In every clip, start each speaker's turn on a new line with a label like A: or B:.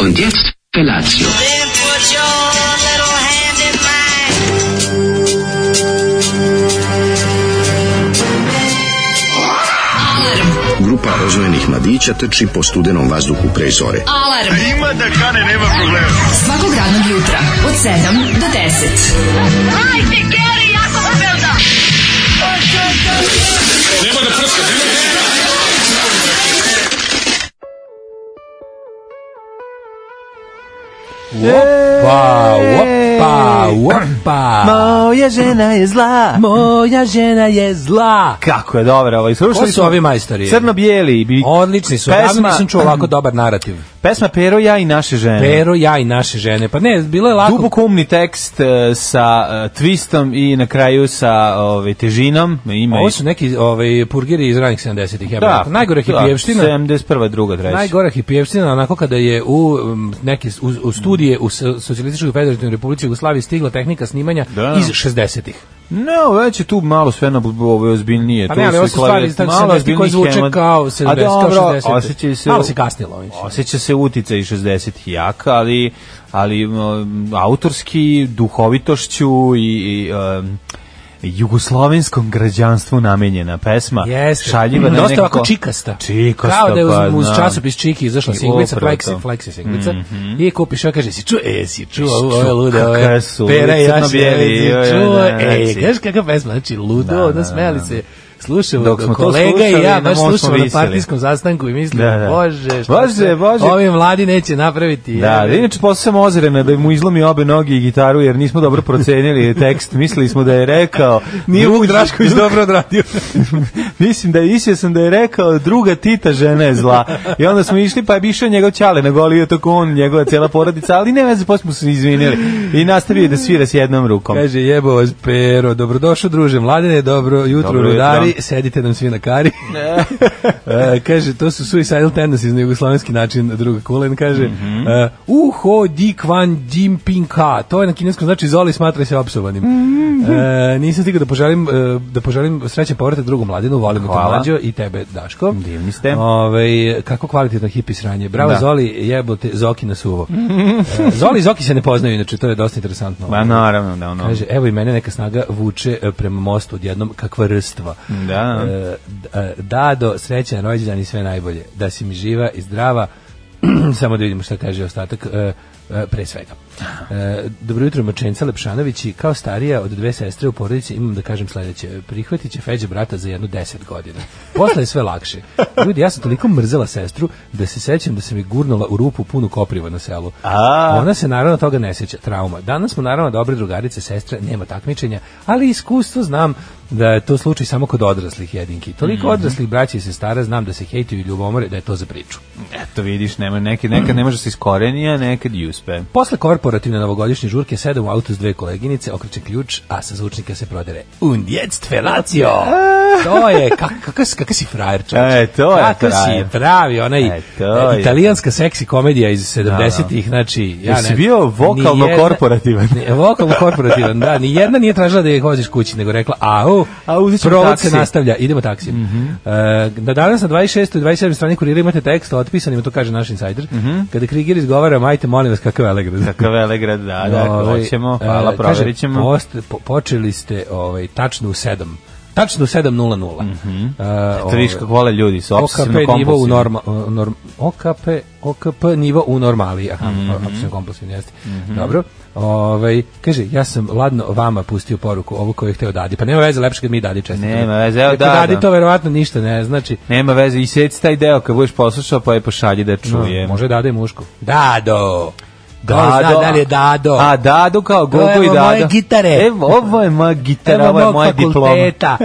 A: Und jetzt Felatio.
B: Then put your little hand in mine.
C: Grupa rozvojenih mladića trči po studenom vazduhu pre zore.
D: Alarm. A ima da kane, nema problema. Svakog radnog jutra, od 7 do 10.
E: Pa,
F: Opa, opa, opa.
E: Moja žena je zla.
F: Moja žena je zla.
E: Kako je dobro ovo.
F: Ko su ovi majstori?
E: Crno-bijeli. bi-
F: Odlični su. Pesma... Davno nisam čuo ovako dobar narativ.
E: Pesma Pero, ja i naše žene.
F: Pero, ja i naše žene. Pa ne, bilo je lako.
E: Duboko umni tekst e, sa e, twistom i na kraju sa ove, težinom. Ima i-
F: Ovo su neki ovaj, purgiri iz ranih 70-ih. Ja bih
E: da,
F: rekao. Najgore hipijevština.
E: 71. druga, treća.
F: Najgora hipijevština, onako kada je u um, neke u, u studije u S- Socijalističkoj federativnoj republici Jugoslaviji stigla tehnika snimanja
E: Da.
F: iz 60-ih.
E: No, već je tu malo sve na ove ozbiljnije.
F: Pa
E: E, Tu
F: ne, ali
E: su
F: ovo su
E: klavijet-
F: stvari iz tako
E: malo
F: 70-ih koje
E: ozbiljniji
F: zvuče
E: hemat.
F: kao 70-ih,
E: A
F: kao
E: dobro,
F: 60-ih.
E: osjećaju se...
F: Malo se kasnilo, mislim.
E: Osjeća se utica i 60-ih jaka, ali, ali um, autorski, duhovitošću i... i um, jugoslovenskom građanstvu namenjena pesma.
F: Jeste.
E: Šaljiva na
F: Dosta
E: nekako-
F: ovako čikasta.
E: Čikasta,
F: Kao da je uz,
E: pa,
F: uz
E: da.
F: časopis Čiki izašla
E: I
F: singlica,
E: upravo
F: flexi,
E: to.
F: flexi singlica. I kupiš, ovo kaže, si čuo, e, si čuo ovo,
E: čuo,
F: ovo je lude, ovo
E: kakve
F: je
E: su,
F: pera i jaša, e,
E: crno-bijeli,
F: si
E: joj,
F: čuo,
E: da, da,
F: e,
E: si.
F: znaš kakva pesma, znači
E: Da,
F: ludo,
E: da,
F: ono smeli
E: da.
F: se. Slušamo
E: Dok smo to
F: kolega i
E: slušali,
F: ja,
E: na
F: baš
E: mom smo
F: slušamo na
E: visjeli.
F: partijskom sastanku i mislim,
E: Da, da.
F: bože, šta
E: Bože,
F: se
E: bože.
F: ovi mladi neće napraviti.
E: Da,
F: jebe.
E: da, inače posle sam ozirena da mu izlomi obe noge i gitaru jer nismo dobro procenili tekst. Mislili smo da je rekao...
F: Nije Vuk
E: drugi-
F: Drašković dobro odradio.
E: Mislim da isio sam da je rekao druga Tita žena je zla. I onda smo išli pa je išao njegov ćale na goliju tako on, njegova cijela porodica, ali ne veze, posle smo se izvinili. I nastavio je da svira s jednom rukom.
F: Kaže, jebo vas pero, dobrodošao druže, mladine, dobro jutro,
E: Dobro jutro.
F: rudari, sedite nam svi na kari. E, kaže, to su suicidal tendencies na jugoslovenski način, druga Kulen kaže,
E: Mhm.
F: e, uho di kvan dim pin ka, to je na kineskom znači zoli smatraj se opsovanim.
E: Mhm.
F: E, nisam stigao da poželim, e, da poželim srećan povratak drugu mladinu, volim te
E: Hvala.
F: mlađo i tebe, Daško.
E: Divni ste.
F: Ovaj, kako kvalitetno hipi sranje. Bravo,
E: Da.
F: Zoli, jebote, Zoki na suvo. E, Zoli i Zoki se ne poznaju, inače, to je dosta interesantno.
E: Ma naravno, da ono.
F: Kaže, evo i mene neka snaga vuče e, prema mostu odjednom kakva rstva.
E: Da.
F: E, d- e, Dado, srećan rođendan i sve najbolje. Da si mi živa i zdrava. Samo da vidimo šta kaže ostatak. e, e, pre svega. E, dobro jutro, Mačenca Lepšanovići. Kao starija od dve sestre u porodici imam da kažem sledeće. Prihvatit će Feđe brata za jedno deset godina. Posle je sve lakše. Ljudi, ja sam toliko mrzela sestru da se sećam da sam je gurnula u rupu punu kopriva na selu.
E: A.
F: Ona se naravno toga ne sjeća, trauma. Danas smo naravno dobre drugarice, sestre, nema takmičenja, ali iskustvo znam da je to slučaj samo kod odraslih jedinki. Toliko odraslih braća i sestara znam da se hejtuju i ljubomore da je to za priču.
E: Eto vidiš, nema, neki, nekad ne može se iskoreni, a nekad i uspe.
F: Posle korporativne novogodišnje žurke sedam u autu s dve koleginice, okreće ključ, a sa zvučnika se prodere. Und jetzt felatio! To je, kak, kakav si- kakav si frajer čovječ.
E: E, to je
F: Kakav
E: frajer.
F: si pravi, onaj
E: E, to je.
F: italijanska seksi komedija iz 70-ih, znači... Ja
E: Jesi
F: ne-
E: bio vokalno
F: nijedna-
E: korporativan?
F: Ne, vokalno korporativan, da, ni jedna nije tražila da je hoziš kući, nego rekla, au,
E: A, uzet ćemo
F: provod
E: taksi."
F: se nastavlja, idemo taksijem.
E: Mhm.
F: E, na danas na 26. i 27. strani kurira imate tekst otpisan, ima to kaže naš insider,
E: Mhm.
F: kada Krigir izgovara, majte, molim vas, kakav elegant.
E: Kakav Velegrad, da, da, ako
F: Ovaj,
E: hoćemo,
F: e,
E: hvala,
F: kaže,
E: proverit ćemo.
F: post- po- počeli ste ovaj, tačno u 7. Tačno u 7.00.
E: Mhm.
F: Mm
E: Eto vidiš kako vole ljudi, su obsesivno
F: OKP nivo u
E: kompulsivni.
F: norma, o- norm, OKP, OKP nivo u normali. Aha,
E: Mhm.
F: obsesivno kompulsivni jeste. Dobro. Ovaj, kaže, ja sam ladno vama pustio poruku, ovu koju je hteo Dadi. Pa nema veze, lepše kad mi Dadi čestitamo.
E: Nema veze, evo
F: Dakle,
E: Dada.
F: Dadi to verovatno ništa ne znači.
E: Nema veze, i sjeci taj deo kad budeš poslušao pa je pošalji da čuje.
F: Može Dada i mušku. Dado! Ko
E: Dado.
F: Zna, da li je Dado?
E: A Dado kao Gogo
F: evo
E: i Dada.
F: moje gitare.
E: Evo, ovo je moja gitara, ovo je
F: mog
E: moja diploma.
F: fakulteta.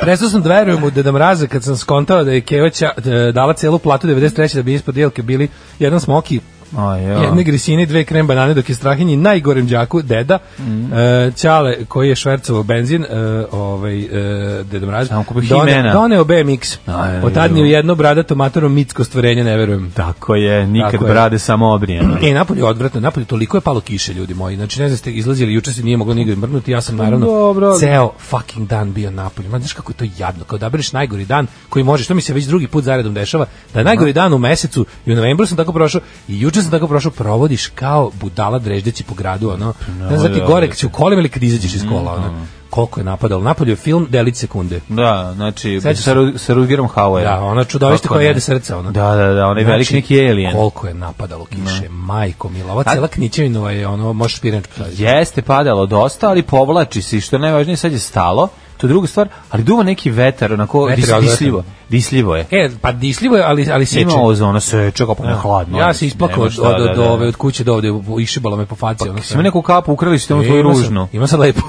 F: Prestao sam da verujem u Deda Mraza kad sam skontao da je Kevaća e, dala celu platu 93. da bi ispod jelke bili jedan smoki,
E: A, jo.
F: jedne grisine i dve krem banane dok je Strahinji najgorem đaku deda
E: Mm.
F: e, Ćale koji je švercovao benzin e, ovaj e, Deda Mraz
E: Samo kupi
F: done-
E: Himena.
F: doneo BMX.
E: Aj,
F: Od tad ni u jedno bradato matorom mitsko stvorenje ne verujem.
E: Tako je, nikad
F: Tako je.
E: brade samo obrijeno.
F: E, napolje je odvratno, napolje toliko je palo kiše, ljudi moji. Znači, ne znam, ste izlazili, juče se nije moglo nigde mrnuti, ja sam naravno
E: dobro, ali-
F: ceo fucking dan bio napolje. Ma, znaš kako je to jadno, kao da bereš najgori dan koji možeš, to mi se već drugi put zaredom dešava, da je najgori dan u mesecu i u novembru sam tako prošao i juče juče sam tako prošao, provodiš kao budala dreždeći po gradu, ono,
E: Pa,
F: ne znam ti gore kad si u kolima ili kad izađeš iz kola,
E: Mhm.
F: ono, koliko je napadalo. Napolju je film Delić sekunde.
E: Da, znači,
F: Sećaš
E: sa, Ru- sa Rudigerom Hauer.
F: Da, ono. ona čudovište
E: Kako
F: koja
E: ne?
F: jede srca, ono. ona.
E: Da, da, da, onaj veliki neki alien.
F: Znači, Koliko je napadalo kiše, majko mila. Ova cela Knićevinova je ono, možeš pirenč postaviti.
E: Jeste padalo dosta, ali povlači se i što je najvažnije sad je stalo. To je druga stvar, ali duva neki vetar, onako
F: Vetar
E: dis,
F: je odvratan.
E: disljivo. Disljivo je.
F: E, pa dišljivo je, ali, ali seče.
E: Ima ozona seče, kao pa ne hladno.
F: Ja
E: ono,
F: se isplakao
E: nemaš
F: od,
E: šta,
F: od,
E: da,
F: od,
E: da, da.
F: ove, od kuće do ovde, u- išibalo me po faci. ono
E: Si mi neku kapu ukrali ste ono tvoju
F: E, Ima sam-
E: ružnu.
F: Ima sad lepo.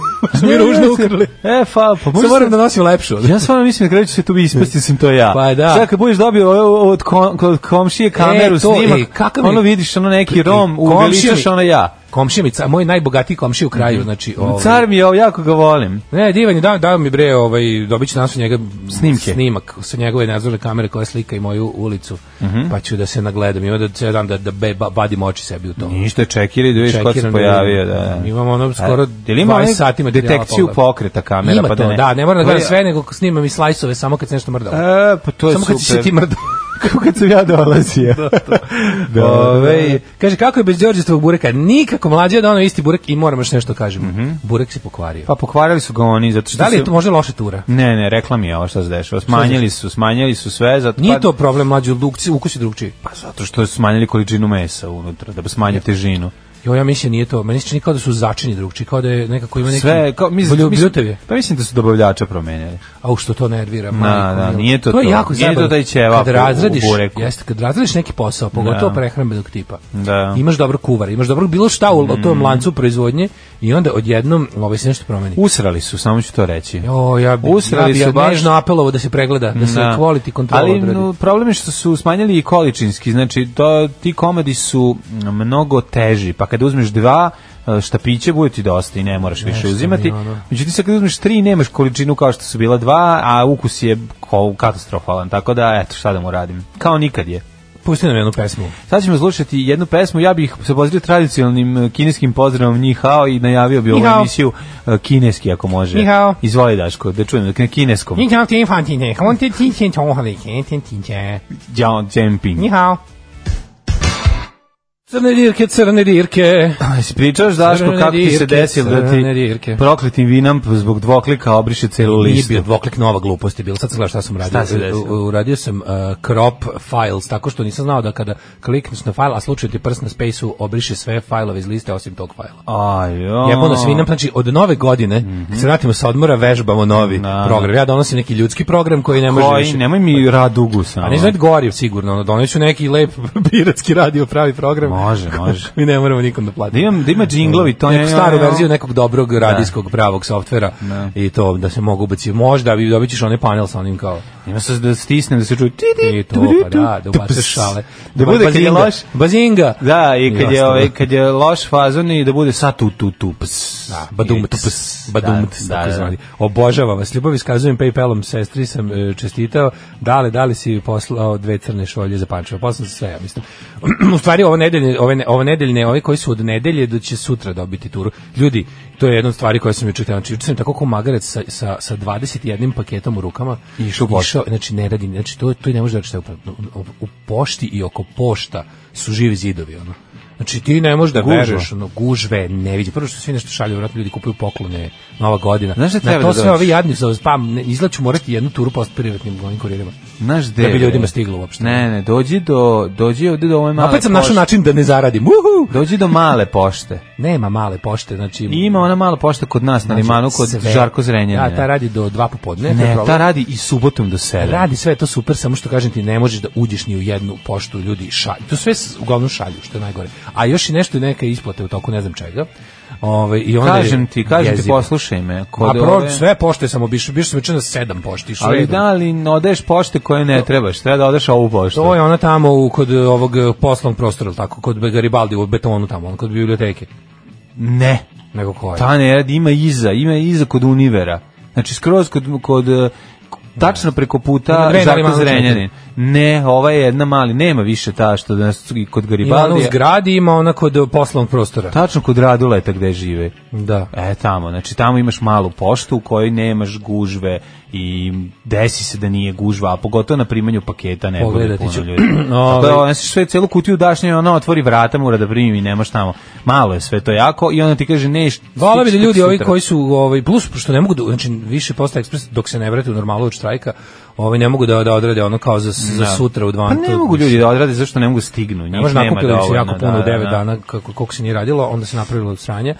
F: Mi ružno ukrali.
E: E, fa, pa
F: Sad
E: možda...
F: moram da nosim lepšu.
E: Ja stvarno mislim da kreću se tu ispasti, sam to ja.
F: Pa da.
E: Sad kad budeš dobio o- od, kom, od komšije kameru,
F: E, to,
E: snimak,
F: e, kakav mi-
E: ono vidiš ono neki rom,
F: Komšija mi-
E: uveličaš ono ja.
F: Komšija mi, ca- moj najbogatiji komšija u kraju, znači... Ovaj,
E: Mhm. Car mi je, ovo, jako ga volim.
F: Ne, divan je, dao, dao mi bre, ovaj, dobit ću danas od njega
E: Snimke.
F: snimak sa njegove nadzorne kamere koja slika i moju ulicu,
E: Mhm.
F: pa ću da se nagledam. Ima da cijel dan da, da be, ba, badim oči sebi u to.
E: Ništa, čekiri da vidiš ko se
F: Čekiram da
E: pojavio. Da,
F: vidim.
E: da.
F: Imam ono skoro
E: E, je li ima
F: 20
E: onaj
F: sati materijala
E: detekciju
F: pogledam.
E: pokreta kamera?
F: Ima
E: pa
F: to,
E: da, ne.
F: da, ne moram da
E: To je-
F: gledam sve, nego snimam i slajsove samo kad se nešto mrdalo.
E: E, pa to je
F: samo
E: super.
F: kad si se ti mrdao.
E: Kako kad sam ja dolazio. Ovaj, da,
F: Ove, kaže, kako je bez Đorđestvog bureka? Nikako, mlađe je da ono isti burek i moram još nešto kažem. Burek se pokvario.
E: Mhm. Pa pokvarili su ga oni, zato što
F: da li je
E: su-
F: to možda loša tura?
E: Ne, ne, rekla mi je ovo što se dešava. Smanjili su, smanjili su sve. Zato,
F: Nije
E: pa-
F: to problem mlađe, lukci, ukus je drugčiji.
E: Pa zato što su smanjili količinu mesa unutra, da bi smanje težinu.
F: Jo, ja mislim nije to. Meni se čini kao da su začini drugčiji, kao da je nekako ima neki...
E: Sve, kao, mislim,
F: Blju-
E: mislim-
F: bljutav je.
E: pa mislim da su dobavljača promenjali.
F: Au, što to nervira,
E: da,
F: majko. mila.
E: nije to
F: je
E: to.
F: jako
E: Nije to
F: zabavno.
E: taj ćevap
F: Kad
E: u- u
F: razradiš,
E: bureku.
F: jeste, kad razradiš neki posao, pogotovo
E: Da.
F: prehrambenog tipa,
E: Da. Mm.
F: imaš dobro kuvar, imaš dobro bilo šta u tom lancu proizvodnje i onda odjednom ovaj se nešto promeni.
E: Usrali su, samo ću to reći.
F: Jo, ja bi,
E: Usrali
F: ja bi
E: su
F: ja
E: baš-
F: nežno apelovo da se pregleda, da se
E: Da.
F: quality control
E: Ali mm,
F: odradi.
E: no, problem je što su smanjili i količinski, znači to, ti komadi su mnogo teži, pa kada uzmeš dva e, štapiće bude ti dosta i ne moraš više uzimati.
F: mi ono.
E: Međutim, sad kada uzmeš tri nemaš količinu kao što su bila dva, a ukus je ko- katastrofalan, tako da eto šta da mu radim. Kao nikad je.
F: Pusti nam jednu pesmu.
E: Sad ćemo slušati jednu pesmu, ja bih se pozdravio tradicionalnim e, kineskim pozdravom Ni Hao i najavio bi ovu
F: Ni hao.
E: emisiju e, kineski ako može.
F: Ni hao.
E: Izvoli Daško, da čujem na kineskom.
G: 你想点饭点点，我点点钱从何里钱点点钱？
E: Jiao Zhenping.
G: 你好。
F: Crne dirke, crne dirke.
E: Pa Jesi pričaš Daško
F: Crvene
E: kako ti se
F: dirke,
E: desilo da ti
F: crvene dirke.
E: prokletim vinam zbog dvoklika obriše celu
F: Nije
E: listu?
F: bio dvoklik, nova glupost je bila. Sad sam gledao šta sam radio.
E: Šta se desilo?
F: U- u- Uradio sam uh, crop files, tako što nisam znao da kada klikneš na file, a slučajno ti prst na space-u obriše sve fajlove iz liste osim tog fajla.
E: Ajo.
F: Ja nas svinam, znači od nove godine, kad se vratimo sa odmora, vežbamo novi
E: Mhm. Da.
F: program. Ja donosim neki ljudski program koji ne može
E: Koji,
F: više.
E: nemoj mi radugu samo.
F: A ne znam gori sigurno, ono, doneću neki lep piratski radio pravi program.
E: Može, može.
F: Mi ne moramo nikom da
E: Da
F: platimo.
E: imam, da ima džinglovi, to
F: neku
E: je...
F: staru verziju nekog dobrog radijskog pravog softvera i to da se mogu ubaciti. Možda bi dobit ćeš onaj panel sa onim kao
E: Ima se da stisnem, da se čuje... ti, ti,
F: i to, pa da, da ubaciš šale.
E: Da bude kad je
F: Bazinga,
E: loš.
F: Bazinga!
E: Da, i kad je,
F: ostalo.
E: ovaj, kad je loš fazon i da bude sa tu tu tu ps.
F: Da, badum, tups, badum,
E: Da,
F: tako
E: da,
F: zvani. Obožavam vas, ljubav iskazujem Paypalom, sestri sam e, čestitao, da li, da li si poslao dve crne šolje za pančeva, poslao sam sve, ja mislim. U stvari, ovo nedeljne, ove, ne- ovo nedeljne, ovi koji su od nedelje, da će sutra dobiti turu. Ljudi, to je jedna od stvari koja sam juče htio, znači juče sam tako ko magarac sa, sa, sa 21 paketom u rukama,
E: Išao u poštu.
F: znači ne radi, znači to, to i ne može da reći šta je u, u, u pošti i oko pošta su živi zidovi, ono. Znači ti ne možeš da
E: Gužva.
F: veruješ ono, gužve, ne vidi. Prvo što svi nešto šalju, vratno ljudi kupuju poklone, nova godina.
E: Pa Znaš šta
F: Na
E: treba
F: to
E: da
F: sve
E: dođe?
F: ovi jadni, za spam, ne, izgleda ću morati jednu turu post privatnim ovim kuririma.
E: Znaš gde?
F: Da bi
E: je?
F: ljudima stiglo uopšte.
E: Ne, ne, dođi do, dođi ovde do ove male
F: Opet sam našao
E: pošte.
F: način da ne zaradim. Uhu!
E: Dođi do male pošte.
F: Nema male pošte, znači...
E: I Ima ona mala pošta kod nas na
F: znači,
E: limanu kod
F: sve.
E: Žarko Zrenjanina.
F: Da, ta radi do dva popodne. to je
E: Ne,
F: problem.
E: ta radi i subotom do 7.
F: Radi sve to super, samo što kažem ti ne možeš da uđeš ni u jednu poštu, ljudi šalju. To sve s- uglavnom šalju, što je najgore. A još i nešto neke isplate u toku ne znam čega. Ovaj i onda je
E: Kažem ti, kažem ti,
F: jezivo.
E: poslušaj me. Kod
F: A pro,
E: ove-
F: sve pošte sam obišao, bio sam juče na sedam pošti. išao
E: Ali
F: redom.
E: da, ali odeš pošte koje ne trebaš, treba da odeš ovu poštu.
F: To je ona tamo u, kod eh, ovog eh, poslovnog prostora, jel tako, kod Garibaldi u betonu tamo, on kod biblioteke. ovaj.
E: Ne,
F: Nego koja?
E: ta ne radi, ima iza, ima iza kod Univera. Znači skroz kod, kod eh, tačno preko
F: Ima
E: puta
F: dve na
E: Žarko
F: Limanu
E: Zrenjanin. Ne, ova je jedna mali, nema više ta što danas kod
F: Ima ona u
E: Garibaldija.
F: zgradi, ima ona kod e, poslovnog prostora.
E: Tačno kod Raduleta gde žive.
F: Da.
E: E, tamo, znači tamo imaš malu poštu u kojoj nemaš gužve i desi se da nije gužva, a pogotovo na primanju paketa ne bude
H: Pogledati
E: puno
H: ću.
E: ljudi. Tako
F: Ovaj.
E: da, ona se sve celu kutiju daš njoj, ona otvori vrata, mora da primi i nemaš tamo. Malo je sve to jako i ona ti kaže ne, št-
F: Hvala bi da
E: stići
F: ljudi
E: tek
F: ovi
E: sutra.
F: koji su ovaj plus što ne mogu da, znači više posta ekspres dok se ne vrate u normalu od štrajka, ovaj ne mogu da da odrade ono kao za, za sutra u 12.
E: Pa ne mogu ljudi da odrade zašto ne mogu stignu. Njih
F: Ne može
E: nema
F: nakupili se
E: dovoljno,
F: jako puno
E: da,
F: u 9
E: da, Mhm. da.
F: dana kako koliko se nije radilo, onda se napravilo od sranja.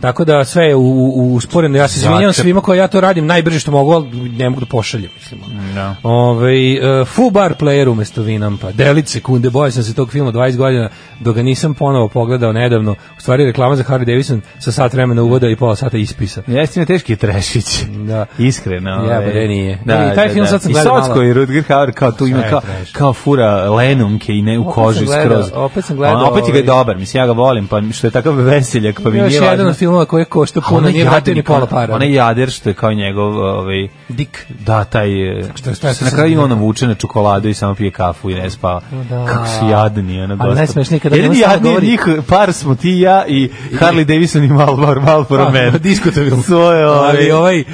F: Tako da sve je u, u, usporeno. Ja se izvinjavam
E: Začep.
F: svima koji ja to radim najbrže što mogu, ali ne mogu da pošaljem, mislim.
E: Da.
F: Ovaj, e, Fu Bar Player umesto Vinampa. Delit sekunde, bojao sam se tog filma 20 godina, dok ga nisam ponovo pogledao nedavno. U stvari reklama za Harry Davidson sa sat vremena uvoda i pola sata ispisa.
E: Jeste mi teški je trešić.
F: Da.
E: Iskreno.
F: Jebe,
E: ovaj.
F: da pa nije.
E: Da,
F: I taj
E: da,
F: film
E: da.
F: sad sam
E: I
F: gledao
E: Socko
F: malo.
E: i Rutger Hauer kao tu ima
F: Sve je
E: kao,
F: trash.
E: kao fura lenumke i ne u
F: Opet
E: koži
F: sam gledao,
E: skroz.
F: opet sam gledao,
E: A opet je ga je
F: ovaj-
E: dobar, mislim ja ga volim, pa što je takav veseljak, pa mi
F: Još
E: nije
F: jedan
E: važno.
F: od filmova koji košta
E: A
F: puno,
E: onaj
F: nije vratio ni
E: jadnik,
F: pola para.
E: Onaj jader što je kao njegov, ovaj,
F: dik.
E: da, taj, eh,
F: Šta- šta je
E: se na
F: sad
E: kraju
F: bilo?
E: on vuče na čokoladu i samo pije kafu i ne spava.
F: Da.
E: Kako su jadni, ono,
F: Ali najsmešnije je kada
E: Jedini
F: on samo
E: jadni od
F: govori-
E: njih, par smo ti i ja i Harley Davidson i Malbor,
F: Pa,
E: Malboro Man.
F: Diskutabilno.
E: Svoje,
F: Ali
E: ovaj,
F: ovaj, e,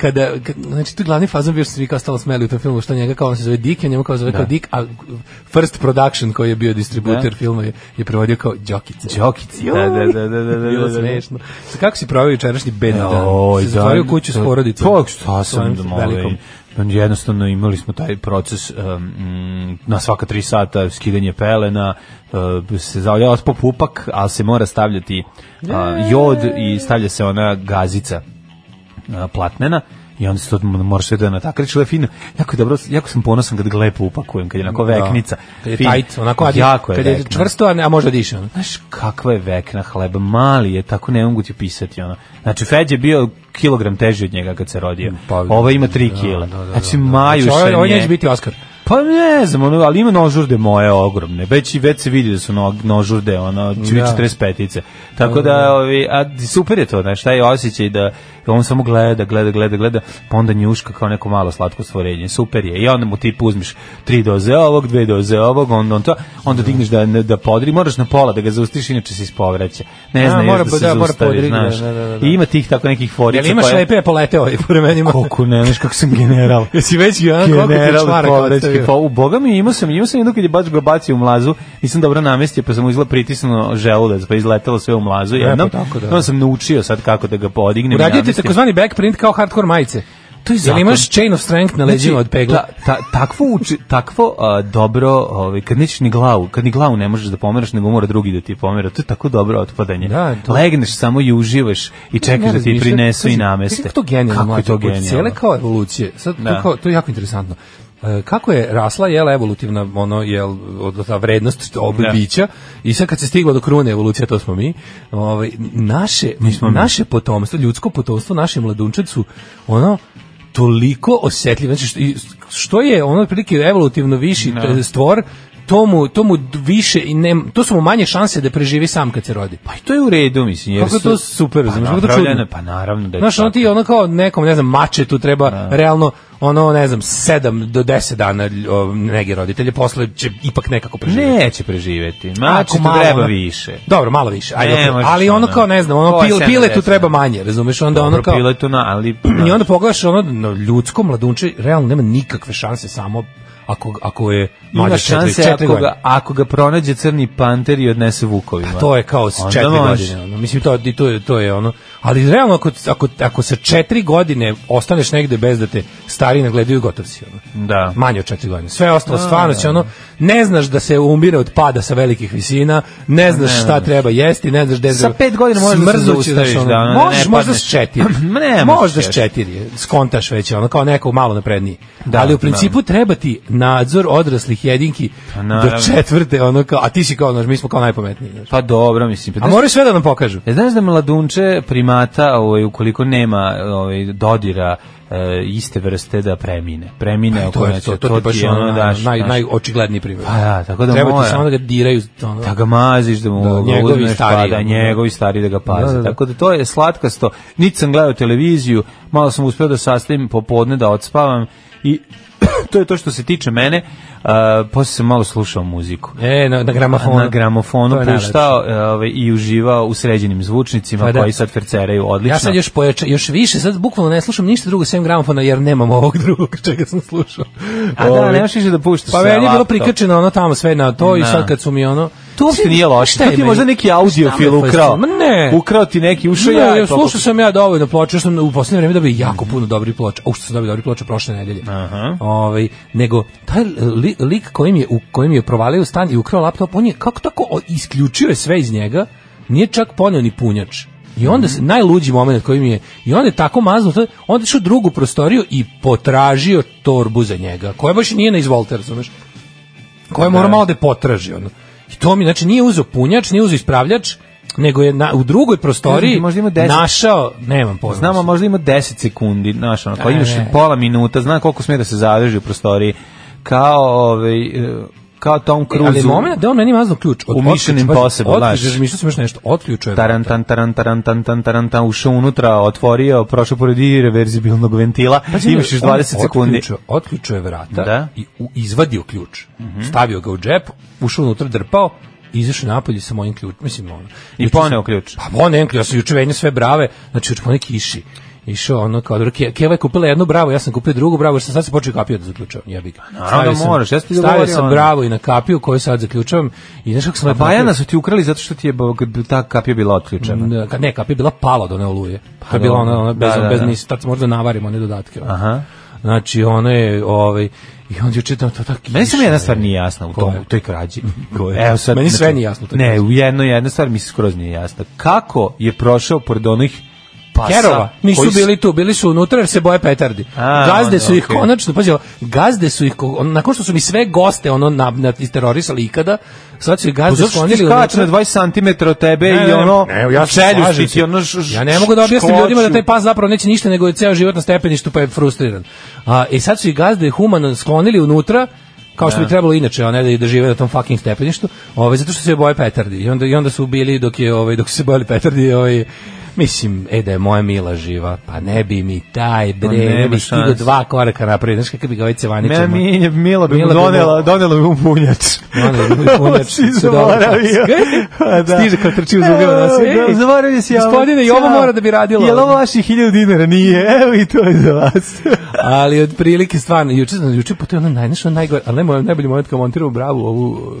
F: kada, k- znači tu je glavni fazon bio što se vi kao stalo smeli u tom filmu, što njega kao on se zove Dick, a njemu kao zove kao Dick, a First Production koji je bio distributer
E: Da.
F: filma je, je prevodio kao Đokice.
E: Đokici, da, da, da, da, da, da, da.
F: Bilo smešno. Sa kako si proveo jučerašnji bedni dan?
E: Oj,
F: si zatvorio kuću s porodicom?
E: To, Pa, šta sam
F: Svojim
E: da
F: velikom.
E: Jednostavno imali smo taj proces um, mm, na svaka tri sata skidanje pelena, uh, se zavljava po pupak, ali se mora stavljati uh, jod i stavlja se ona gazica uh, platnena i onda se to m- moraš sve da natakriš, ali je fino. Jako je dobro, jako sam ponosan kad ga lepo upakujem, kad je onako veknica.
F: Kad je
E: fin.
F: tight, onako, a di-
E: jako je
F: kad je
E: vekna.
F: čvrsto, a, ne, a možda diše. ono.
E: Znaš kakva je vekna hleba, mali je, tako ne mogu ti pisati ono. Znači Feđ je bio kilogram teži od njega kad se rodio.
F: Pa,
E: Ova ima 3 kila.
F: da, da,
E: Znači maju
F: Znači, ovaj,
E: se
F: ovaj
E: nje.
F: neće biti Oskar.
E: Pa ne znam, ono, ali ima nožurde moje ogromne. Već i već se vidi da su no, nožurde, ono, će biti
F: Da.
E: 45-ice. Tako da, ovi, a super je to, znaš, taj osjećaj da on samo gleda, gleda, gleda, gleda, pa onda njuška kao neko malo slatko stvorenje. Super je. I onda mu ti uzmiš tri doze ovog, dve doze ovog, onda on to, onda digneš da, da podri, moraš na pola da ga zaustiš, inače se ispovraća. Ne
F: A,
E: znam,
F: mora-
E: da se
F: da, mora
E: zaustavi,
F: podrigne,
E: znaš.
F: da, da, da, da.
E: I ima tih tako nekih forica.
F: Jel imaš
E: koje-
F: lepe polete ovaj po vremenima?
E: Koliko ne, znaš kako sam general.
F: Jesi već i ono koliko ti je
E: General
F: čvaraka
E: Povraćki.
F: ostavio?
E: Pa u boga mi imao sam, imao sam jedno kad je baš ga bacio u mlazu, nisam dobro namestio, pa sam mu izla pritisnuo želudac, pa izletelo sve u mlazu jednom.
F: E, tako da.
E: Onda sam naučio sad kako da ga podignem. i
F: Uradio ti
E: namestim.
F: takozvani backprint kao hardcore majice.
E: To je
F: Jel
E: zakon.
F: imaš chain of strength na leđima
E: Znači,
F: od pegla?
E: Ta, ta, takvo uči, takvo a, dobro, ovaj kad nećeš ni glavu, kad ni glavu ne možeš da pomeraš, nego mora drugi da ti pomera. To je tako dobro otpadanje.
F: Da, to-
E: Legneš samo i uživaš i čekaš da ti
F: razmišljam,
E: prinesu i
F: pazi,
E: nameste.
F: Kako je to genijalno,
E: Kako je
F: mlađe,
E: to
F: od
E: genijalno?
F: Cijele kao evolucije. Sad,
E: Da.
F: to, kao, to je jako interesantno. E, Kako je rasla jel evolutivna ono jel od ta vrednost ob
E: Da.
F: bića i sad kad se stiglo do krune evolucija to smo mi ovaj naše naše potomstvo ljudsko potomstvo naši mladunčad su ono toliko osetljivi znači što, i što je ono otprilike evolutivno viši t- stvor tomu tomu više i ne to su mu manje šanse da preživi sam kad se rodi
E: Pa i to je u redu, mislim. Jer
F: Kako je
E: su-
F: to super,
E: pa
F: znaš, kako je to
E: napravljeno
F: čudno.
E: je, Pa naravno da je
F: Znaš, ono ti
E: tako.
F: ono kao nekom, ne znam, mače tu treba realno, ono, ne znam, 7 do 10 dana o, nege roditelje, posle će ipak nekako preživjeti.
E: Neće preživeti. Mače
F: Ako
E: tu
F: malo,
E: treba
F: ono-
E: više.
F: Dobro, malo više. Ajde,
E: Ne
F: okej.
E: možeš,
F: ali ono
E: ono,
F: kao, ne znam, ono,
E: ovo je
F: pil,
E: sedam
F: pile tu
E: deset.
F: treba manje, razumeš? Onda
E: Dobro,
F: ono kao...
E: bilo je to na, ali...
F: I onda pogledaš ono, no, ljudsko mladunče, realno nema nikakve šanse samo ako, ako je mlađe
E: Ima
F: četiri,
E: šanse
F: četiri
E: ako
F: godine.
E: ga, ako ga pronađe crni panter i odnese vukovima.
F: A to je kao s
E: Pa, Onda
F: četiri
E: može.
F: godine. Ono. Mislim, to, i to, je, to je ono. Ali realno, ako, ako, ako sa četiri godine ostaneš negde bez da te stari nagledaju, gotov si. Ono.
E: Da.
F: Manje od četiri godine. Sve ostalo stvarno će ono, ne znaš da se umire od pada sa velikih visina, ne znaš šta treba jesti, ne znaš gde...
E: Sa pet godina možeš da se
F: Smrznut ćeš, znaš,
E: zaustaviš,
F: ono.
E: da, ono, da ne
F: možeš, možda
E: padneš.
F: s četiri.
E: Ma ne možeš
F: možda s
E: još.
F: četiri. Skontaš već, ono, kao neko malo napredniji.
E: Da,
F: Ali u principu treba ti nadzor odraslih jedinki
E: Pa
F: do
E: naravno.
F: četvrte, ono kao, a ti si kao, znaš, mi smo kao najpametniji. znaš.
E: Pa dobro, mislim.
F: A moraju sve da nam pokažu.
E: E, znaš da mladunče primata, ovaj, ukoliko nema ovaj, dodira e, iste vrste da premine. Premine,
F: E,
E: oko
F: to je
E: nečega,
F: to, to ti baš
E: je
F: ono
E: daš,
F: naj,
E: znaš.
F: najočigledniji primjer.
E: Pa da, tako da
F: Treba
E: mora.
F: ti samo da ga diraju. Ono.
E: da ga maziš, da mu
F: Da,
E: da,
F: njegovi
E: uzmeš,
F: stariji.
E: pa da njegovi stari da ga paze.
F: Da, da, da.
E: Tako da to je slatkasto. Nit sam gledao televiziju, malo sam uspeo da sastavim popodne, da odspavam i to je to što se tiče mene. Uh, posle sam malo slušao muziku.
F: E, na, na gramofonu.
E: Na gramofonu
F: To je najlepše.
E: puštao e, ovaj, i uživao u sređenim zvučnicima
F: Pa da.
E: koji sad ferceraju odlično.
F: Ja sad još pojača, još više, sad bukvalno ne slušam ništa drugo sem gramofona jer nemam ovog drugog čega sam slušao.
E: A da,
F: Ovaj,
E: nemaš više da puštaš
F: Pa
E: sa
F: meni je bilo
E: laptop.
F: prikačeno ono tamo sve na to i
E: Da.
F: sad kad su mi ono...
E: To uopšte nije loše.
F: Šta
E: To ti je
F: meni-
E: možda neki
F: šta me
E: audiofil
F: fascinira?
E: ukrao.
F: Ma ne.
E: Ukrao ti neki, ušao
F: Ne,
E: ja.
F: ja,
E: i toliko-
F: slušao sam ja dovoljno ploče, još sam u poslednje vreme dobio jako puno dobrih ploča. U što sam dobio dobrih ploča prošle nedelje.
E: Aha.
F: Ovaj nego taj li, lik kojim je u kojim je provalio stan i ukrao laptop, on je kako tako o, isključio je sve iz njega. Nije čak poneo ni punjač. I onda
E: Mhm.
F: se najluđi momenat koji mi je i onda je tako mazno, to, onda je išao u drugu prostoriju i potražio torbu za njega, koja baš i nije na izvolte, razumeš? koje mora malo da je potraži ono. I to mi znači nije uzeo punjač, nije uzeo ispravljač, nego je na, u drugoj
E: Ne
F: prostoriji
E: znam, možda ima deset.
F: našao, nemam pojma.
E: Znamo, možda ima 10 sekundi, znaš, ono, kao
F: E,
E: imaš
F: ne.
E: pola minuta, zna koliko sme da se zadrži u prostoriji, kao, ovaj, e, kao Tom Cruise.
F: Ali moment da on meni mazno ključ. Od,
E: U Mission
F: otključa- pazi,
E: Impossible, znaš.
F: otključaš, mislio sam još nešto, otključuje.
E: tarantan, tarantan, tarantan, tarantan, ušao unutra, otvorio, prošao pored i reverzibilnog ventila,
F: Pazi,
E: imaš još
F: Pa on
E: 20 sekundi.
F: Otključio, otključio je vrata
E: Da. Mhm.
F: i u, izvadio ključ. Stavio ga u džep, ušao unutra, drpao, izašao napolje sa mojim ključem. Mislim, ono,
E: I
F: juče sam-
E: poneo ključ.
F: Pa on enklio, ja sam juče venio sve brave, znači juče poneki kiši. Išao ono kao, dobro, Ke- Keva je kupila jednu bravu, ja sam kupio drugu bravu, jer sam sad se počeo kapio da zaključavam, jebi ga.
E: Pa naravno da
F: Stavio sam-
E: moraš, ja sam ti
F: Stavio
E: govorio,
F: sam
E: ono.
F: bravu i na kapiju koju sad zaključavam i znaš kako sam lepo
E: Bajana
F: napravio?
E: Pa su ti ukrali zato što ti je bo- ta kapija bila otključena.
F: Da, kad ne, kapija je bila pala do one oluje. Pa je bila
E: dobro.
F: ona, ona bez,
E: Da, da,
F: bez
E: da.
F: nis, tad se možda navarimo one dodatke. ono.
E: Aha.
F: Znači, ona je, ovaj, i onda je čitam to tako
E: Meni samo jedna stvar nije jasna u tom, u toj krađi. znači,
F: Koja? Meni sve nije jasno u toj
E: Ne,
F: krađi.
E: u jednoj jedna stvar mi se skroz nije jasna. Kako je prošao pored onih pasa?
F: Kerova, nisu
E: Pa koji su-
F: bili tu, bili su unutra jer se boje petardi.
E: A,
F: gazde su ih
E: okej.
F: konačno, pazi, ovo, gazde su ih, ko- on- nakon što su mi sve goste ono na, na, isterorisali ikada, sad su ih
E: Pa
F: gazde
E: Zato što ti
F: sklonili
E: skače
F: unutra.
E: na 20 cm od tebe
F: Ne,
E: i
F: ne,
E: ono
F: ne, ja se
E: čeljuš
F: slažem
E: ti ti
F: se.
E: ono š- š-
F: Ja ne mogu da objasnim
E: škoću.
F: ljudima da taj pas zapravo neće ništa nego je ceo život na stepeništu pa je frustriran. A, I sad su i gazde humano sklonili unutra kao što bi trebalo inače, a ne da i da žive na tom fucking stepeništu, ovaj, zato što se boje petardi. I onda, i onda su bili dok, je, ovaj, dok su se bojali petardi, ovaj, mislim, e da je moja mila živa, pa ne bi mi taj bre,
E: nema
F: ne bi stigo
E: šanse.
F: dva koraka napred, znaš kakav bi ga ovaj cevaničar.
E: Me mi je Mila bi mu
F: Mila bi mu-
E: donela, donela bi mu punjač.
F: Donela bi mu punjač,
E: Si
F: sve dobro.
E: zaboravio. A,
F: Stiže kao trči uz ugao na sve.
E: Pa Evo,
F: Ej,
E: da, Zaboravio si ja.
F: gospodine, i ovo mora da bi radilo.
E: Jel ovo vaših 1000 dinara? Nije. Evo i to je za vas.
F: ali od prilike stvarno juče sam juče pa to je ono najnašao najgore ali ne moj najbolji moment kad montirao bravu ovu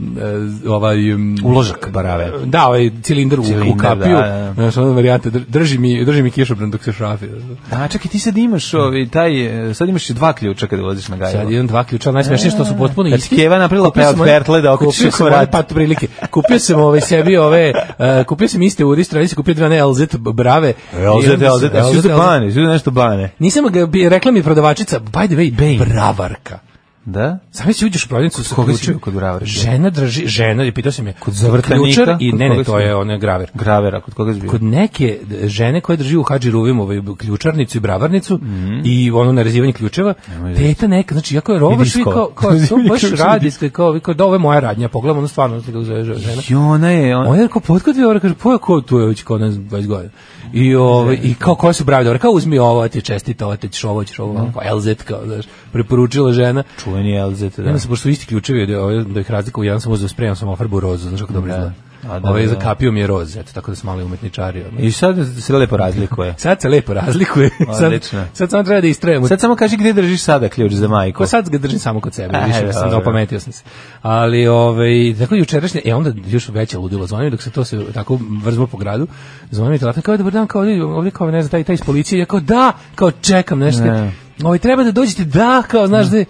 F: e, ovaj em,
E: Uložak barave.
F: da ovaj cilindar u, u
E: Cilindar,
F: kapiju
E: da, da.
F: znaš ono varijanta dr- drži mi drži mi kišobran dok se šrafi
E: A čekaj, ti sad imaš ovaj, taj, eh, sad imaš i dva ključa kada voziš na gajbu.
F: sad imam dva ključa najsmešnije što su potpuno
E: Kad
F: isti
E: ti Keva napravila
F: Kupio
E: pe-
F: sam one-
E: pertle da okrupiš
F: kupio sam
E: vrat.
F: one, pa prilike kupio sam ovaj sebi ove e, kupio sam iste urist radi se kupio dve ne LZ brave I
E: Elzete,
F: onda sam-
E: elzete,
F: LZ,
E: elzete bane, elzete nešto bane.
F: nisam ga bi- rekla mi je prodavačica by the way bravarka
E: Da?
F: Sam si uđeš u prodavnicu sa
E: koga si
F: ključem.
E: bio kod gravera?
F: Žena drži, žena, i pitao sam je, kod
E: zavrtanika?
F: ključar i
E: Kod
F: ne, ne,
E: koga
F: to
E: si
F: je
E: bio?
F: ona graver.
E: Gravera, kod koga si bio?
F: Kod neke d- žene koje drži u Hadži Ruvim ovaj, ključarnicu i bravarnicu
E: Mhm.
F: i ono narezivanje ključeva, teta neka, znači, jako je rovaš, vi
E: diskova.
F: kao, kao, to
E: Narezivanje
F: baš
E: ključeva i
F: radi, kao, kao, kao, da, ovo je moja radnja, pogledam, ono stvarno, kako zove žena.
E: I ona je, on,
F: Ona je rekao, potkud vi ovo, kaže, pa ja ko tu je već kod nas 20 godina. I, ovo, i kao, koje su brave dobre, kao uzmi ovo, ja ti čestita, ovo, ti ćeš ovo, ćeš
E: Mhm.
F: ovo, kao LZ, kao, znaš, preporučila žena.
E: čuveni Elzete,
F: Da.
E: da.
F: Onda sam, pošto su isti ključevi, da, ovaj- da ih razlikuju, jedan sam uzeo spremam sam ofarbu rozu, znaš kako dobro izgleda.
E: A, da,
F: Ovaj
E: da, da.
F: zakapio mi je roz, eto, tako da sam mali umetničario.
E: I sad se lepo razlikuje.
F: Sad se lepo razlikuje. sad,
E: Odlično.
F: sad samo treba da istrajemo.
E: Sad samo kaži gde držiš sada ključ za majku.
F: Ko Pa sad ga držim samo kod sebe,
E: E,
F: više sam
E: dobro.
F: zapametio sam se. Ali ovaj tako jučerašnje, e onda još veće ludilo zvoni mi dok se to se tako vrzmo po gradu. Zvoni mi telefon kao dobar dan, kao ovdje, ovdje kao ne znam taj taj iz policije, ja kao da, kao čekam nešto.
E: Ne.
F: Ovaj treba da dođete, da, kao znaš da je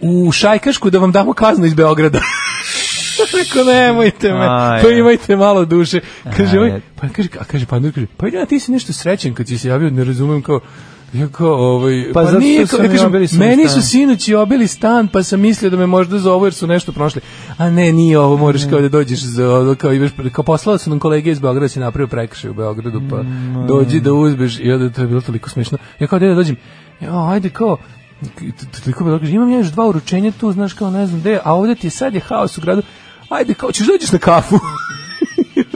F: u Šajkašku da vam damo kaznu iz Beograda. Rekao, nemojte me,
E: Aj, E.
F: pa
E: aj.
F: imajte malo duše. Kaže,
E: Aj,
F: ovaj,
E: aj.
F: pa kaže, a kaže, pa Andrej, kaže, pa ja ti si nešto srećen kad si se javio, ne razumem kao, ja kao, ovaj,
E: Pa
F: pa,
E: zato
F: nije, kao-
E: što su
F: ja
E: mi
F: kažem,
E: obili sami
F: meni
E: stan.
F: su sinoć i obili stan, pa sam mislio da me možda zovu jer su nešto prošli. A ne, nije ovo, moraš kao da dođeš, za, kao, imaš, pre- kao poslao su nam kolege iz Beograda, si napravio prekršaj u Beogradu, pa dođi da uzmeš i onda to je bilo toliko smiješno. Ja kao, gde da dođem, ja, ajde kao, t- t- toliko mi dokaže, imam ja još dva uručenja tu, znaš kao ne znam gde, a ovdje ti je sad je haos u gradu, ajde kao ćeš dođeš na kafu.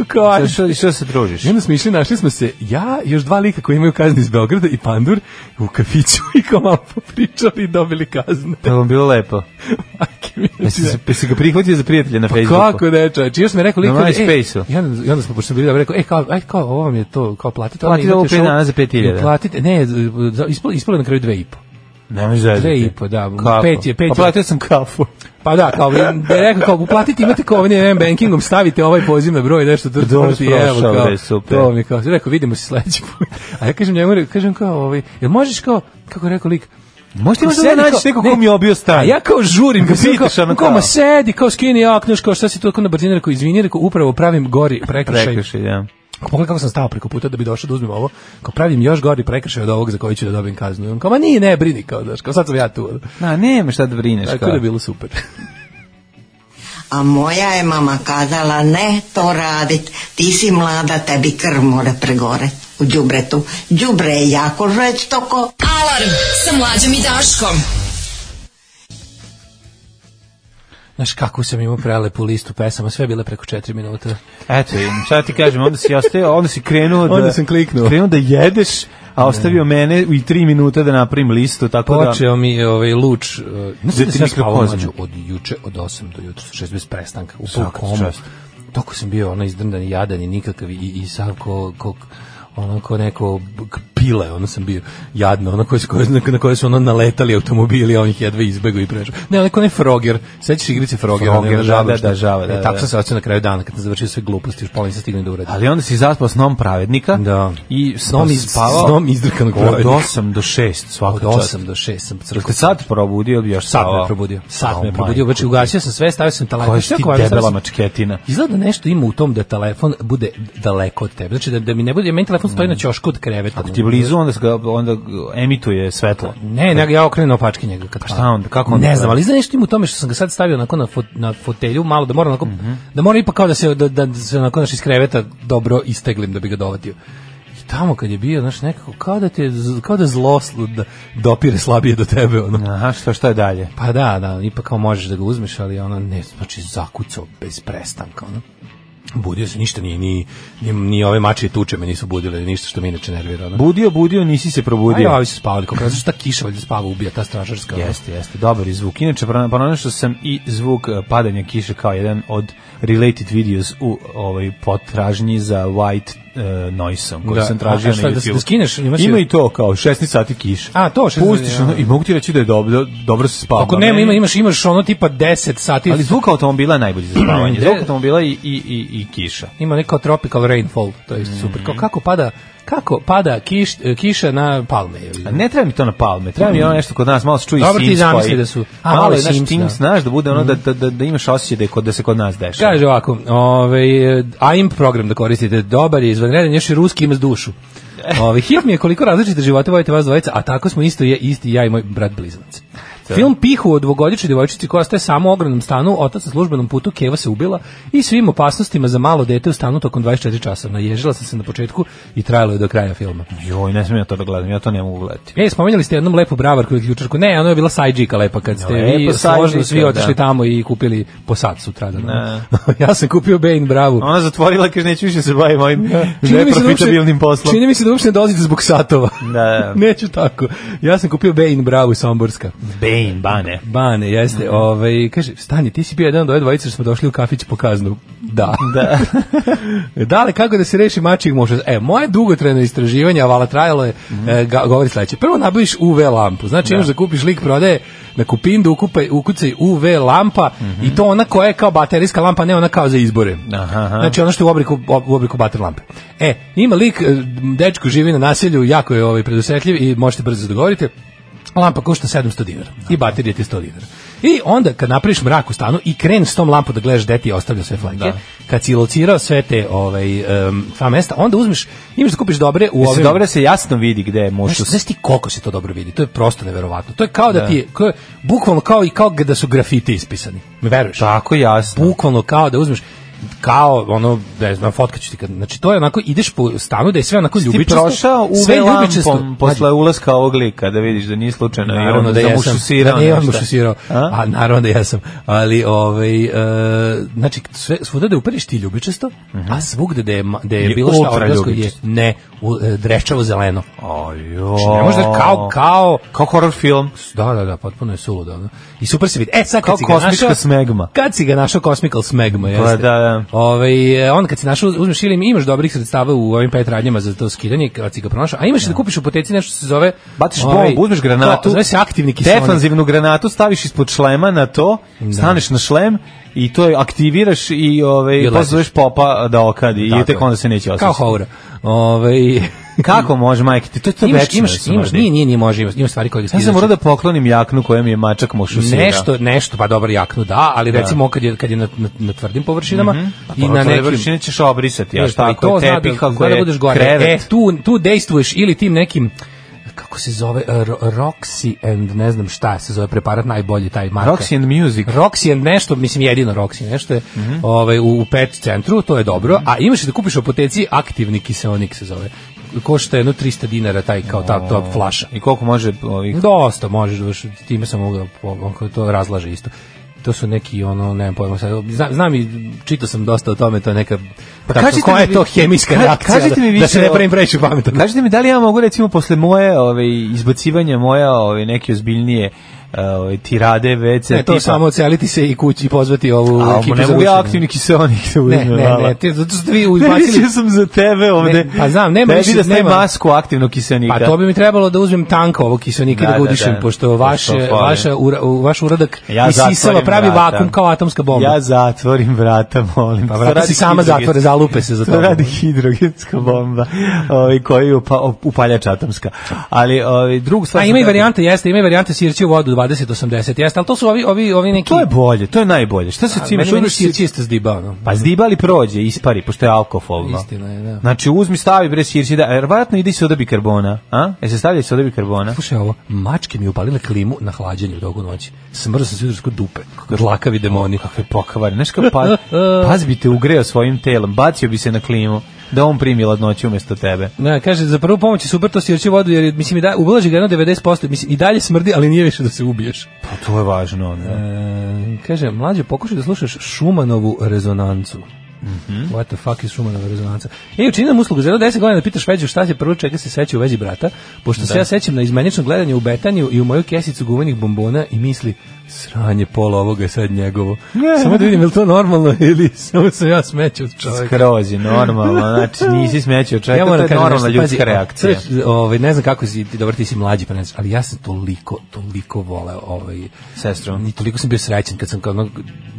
F: kao,
E: Sa
F: aj,
E: Što, što se družiš?
F: I onda smo išli, našli smo se, ja, još dva lika koji imaju kazne iz Beograda i pandur u kafiću i kao malo popričali i dobili kazne.
E: Je li vam bilo lepo?
F: Majke mi,
E: Jesi,
F: znači,
E: se- jesi ga prihvatio za prijatelja na
F: Pa
E: Facebooku?
F: kako ne, čovječe, još mi je rekao lik,
E: Na
F: kaže, e,
E: MySpace-u.
F: i onda, i onda smo, pošto smo bili dobro, rekao, e, kao, aj, kao, ovo vam je to, kao platite. ono,
E: Platite
F: imate
E: ovo
F: još
E: pet dana za 5.000.
F: Platite, ne, za- ispalo, ispalo je na kraju dve i po.
E: Nemoj zezati.
F: Dve i po, da,
E: Kako?
F: pet je, pet je.
E: Pa platio sam kafu.
F: Pa da, kao, da je rekao, kao, uplatite, imate kao ovdje M bankingom, stavite ovaj poziv na broj, nešto, to
E: Dobro,
F: to ti je, evo,
E: prošao,
F: kao,
E: bre, super.
F: to mi je kao, rekao, vidimo se sledeći put. A ja kažem njemu, kažem kao, ovaj, jel možeš kao, kako je rekao lik,
E: Možete
F: Kao
E: možda da
F: sedi
E: nađeš
F: kao-
E: nekog
F: ne.
E: ko mi je obio
F: A
E: stan?
F: ja kao žurim,
E: Ga
F: ga kao,
E: pitaš, ono
F: kao, kao,
E: kao.
F: ma sedi, kao skini jaknoš, kao šta si to, kao na brzini, rekao, izvini, rekao, upravo pravim gori prekršaj.
E: Prekršaj, da.
F: Pogledaj kako sam stao preko puta da bi došao da uzmem ovo. Kao pravim još gori prekršaj od ovog za koji ću da dobijem kaznu. I on kao, ma nije, ne, brini, kao, daš, kao sad sam ja tu.
E: Na, nema šta da brineš.
F: Tako
E: kao.
F: da je bilo super.
B: A moja je mama kazala ne to radit, ti si mlada, tebi krv mora pregore u đubretu. Đubre je jako žestoko.
I: Alarm sa mlađom i Daškom.
F: Znaš kako sam imao prelepu listu pesama, sve je bile preko 4 minuta.
E: Eto, šta ti kažem, onda si ostavio, onda si krenuo da...
F: Onda sam kliknuo.
E: Krenuo da jedeš, a ostavio mene i tri minuta da napravim listu, tako Pa da...
F: Počeo mi je ovaj luč. uh, Ne
E: Gde
F: znam da
E: ti
F: sam ja
E: nikad
F: spavao
E: pozno?
F: mlađu od juče, od 8 do jutra, 6 bez prestanka, u
E: Svaka ti
F: pol komu.
E: čast.
F: Toko sam bio ono izdrndan i jadan i nikakav i, i sav ko, ko ono ko neko b- k- pile, ono sam bio jadno, ono koje, koje, na koje su ono naletali automobili, a on ih jedve izbegao i prešao. Ne, onaj ko ne Froger, sećaš se igrice Frogera?
E: Froger,
F: one, ona
E: da,
F: žaba
E: da,
F: što-
E: da, žaba, da,
F: E, tako
E: da.
F: sam se ocio na kraju dana, kad sam završio sve gluposti, još pola nisam stigao ni da uradim.
E: Ali Pa onda si zaspao snom pravednika
F: Da.
E: i
F: Snom
E: snom
F: iz-
E: spavao
F: snom izdrkanog
E: od
F: pravednika.
E: 8 do 6 svaka
F: Od
E: čast.
F: 8 do 6 sam crkao.
E: Kad sad probudio bi još
F: Sad
E: spavao.
F: me probudio. Sad
E: Oh
F: me
E: my
F: probudio, znači ugasio sam sve, stavio sam telefon.
E: Koja si ti
F: Sve koje-
E: debela
F: stavio sam-
E: mačketina.
F: Izgleda da nešto ima u tom da telefon bude daleko od tebe. Znači da, da mi ne bude, meni telefon stoji na ćošku od kreveta.
E: Mm. Ako ti je blizu, onda, se ga- onda emituje svetlo.
F: Ne, ne, ja okrenem opačke njega. Kad
E: Pa šta
F: padne.
E: onda, kako onda
F: Ne
E: treba?
F: znam, ali izgleda nešto ima u tome što sam ga sad stavio onako na, fot, na fotelju, malo da mora onako,
E: Mhm.
F: da mora ipak kao da se, da, da, da se onako naš iz kreveta dobro isteglim da bi ga dovatio. I tamo kad je bio, znaš, nekako kao da, te, z- kao da zlo sl- da dopire slabije do tebe, ono.
E: Aha, šta, šta je dalje?
F: Pa da, da, ipak kao možeš da ga uzmeš, ali ono ne, znači zakucao bez prestanka, ono. Budio se, ništa nije, ni, ni, ni ove mačije tuče me nisu budile, ništa što me inače nervira, ono.
E: Budio, budio, nisi se
F: A ja,
E: probudio.
F: ovi su spavali, kako različno, ta kiša valjda spava ubija, ta stražarska. ono.
E: Jeste, jeste, dobar je zvuk. Inače, pro- pronašao sam i zvuk eh, padanja kiše kao jedan od related videos u ovaj potražnji za white uh, noise-om koji
F: Da,
E: sam tražio
F: a e, šta,
E: na
F: da-
E: YouTube.
F: da skineš, imaš
E: Ima
F: i-
E: i to kao 16 sati kiše.
F: A, to, 16
E: Pustiš
F: ja. Pa
E: ono, i mogu ti reći da je dobro, dobro se spava.
F: Ako nema, ima, imaš, imaš ono tipa 10 sati,
E: Ali zvuk automobila je najbolji za spavanje.
F: Mm, Gde-
E: zvuk automobila i, i, i, i kiša.
F: ima neko tropical rainfall, to je isto super. Kao, kako pada, kako pada kiš, kiša na palme? je li?
E: A ne treba mi to na palme, treba mi ono nešto kod nas, malo se čuje
F: Dobro ti
E: Sims.
F: zamisli
E: koji-
F: da su- a,
E: malo,
F: malo je
E: je, znaš,
F: Sims,
E: Sims,
F: da. Mm.
E: znaš, da bude ono da, da, da, da imaš osjećaj da, je kod, da se kod nas dešava.
F: Kaže ovako, ovaj, eh, AIM program da koristite, dobar je izvanredan, još i ruski ima s dušu. Ovaj, hit mi je koliko različite živote vodite vas dvojica, a tako smo isto je, isti ja i moj brat blizanac. Film Pihu o dvogodičnoj devojčici koja staje samo u ogromnom stanu, otac na službenom putu, Keva se ubila i svim opasnostima za malo dete u stanu tokom 24 časa. Naježila sam se na početku i trajalo je do kraja filma.
E: Joj, ne smijem ja to da gledam, ja to ne mogu gledati.
F: E, spomenjali ste jednom lepu bravarku ili ključarku. Ne, ono je bila sajđika lepa kad ste
E: Lepa
F: vi složno
E: sajđika,
F: svi otišli
E: da.
F: tamo i kupili po sat sutradan.
E: Ne.
F: ja sam kupio Bane bravu.
E: Ona zatvorila, kaže, neću više se bavim ovim
F: Čini mi se da
E: neprofitabilnim
F: uopšte-
E: poslom.
F: Čini mi se da uopšte ne dolazite zbog satova.
E: Da, da.
F: Neću tako. Ja sam kupio Bane Bravu iz Somborska.
E: Bane, bane.
F: Bane, jeste.
E: Mhm.
F: ovaj, kaže, stani, ti si bio jedan od ove dvojice što smo došli u kafić po kaznu. Da. E,
E: Da.
F: Dale, kako da se reši mačijeg muša? E, moje dugotrajno istraživanje, a vala trajalo je,
E: Mhm.
F: e, ga- govori sledeće. Prvo nabaviš UV lampu. Znači, imaš da kupiš lik prodaje na kupindu, ukupaj, ukucaj UV lampa i to ona koja je kao baterijska lampa, ne ona kao za izbore.
E: Mhm. Aha, aha.
F: Znači, ono što je u obliku, u obliku bater lampe. E, ima lik, e, dečko živi na naselju, jako je ovaj, predusetljiv i možete brzo dogovoriti. Lampa košta 700 dinara i baterija ti je 100 dinara. I onda kad napraviš mrak u stanu i kreneš s tom lampom da gledaš gde ti je ostavljao sve flake, kad si locirao sve te ovaj, um, sva mesta, onda uzmeš, imaš da kupiš dobre u
E: Mislim,
F: ovim...
E: dobro da se jasno vidi gde je muž.
F: Znaš, znaš ti koliko se to dobro vidi, to je prosto neverovatno. To je kao da, ti je, kao, bukvalno kao i kao da su grafiti ispisani. Me veruješ?
E: Tako jasno.
F: bukvalno kao da uzmeš kao ono ne znam fotkaću ti kad znači to je onako ideš po stanu da je sve onako
E: Ti
F: ljubičasto
E: prošao
F: sve
E: uve
F: ljubičasto
E: lampom posle ulaska ovog lika, da vidiš da nije slučajno. jer
F: Naravno
E: on
F: da jesam.
E: zamušusirao
F: Da, nije on
E: nešto.
F: mušusirao.
E: A?
F: A naravno da jesam. Ali ovaj e, znači sve svuda da upereš ti ljubičasto, a svugde da je ma- da je,
E: Mhm. Je
F: bilo šta
E: ultra
F: organsko je
E: ljubičasto.
F: ne u, e, dreščavo zeleno.
E: Ajo.
F: Znači, ne možeš da kao kao
E: Kao horror film.
F: Da, da, da, potpuno je suludo. ono. I super se vidi. E, sad
E: Kao
F: kad si ga
E: kosmička
F: našao...
E: smegma. Pa
F: Kad si ga našao Cosmical Smegma, jeste.
E: da, da.
F: Ovaj, e, on kad si našao, uzmeš ili imaš dobrih sredstava u ovim pet radnjama za to skidanje, kad si ga pronašao, a imaš da, kupiš u poteci nešto što se zove...
E: Baciš
F: ovaj,
E: bombu, uzmeš granatu.
F: To, zove se aktivni kiselnik.
E: Defanzivnu granatu staviš ispod šlema na to, staneš na šlem i to je aktiviraš i
F: I
E: ovaj
F: odletiš.
E: pozoveš popa da okadi
F: Tako
E: i tek
F: je.
E: onda se neće
F: Kao
E: osjećati.
F: haura. Ovaj,
E: Kako može majke ti? To je to
F: imaš,
E: večno da
F: imaš,
E: se
F: imaš,
E: može.
F: nije, nije, nije može, imaš, imaš stvari koje ga
E: Ja
F: skidaš.
E: sam morao da poklonim jaknu koja mi je mačak mošusirao.
F: nešto nešto pa dobro jaknu da ali recimo kad je kad je na, na, na tvrdim površinama
E: Mhm.
F: i na nekim
E: Pa vršine ćeš obrisati, ja
F: Znaš,
E: šta
F: ali
E: ako je
F: zna da-
E: tepih,
F: zna
E: ako
F: da
E: je
F: budeš gore.
E: krevet.
F: E, tu, tu dejstvuješ ili tim nekim kako se zove, e, Ro- Roxy and ne znam šta se zove preparat najbolji taj marka.
E: Roxy and Mhm. Music.
F: Roxy and nešto, mislim jedino Roxy nešto je ovaj, u, u pet centru, to je dobro, a imaš da kupiš u apoteci aktivni kiseonik se zove. Košta jedno 300 dinara taj kao ta, ta flaša.
E: I koliko može ovih...
F: Dosta možeš, baš, time sam mogao, onko to razlaže isto. To su neki, ono, nemam pojma, sad, znam, znam i čitao sam dosta o tome, to je neka, pa
E: kažite
F: koja
E: mi
F: je
E: vi-
F: to hemijska
E: ka-
F: reakcija,
E: kažite
F: da,
E: mi
F: da
E: više
F: se ne
E: o-
F: pravim previše pametan.
E: Kažete mi da li ja mogu recimo posle moje ove, izbacivanja moja ove, neke ozbiljnije ove, tirade WC
F: Ne, E, to
E: tipa-
F: samo oceliti se i kući i pozvati ovu
E: A,
F: ekipu
E: ne
F: za
E: mogu ja
F: ručenje.
E: aktivni kiseonik da
F: Ne,
E: uzmem.
F: ne,
E: mala.
F: ne, ti, zato ste vi
E: Ne,
F: izbacili,
E: mislio sam za tebe ovde.
F: Ne, pa znam, nema
E: Tebi
F: više-
E: da stavi
F: nema-
E: masku aktivnog kiseonika.
F: pa to bi mi trebalo da uzmem tanko ovog kiselnika da,
E: Da,
F: ga
E: da,
F: udišem,
E: da.
F: pošto vaše,
E: Pošto fali.
F: vaša, ura, u- vaš uradak
E: Ja
F: isisava
E: zatvorim
F: pravi
E: vrata.
F: vakum kao atomska bomba.
E: Ja zatvorim vrata, molim.
F: pa
E: To
F: vrata
E: radi
F: si sama
E: hidrogen-
F: zatvore, zalupe se za
E: To
F: to.
E: radi hidrogenska bomba, ovaj koju je upa, upaljač atomska. Ali ovaj drugu stvar.
F: A
E: sam
F: Pa ima i
E: teo-
F: varijante, jeste, ima i varijante sirći u vodu 20-80, jeste, ali to su ovi, ovi, ovi neki...
E: To je bolje, to je najbolje. Šta se
F: A,
E: cimaš?
F: meni, meni
E: Uzmeš si-
F: sirći isto ono, zdibao, no.
E: Pa zdibali prođe, ispari, pošto je alkoholno.
F: Pa, Istina je, da.
E: Znači uzmi stavi bre sirci da, jer verovatno ide se odobi karbona, a? E se stavlja se odobi karbona.
F: Slušaj ovo, mačke mi upalile klimu na hlađenju u dogu noći. Smrzao sam se jutros kod dupe. Dlakavi demoni.
E: Kakve pokvari, znaš kako pa, paz bi te ugreo svojim telom, bacio bi se na klimu, da on primi ladnoću umjesto tebe.
F: Ne, kaže, za prvu pomoć je super to sirći u vodu, jer je, mislim, i da, ublaži ga jedno 90%, mislim, i dalje smrdi, ali nije više da se ubiješ.
E: Pa to je važno. ono. Ne?
F: E, kaže, mlađe, pokušaj da slušaš Šumanovu rezonancu. What the fuck is Šumanova rezonanca? E, učini nam uslugu, za jedno 10 godina da pitaš Veđu šta se prvo čega se seća u vezi brata, pošto se ja sećam na izmenično gledanje u Betaniju i u moju kesicu guvenih bombona i misli, sranje, pola ovoga je sad njegovo. Samo da vidim, je li to normalno ili samo sam ja smećao čovjek.
E: Skroz je normalno, znači nisi smećao čovjeka, to je normalna ljudska reakcija.
F: Ovaj ne znam kako si ti dobro ti si mlađi pa ne znam, ali ja sam toliko toliko voleo ovaj
E: Sestru.
F: Ni toliko sam bio srećan kad sam kao ono,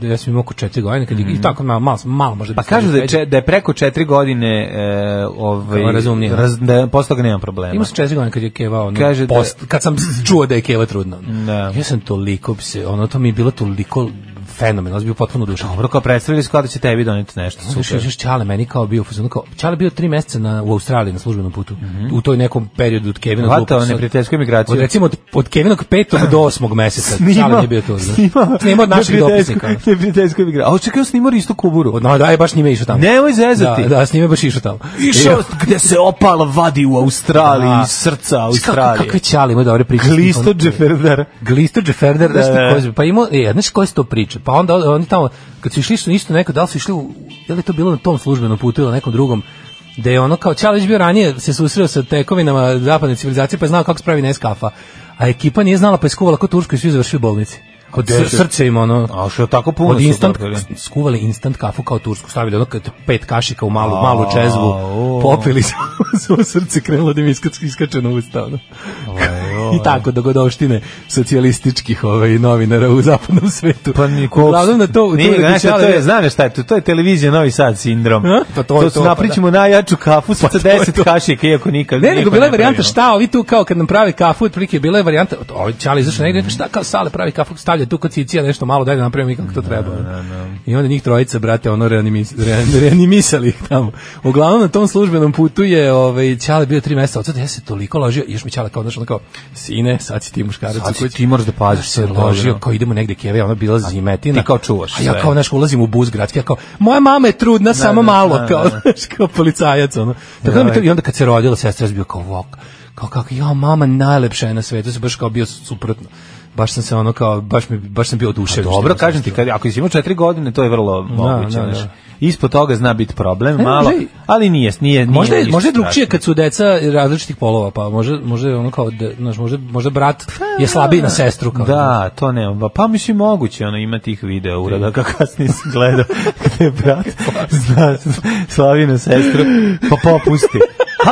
F: ja sam imao oko 4 godine kad je, i tako malo malo, malo možda
E: Mhm. Pa kažu da je, če- da je preko četiri godine e, ovaj,
F: Kao razumnije.
E: raz- da posle toga nema problema.
F: Imao sam 4 godine kad je Keva ono,
E: Kaže da-
F: post, kad sam čuo da je Keva trudna. ono.
E: Da.
F: Ja sam toliko se ono to mi je bilo toliko fenomenalno, ja sam bio potpuno dušan.
E: Dobro, kao predstavili su kao da će tebi doneti nešto.
F: Onda Još,
E: Super.
F: još Čale meni kao bio, u fazonu kao, Čale bio tri meseca na, u Australiji na službenom putu, u toj nekom periodu od Kevina. do
E: Mhm. Hvatao
F: Lukasa.
E: neprijateljsku imigraciju.
F: Od, recimo od, od Kevinog petog do osmog meseca.
E: Snimao-
F: Čale nije bio to. Znači.
E: snimao-
F: od naših
E: neprijateljsku-
F: dopisnika.
E: neprijateljsku imigra- A očekaj, on snimao Risto Kuburu.
F: Od, no, da, je baš njime išao tamo.
E: Nemoj zezati.
F: Da, da, s njime baš išao tamo.
E: Išao gde se opala vadi u Australiji,
F: Da.
E: iz srca
F: Kako,
E: Australije.
F: kakve Čale ima dobre priče.
E: Glisto Džeferdar.
F: Glisto Džeferder, da,
E: Da, da.
F: da, pa imao, e, znaš koje su to priče? Pa onda oni tamo, kad su išli su isto neko, da li su išli, u, da li je to bilo na tom službenom putu ili na nekom drugom, da je ono kao Čalić bio ranije se susreo sa tekovinama zapadne civilizacije pa je znao kako se pravi neskafa, a ekipa nije znala pa je skuvala ko Tursko i svi završili u bolnici. Kod
E: gde su-
F: srce im ono...
E: A što tako puno
F: Od
E: su
F: instant,
E: napravili?
F: skuvali instant kafu kao tursku, stavili ono kad pet kašika u malu, malu
E: A,
F: čezvu,
E: o.
F: popili samo- samo srce krenulo da im iskač- iskače na usta. ono. I tako dogodovštine socijalističkih ovaj, novinara u zapadnom svetu.
E: Pa ni koliko-
F: Uglavnom na to...
E: Nije,
F: to je
E: znaš šta,
F: Čale-
E: to je, znaš šta je to, to je televizija Novi Sad sindrom.
F: A? Pa to je
E: su
F: to, pa
E: napričimo najjaču kafu sa 10 kašika, iako nikad
F: Ne,
E: niko
F: nego bila je
E: ne
F: varijanta
E: pravimo.
F: šta, ovi tu kao kad nam pravi kafu, otprilike bila je varijanta, ovi čali izašli negdje, šta kao sale pravi kafu, stavlja tu kod cicija nešto malo, daj da napravimo mi kako to treba. I onda njih trojica, brate, ono reanimis, rean- reanimisali ih tamo. Uglavnom na tom službenom putu je ovaj, Čale bio tri mjeseca odsad, ja se toliko ložio, i još mi Čale kao, znaš, ono kao, sine, sad si ti muškarac
E: Sad
F: u
E: si
F: kući.
E: ti moraš da paziš,
F: Pa se
E: to je dobro.
F: ložio, kao idemo negde keve, ona bila zimetina.
E: ti kao čuvaš
F: A ja
E: sve.
F: kao, znaš, ulazim u bus gradski, ja kao, moja mama je trudna, samo
E: da,
F: malo,
E: da,
F: kao,
E: da.
F: znaš, kao policajac, ono. Tako da mi to,
E: Joj.
F: I onda kad se rodila sestra, ja sam bio kao vok. Kao, kao, ja, mama najlepša je na svetu, ja sam baš kao bio suprotno. Baš sam se ono kao, baš, mi, baš sam bio oduševljen. što
E: Dobro,
F: sam
E: kažem ti, kad, ako si imao četiri godine, to je vrlo moguće.
F: da, da.
E: znaš. Ispod toga zna biti problem,
F: E,
E: malo,
F: možda i-
E: ali nije, nije, nije
F: Možda je,
E: ništa
F: možda je drugčije
E: strašno.
F: kad su deca različitih polova, pa možda, možda je ono kao, da, znaš, možda, možda brat je slabiji na sestru. Kao,
E: Da, to nema. Pa, pa mislim moguće, ono ima tih videa uradaka kasnije si gledao gde je brat zna Slavinu sestru, pa popusti.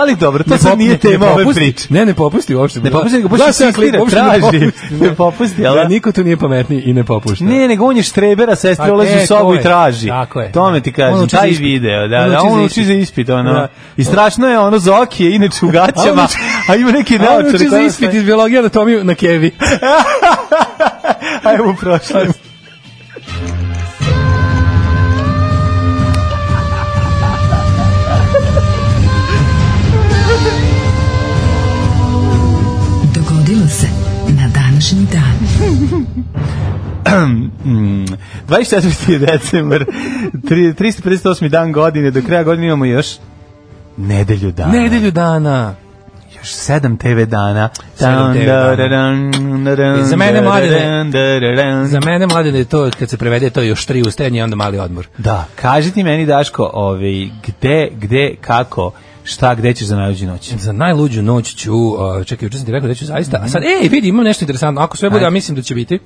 E: Ali dobro, to sad
F: pop-
E: nije tema ove
F: popusti.
E: priče.
F: Ne, ne popusti uopšte.
E: Ne popusti, nego baš
F: Gledao sam ja
E: insistira,
F: klip, uopšte ne
E: traži.
F: popusti,
E: Ne popusti, ali-
F: Da, niko tu nije pametniji i ne popušta.
E: Znači, Ne, nego on je štrebera, sestra
F: Pa
E: ulazi
F: ne,
E: u sobu
F: to
E: i
F: je.
E: traži.
F: Tako je.
E: To me ti
F: On
E: kažem,
F: uči za
E: taj
F: ispit.
E: video, da,
F: On
E: da,
F: uči
E: on
F: za
E: uči za ispit, ono.
F: Da.
E: I strašno je, ono, Zoki je inače u gaćama,
F: uči-
E: a ima neke
F: Da,
E: naočare.
F: uči za
E: koje-
F: ispit iz biologije anatomiju na kevi.
E: Ajmo, prošli.
I: Dogodilo se na današnji dan.
E: 24. decembar, tri- 358. dan godine, do kraja godine imamo još nedelju dana.
F: Nedelju dana.
E: Još sedam TV dana.
F: Sedam TV dana.
E: dana.
F: Za mene, Mladene. Za mene, mladine, je to kad se prevede, to je još tri ustenje, onda mali odmor.
E: Da, kaži ti meni, Daško, ovaj, gde, gde, kako, šta, gde ćeš za najluđu noć?
F: Za najluđu noć ću, uh, čekaj, juče sam ti rekao da ću zaista, a sad, ej, vidi, imam nešto interesantno, ako sve bude, a mislim da će biti,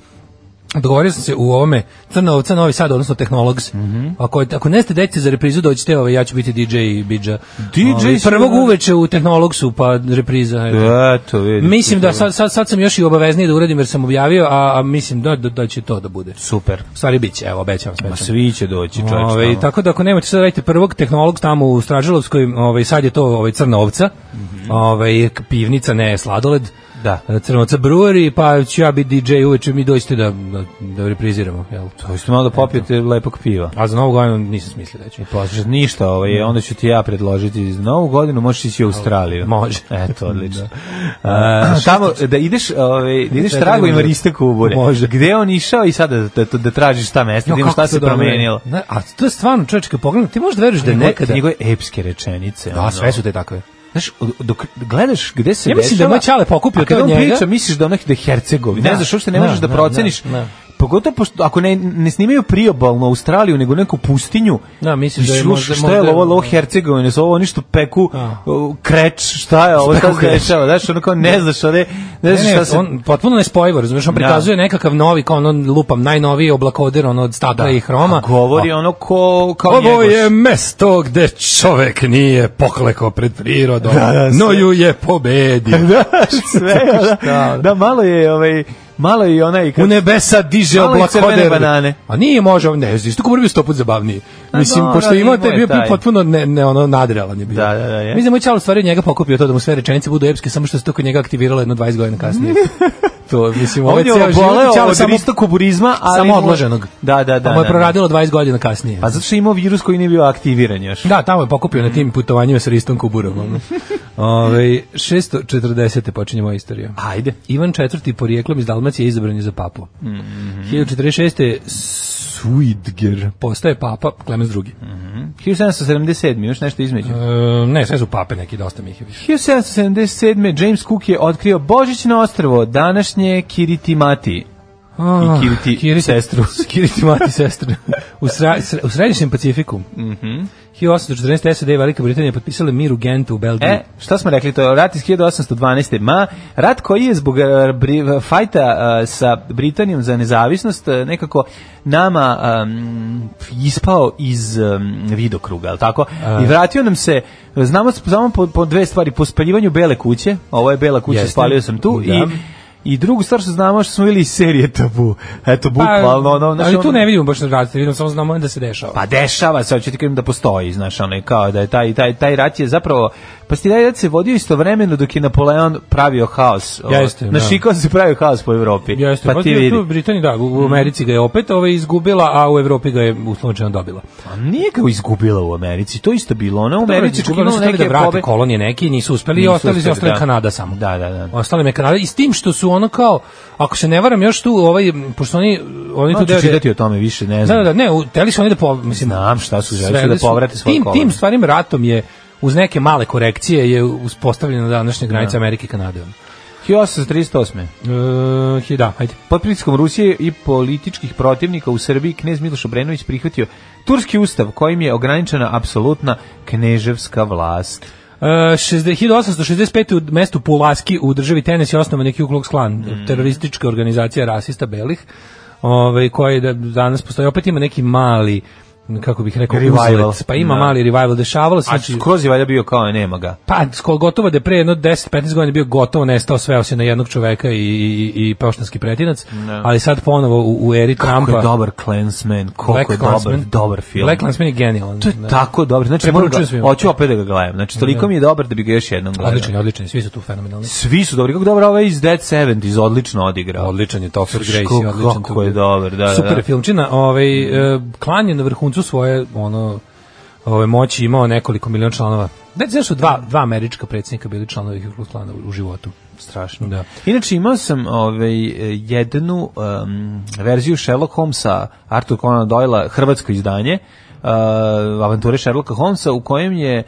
F: dogovorio sam se u ovome Crnovca Novi Sad, odnosno Technologs,
E: Mhm.
F: ako, ako ne ste deci za reprizu, dođite, ovaj, ja ću biti DJ i Bidža.
E: DJ
F: Ovaj,
E: si-
F: prvog uveče u Technologsu, pa repriza. eto.
E: Eto, vidi.
F: Mislim da sad, sad, sad sam još i obavezniji da uradim jer sam objavio, a, a mislim da, da, da će to da bude.
E: Super.
F: U stvari bit će, evo, obećavam
E: Ma
F: smećam.
E: svi će doći, čovječ.
F: Ove, tako da ako nemate sad radite prvog tehnolog tamo u Stražilovskoj, ovaj sad je to ovaj crna ovca. Ovaj k- pivnica ne sladoled.
E: Mhm. Da.
F: E, Crnovca Brewery, pa ću ja biti DJ uveče, mi dođite da, da, da repriziramo, jel?
E: To ste malo da popijete lepog piva.
F: A za novu godinu nisam smislio da ću.
E: Poslušaj, Pa, ništa, ovaj, onda ću ti ja predložiti za novu godinu, možeš ići u Australiju.
F: Može.
E: Eto, odlično. A, tamo, da ideš, ovaj, da ideš
F: Sve
E: trago i
F: idemo
E: Maristeku u bure.
F: Može.
E: Gde je on išao i sada da, da, da tražiš ta mesta, da
F: Jo,
E: imaš
F: kako
E: šta
F: to
E: se
F: dobro je.
E: promenilo.
F: Ne, a to je stvarno čovjek kad pogledam, ti možeš da veruješ da je nekada...
E: Njegove epske rečenice. ono.
F: Da, sve su te takve.
E: Znaš, dok gledaš gde se
F: Ja mislim da
E: dešava,
F: je moj ćale pokupio
E: a kad
F: to od
E: on
F: njega.
E: priča, misliš da onak da je Hercegovi.
F: Da,
E: ne znaš, uopšte ne
F: da,
E: možeš da
F: da,
E: proceniš.
F: da, da.
E: Pogotovo pošto, ako ne, ne snimaju priobalnu Australiju, nego neku pustinju.
F: Da, mislim da je
E: Šu,
F: možda-
E: Šta je
F: možda-
E: ovo, ovo Hercegovine, su ovo oni što peku
F: Da.
E: o, kreć, šta je ovo,
F: Šta
E: šta
F: peku
E: se
F: kreć?
E: dešava. Znaš, ono kao ne znaš, ove, ne
F: Ne,
E: znaš
F: ne,
E: šta se...
F: on potpuno nespojivo, razumiješ, on
E: Da.
F: prikazuje nekakav novi, kao ono, lupam, najnoviji oblakoder, ono, od stakla i hroma.
E: a govori ono ko, kao
F: Ovo
E: njegoš.
F: je mesto gde čovek nije poklekao pred prirodom, no ju je pobedio.
E: Sve, da, da, malo je, ovaj, malo je i onaj...
F: U
E: kad-
F: nebesa diže
E: Malo i
F: oblak
E: crvene
F: hoderne.
E: banane.
F: A nije može, ne, znaš, tako mora bio sto put zabavniji.
E: A
F: Mislim,
E: dobro,
F: pošto imao
E: imao
F: te
E: je
F: bio, bio
E: taj.
F: potpuno ne, ne ono, nadrealan je bio.
E: Da, da, da, je.
F: Mislim, da moj čalo stvari njega pokupio to da mu sve rečenice budu epske, samo što se to kod njega aktiviralo jedno 20 godina kasnije. to, mislim, ovo
E: On
F: je
E: je
F: Ovaj ceo život
E: oboleo
F: Ćale
E: od
F: samo,
E: ristokuburizma, ali...
F: samo
E: mu-
F: odloženog.
E: Da, da, da.
F: Pa mu je
E: da, da.
F: proradilo 20 godina kasnije.
E: Pa zato što je imao virus koji nije bio aktiviran još.
F: Da, tamo je pokupio na tim putovanjima sa Ristom Kuburom. ono. Ove, 640. počinje moja istorija.
E: Ajde.
F: Ivan IV. porijeklom iz Dalmacije izabran je za papu.
E: Mhm.
F: 1046. Suidger postaje papa Klemens II.
E: Mhm. 1777. Još nešto između.
F: E, ne, sve su pape neki, dosta mi ih je više.
E: 1777. James Cook je otkrio Božićno ostrvo, današnje Kiritimati.
F: Ah,
E: Kiriti sestru.
F: Kiriti mati sestre. U, sra, sre- u središnjem Pacifiku.
E: Mhm.
F: 1814. SAD i Velika Britanija potpisale mir u Gentu u Belgiji.
E: E, šta smo rekli, to je rat iz 1812. Ma, rat koji je zbog e, bri- fajta e, sa Britanijom za nezavisnost e, nekako nama em, ispao iz em, vidokruga, je tako?
F: E.
E: I vratio nam se, znamo s- samo po, po dve stvari, po spaljivanju Bele kuće, ovo je Bela kuća,
F: Jeste.
E: spalio sam tu,
F: Da.
E: i I drugu stvar što znamo što smo bili iz serije Tabu. Eto, bukvalno ono... znaš,
F: Pa, ali tu
E: ono-
F: ne vidimo baš različite, vidimo samo znamo da se dešava.
E: Pa dešava se, hoću ti kažem da postoji, znaš, ono, i kao da je taj, taj, taj rat je zapravo, pa si taj rat se vodio istovremeno dok je Napoleon pravio haos. O,
F: Jeste, da.
E: na Šikao se pravio haos po Evropi.
F: Jeste,
E: pa ti vidi.
F: Tu u Britaniji, da, u u Americi ga je opet ove izgubila, a u Evropi ga je uslovčeno dobila.
E: A nije ga izgubila u Americi, to isto bilo. Ona u
F: Americi
E: Americi čak
F: izgubila,
E: imala
F: su hteli da
E: neke
F: vrate
E: pobe-
F: kolonije neki, nisu uspeli i
E: Nisu
F: ostali,
E: uspeli,
F: ostali
E: da.
F: Kanada samo.
E: Da, da, da.
F: Ostali me Kanada i s tim što su ono kao, ako se ne varam još tu, ovaj, pošto oni, oni tu
E: Hoću
F: deo...
E: Znači, čitati o tome više, ne
F: Da,
E: znam.
F: da, da, ne, u- teli su oni da po, mislim,
E: Znam šta su, želi su
F: sveli
E: da povrate svoje
F: tim,
E: kolone.
F: tim stvarim ratom je uz neke male korekcije je uspostavljena današnja granica Amerike i Kanade. ono.
E: 1838.
F: E, da, ajde.
E: Pod pritiskom Rusije i političkih protivnika u Srbiji knez Miloš Obrenović prihvatio turski ustav kojim je ograničena apsolutna kneževska vlast.
F: E, 60 1865. u mestu Pulaski u državi Tenes je osnovan neki Ku Klux Klan, teroristička organizacija rasista belih, ovaj, koja je da, danas postoji. Opet ima neki mali, kako bih rekao,
E: Revival.
F: uzlet. Pa ima
E: Da.
F: mali revival, dešavalo se.
E: A
F: znači-
E: skroz je valjda bio kao e, nema ga.
F: Pa, skoro gotovo da je pre jedno 10-15 godina bio gotovo nestao, sveo se na jednog čoveka i, i, i poštanski pretinac, ali sad ponovo u, u eri Trumpa...
E: Kako je dobar Clansman, koliko je dobar,
F: Klansman-
E: dobar film.
F: Pa. Black Klansman je genijalan.
E: To je
F: da.
E: tako dobro. Znači, moram
F: Preporučujem
E: ga,
F: svima.
E: hoću opet da ga gledam. Znači, toliko mi je dobar da bi ga još jednom gledao.
F: Odličan, je, odličan, je, svi su tu fenomenalni.
E: Svi su dobri. Kako dobro ovaj iz Dead 70 odlično odigrao.
F: Odličan je Topher
E: Znaš,
F: Grace,
E: kako-
F: odličan
E: kako
F: Topher
E: je dobar, da, Mm. da,
F: Super
E: da.
F: je filmčina, ovaj e, Klan je na vrhuncu svoje ono ove moći imao nekoliko miliona članova. Da znaš su dva dva američka predsjednika bili članovi Ku Klux Klana u, u životu.
E: strašno.
F: Da.
E: Inače, imao sam ovaj, eh, jednu em, verziju Sherlock Holmesa, Arthur Conan Doyle, hrvatsko izdanje, eh, avanture Sherlocka Holmesa, u kojem je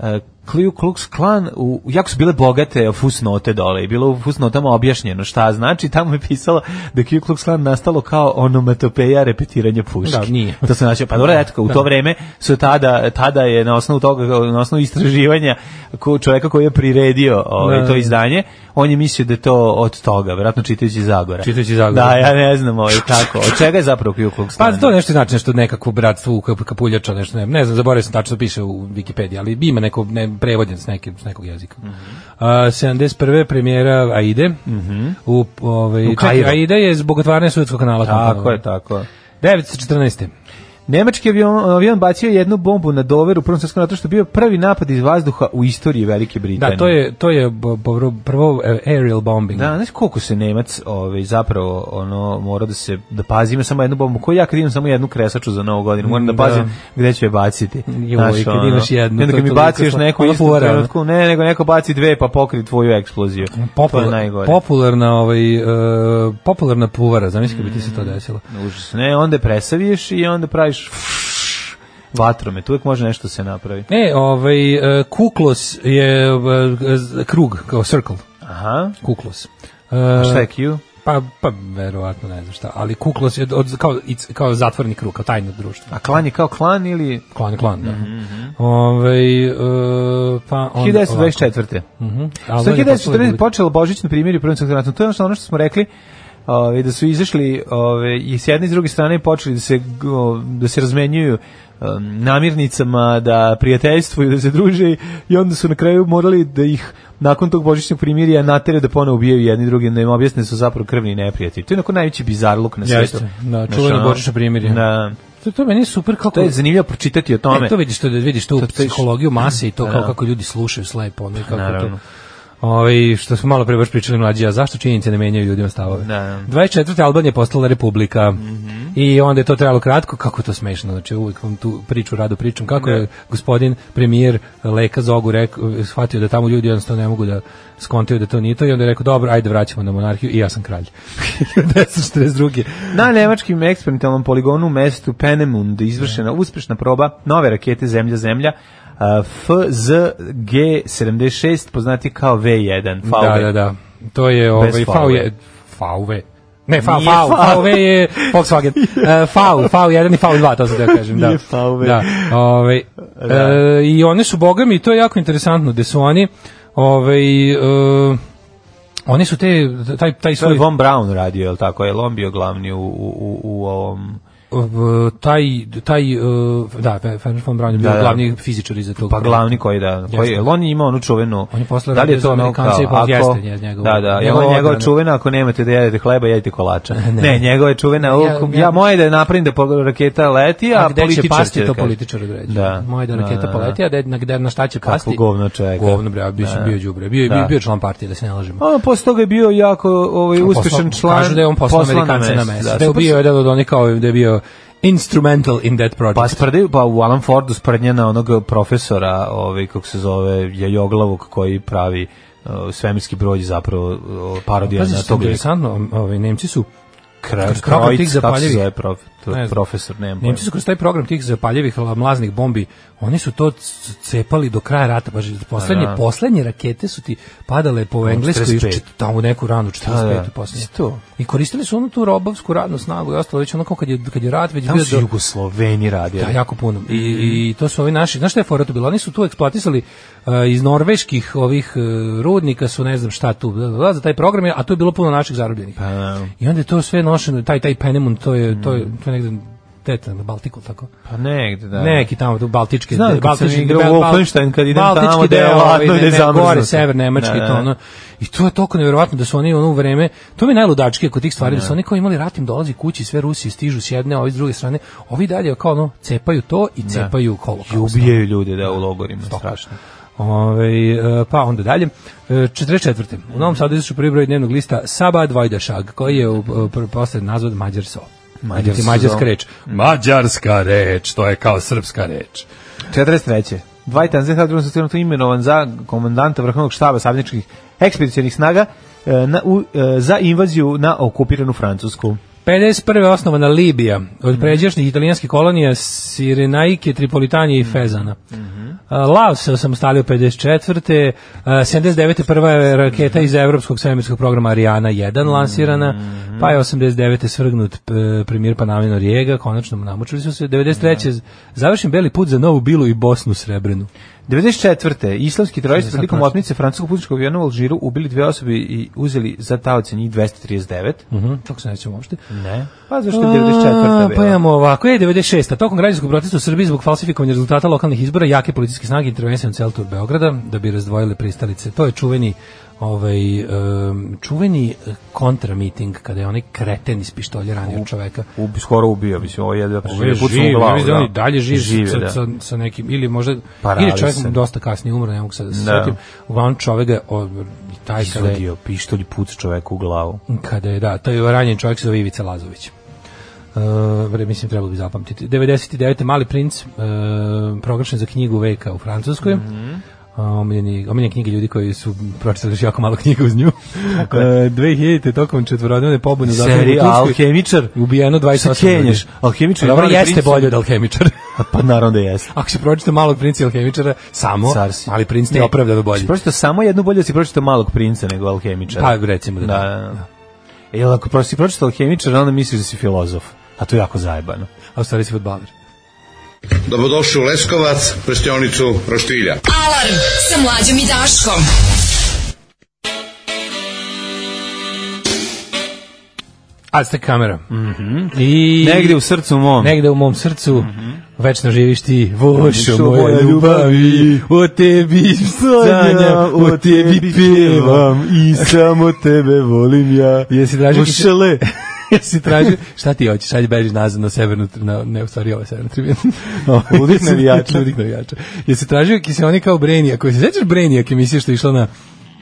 E: eh, Ku Klux Klan, u, jako su bile bogate fusnote dole i bilo u fusnotama objašnjeno šta znači, tamo je pisalo da je Ku Klux Klan nastalo kao onomatopeja repetiranja puške.
F: Da, nije.
E: To se znači, pa dobro, eto, kao u to vreme su tada, tada je na osnovu toga, na osnovu istraživanja ko, čoveka koji je priredio ovaj,
F: Da.
E: to izdanje, on je mislio da je to od toga, verovatno čitajući Zagora.
F: Čitajući Zagora.
E: Da, ja ne znam ovaj, kako. Od čega je zapravo Ku Klux
F: Pa
E: Klan?
F: to nešto znači nešto nekakvo bratstvo u kap- kapuljača nešto ne, ne znam zaboravio sam tačno piše u Wikipediji ali ima neko ne prevođen s neke s nekog jezika.
E: Mhm.
F: A, 71. premijera Aide. U ovaj
E: Mhm. U
F: čekaj,
E: Kairu.
F: Aida je zbog otvaranja Suetskog kanala. ono.
E: Tako
F: komponovana.
E: je, tako.
F: 914.
E: Nemački avion, avion bacio jednu bombu na Dover u Prvom svjetskom ratu što je bio prvi napad iz vazduha u istoriji Velike Britanije.
F: Da, to je, to je bo- bo- prvo e, aerial bombing.
E: Da, znaš koliko se Nemac ovaj, zapravo ono, mora da se da pazi, ima samo jednu bombu. Ko ja kad imam samo jednu kresaču za novu godinu, moram da
F: Mm, Da.
E: pazim gde ću je baciti.
F: Joj,
E: Znaš, ono,
F: kad imaš jednu,
E: i onda
F: to
E: kad mi
F: je
E: baci
F: toliko
E: još
F: slatko.
E: neko
F: Ona
E: isto
F: fora, ono. Mm,
E: trenutku, ne, nego neko baci dve pa pokri tvoju eksploziju. to je
F: Popula-
E: najgore.
F: popularna ovaj e, popularna puvara, zamisli bi ti
E: Mm.
F: se to desilo.
E: Užas. Ne, onda je presaviješ i onda praviš vatromet. Uvijek može nešto se napravi.
F: E, ovaj e, kuklos je e, z- krug kao circle,
E: Aha.
F: kuklos.
E: A
F: E,
E: Šta je Q?
F: pa pa verovatno ne znam šta, ali kuklos je od, kao it's- kao zatvoreni krug, kao tajno društvo.
E: A klan je kao klan ili...
F: Klan, klan, da.
E: Mhm,
F: Ovaj, e, pa onda
E: 1924.
F: Mhm. Ali
E: Što je
F: on je popularni
E: 1914
F: ljudi.
E: počelo Božić na primjeri u Prvom svjetskom ratu. To je ono što, ono što smo rekli, ove, da su izašli ove, i s jedne i s druge strane počeli da se, g- o, da se razmenjuju em, namirnicama, da prijateljstvuju, da se druže i onda su na kraju morali da ih nakon tog božićnog primirja natere da ponovo ubijaju jedni drugi, da im objasne da su zapravo krvni neprijatelji. To je onako najveći bizar luk na svijetu.
F: Jeste, da,
E: Znaš,
F: čuveno
E: ono,
F: božićno primirje.
E: Da,
F: To, to je meni super kako
E: to je zanimljivo pročitati o tome.
F: E, to vidiš to vidiš tu
E: To ti-
F: psihologiju mase i to
E: Da.
F: kao kako ljudi slušaju slepo, ono i kako
E: Naravno.
F: to. Ovaj što smo malo pre baš pričali mlađi, a zašto činjenice ne menjaju ljudima stavove?
E: Da. Mhm.
F: 24. Albanija je postala republika. I onda je to trajalo kratko, kako je to smešno. Znači uvijek vam tu priču rado pričam kako je gospodin premijer Leka Zogu rek, shvatio da tamo ljudi jednostavno ne mogu da skontaju da to nije to i onda je rekao dobro, ajde vraćamo na monarhiju i ja sam kralj. 1942.
E: Na nemačkim eksperimentalnom poligonu u mestu Penemund izvršena uspešna proba nove rakete Zemlja-Zemlja a, FZG-76, poznati kao V1.
F: Da, da, da. To je ovaj
E: Fave.
F: V je VV. Ne, V, V,
E: Nije Fave.
F: VV je Volkswagen. E, V, V1 i V2, to sam da kažem. Da.
E: Nije Fave.
F: Da. Ovaj, e, I one su, boga mi, to je jako interesantno, gde su oni, ovaj, e, oni su te, taj, taj
E: To je
F: svoj...
E: Von Braun radio, je li tako? Je li on bio glavni u, u, u, u ovom
F: uh, taj, taj uh, da, Ferenc von Braun je bio
E: Da, da.
F: glavni fizičar iza tog.
E: Pa glavni koji da, koji je, on je imao onu čuvenu.
F: On je posle
E: da li
F: radio
E: je
F: za
E: to ono kao,
F: Amerikance i pa
E: ako,
F: jeste nje- njegov-
E: da, da,
F: njegova
E: njegova, njegova
F: odbrana.
E: čuvena, ako nemate da jedete hleba, jedite kolača. ne, njegova je čuvena,
F: Ja-
E: ja,
F: ja-
E: ja, moje da je napravim da po- raketa leti, a,
F: a gde će
E: političar
F: pasti,
E: da
F: to
E: kaže.
F: političar određuje.
E: Da.
F: Moja da
E: Da,
F: raketa
E: da, da.
F: poleti, a gde, na, gde, na šta će
E: Kako
F: pasti?
E: govno čoveka.
F: Govno, bre, bio, da. bio đubre. Bio,
E: Da.
F: bio, bio član partije, da se ne lažemo.
E: A posle toga je bio jako ovaj
F: Pa Posla-
E: uspešan član.
F: Kažu da je on poslao
E: poslan
F: Amerikance na
E: mesto,
F: mesto. Da,
E: da,
F: da je
E: super
F: bio
E: su-
F: jedan od onih kao da je bio instrumental in that project.
E: Pa sprde, pa u Alan Fordu sprdnja na onog profesora, ovaj, kako se zove, jajoglavog koji pravi uh, svemirski broj je zapravo uh, parodija
F: Pazi,
E: na
F: što je
E: tog
F: interesantno, ovaj, Nemci su
E: Kra-
F: Kr- kako
E: Krojc,
F: tih
E: kako se
F: zapaljivih?
E: zove prof, to,
F: Ne znam.
E: profesor, nemam pojma.
F: Nemci su kroz taj program tih zapaljivih la- mlaznih bombi, oni su to c- cepali do kraja rata, baš poslednje,
E: da.
F: poslednje rakete su ti padale po engleskoj, još
E: 45.
F: čet- tamo u neku ranu, 45.
E: Da, da.
F: poslednje.
E: To.
F: I koristili su onu tu robovsku radnu snagu i ostalo, već ono kao kad je, kad je rat već
E: Tamo
F: bio
E: su
F: do,
E: Jugosloveni radili.
F: Da, jako puno. I, i to su ovi naši, znaš šta je fora tu bila? Oni su tu eksploatisali e, iz norveških ovih e, rudnika su ne znam šta tu, bla, bla, bla, za taj program, je- a tu je bilo puno naših zarobljenih.
E: da.
F: I onda je to sve nošeno, taj, taj Penemun, to je, to je, to je negde teta na Baltiku, tako?
E: Pa negde, da.
F: Neki tamo, tu baltički,
E: Znam, kad
F: baltički,
E: sam igrao u
F: Bal-
E: Wolfenstein, kad idem
F: baltički
E: tamo da je
F: deo, ovaj,
E: ladno i da je
F: ne, ne,
E: zamrznuto.
F: Gore, sever, nemački,
E: Da,
F: to
E: da.
F: ono. I to je toliko nevjerovatno da su oni ono u vreme, to mi je najludačkije kod tih stvari, da su oni kao imali rat im dolazi kući, sve Rusi stižu s jedne, a ovi s druge strane, ovi dalje kao ono, cepaju to i cepaju
E: I
F: holokaust.
E: ubijaju ljude, da, u logorima, strašno.
F: Ove, e, pa onda dalje. E, 44. U Novom Sadu izašu prvi broj dnevnog lista Saba Dvojdašag, koji je u, u, pr- posle nazvan Mađarso.
E: Mađarso.
F: Znači, Mađarska reč. Mađarska reč, to je kao srpska reč.
E: 43. Dwight Eisenhower drugom svetskom ratu imenovan za komandanta vrhovnog štaba savezničkih ekspedicionih snaga e, na, u, e, za invaziju na okupiranu Francusku.
F: 51. osnovana Libija od pređašnjih italijanskih kolonija Sirenaike, Tripolitanije i Fezana. A, Laos se osamostalio 54. A, 79. prva je raketa iz evropskog svemirskog programa Ariana 1 lansirana, pa je 89. svrgnut e, premijer Panamino Rijega, konačno namučili su se. 93. završen beli put za Novu Bilu i Bosnu Srebrenu.
E: 94. Islamski teroristi
F: Sad
E: prilikom
F: pročito.
E: otmice francuskog putničkog aviona u Alžiru ubili dve osobe i uzeli za taoce njih 239.
F: Mhm, Čak se nećemo uopšte.
E: Ne. Pa zašto je
F: A,
E: 94.
F: Pa
E: bila?
F: imamo ovako, je 96. Tokom građanskog protesta u Srbiji zbog falsifikovanja rezultata lokalnih izbora, jake policijske snage intervencijom celtur Beograda da bi razdvojile pristalice. To je čuveni ovaj em, čuveni eh, kontramiting kada je onaj kreten iz pištolja ranio čoveka.
E: Ubi, skoro ubio, mislim, ovo je jedva
F: Živ,
E: pogodio pucao u
F: živ, ja
E: glavu.
F: mislim da on i dalje živ
E: Živ je,
F: sa,
E: da.
F: sa, sa nekim, ili možda,
E: Paralisan.
F: ili čovjek dosta kasnije umro, ne mogu sad da se
E: Da.
F: setim. Uglavnom čoveka, o, taj kada je
E: Izvadio pištolj i puca čoveku u glavu.
F: kada je, da, to je ranjen čovjek se zove Ivica Lazović. Uh, bre, mislim, trebalo bi zapamtiti. 99. Mali princ, uh, proglašen za knjigu veka u Francuskoj. Mm
E: Mhm.
F: omiljeni, omiljeni knjige ljudi koji su pročitali još jako malo knjiga uz nju. Uh, 2000. tokom četvorodnevne pobune u zatvoru u
E: Serija
F: Turskoj.
E: Alhemičar.
F: Ubijeno 28
E: Šta
F: ljudi.
E: kenješ? Alhemičar i
F: Dobro,
E: Mali
F: jeste
E: princ su-
F: bolje od alhemičara.
E: Pa naravno da jeste.
F: Ako se pročita malog princa i alhemičara, samo,
E: Car si.
F: mali princ ti
E: Ne,
F: je opravdano bolji.
E: si Pročitao samo jednu bolje, da si pročitao malog princa nego alhemičara.
F: Pa, recimo da
E: da.
F: da.
E: da, da. Jel ako pro- si pročitao alhemičara, onda misliš da si filozof. A to je jako zajebano.
F: A u stvari si fudbaler.
J: Dobrodošli u Leskovac, prštionicu Roštilja.
I: Alarm sa mlađom i Daškom.
F: Aztek kamera.
E: Mhm.
F: I...
E: Negde u srcu mom. Mhm.
F: Negde u mom srcu večno živiš ti, vošo
E: Vošo
F: moja
E: moja
F: ljubavi, o tebi sanjam, o tebi pevam.
E: i samo tebe volim ja.
F: Jesi tražio kiše-
E: Ušele.
F: Jesi tražio, šta ti hoćeš, ajde beži nazad na severnu, tri- na, ne, u stvari ovo je severna tribina.
E: Ludih navijača.
F: Ludih navijača. Jesi tražio kiseonik kao Brenija, koji se sećaš Brenija, koji misliš što je išla na,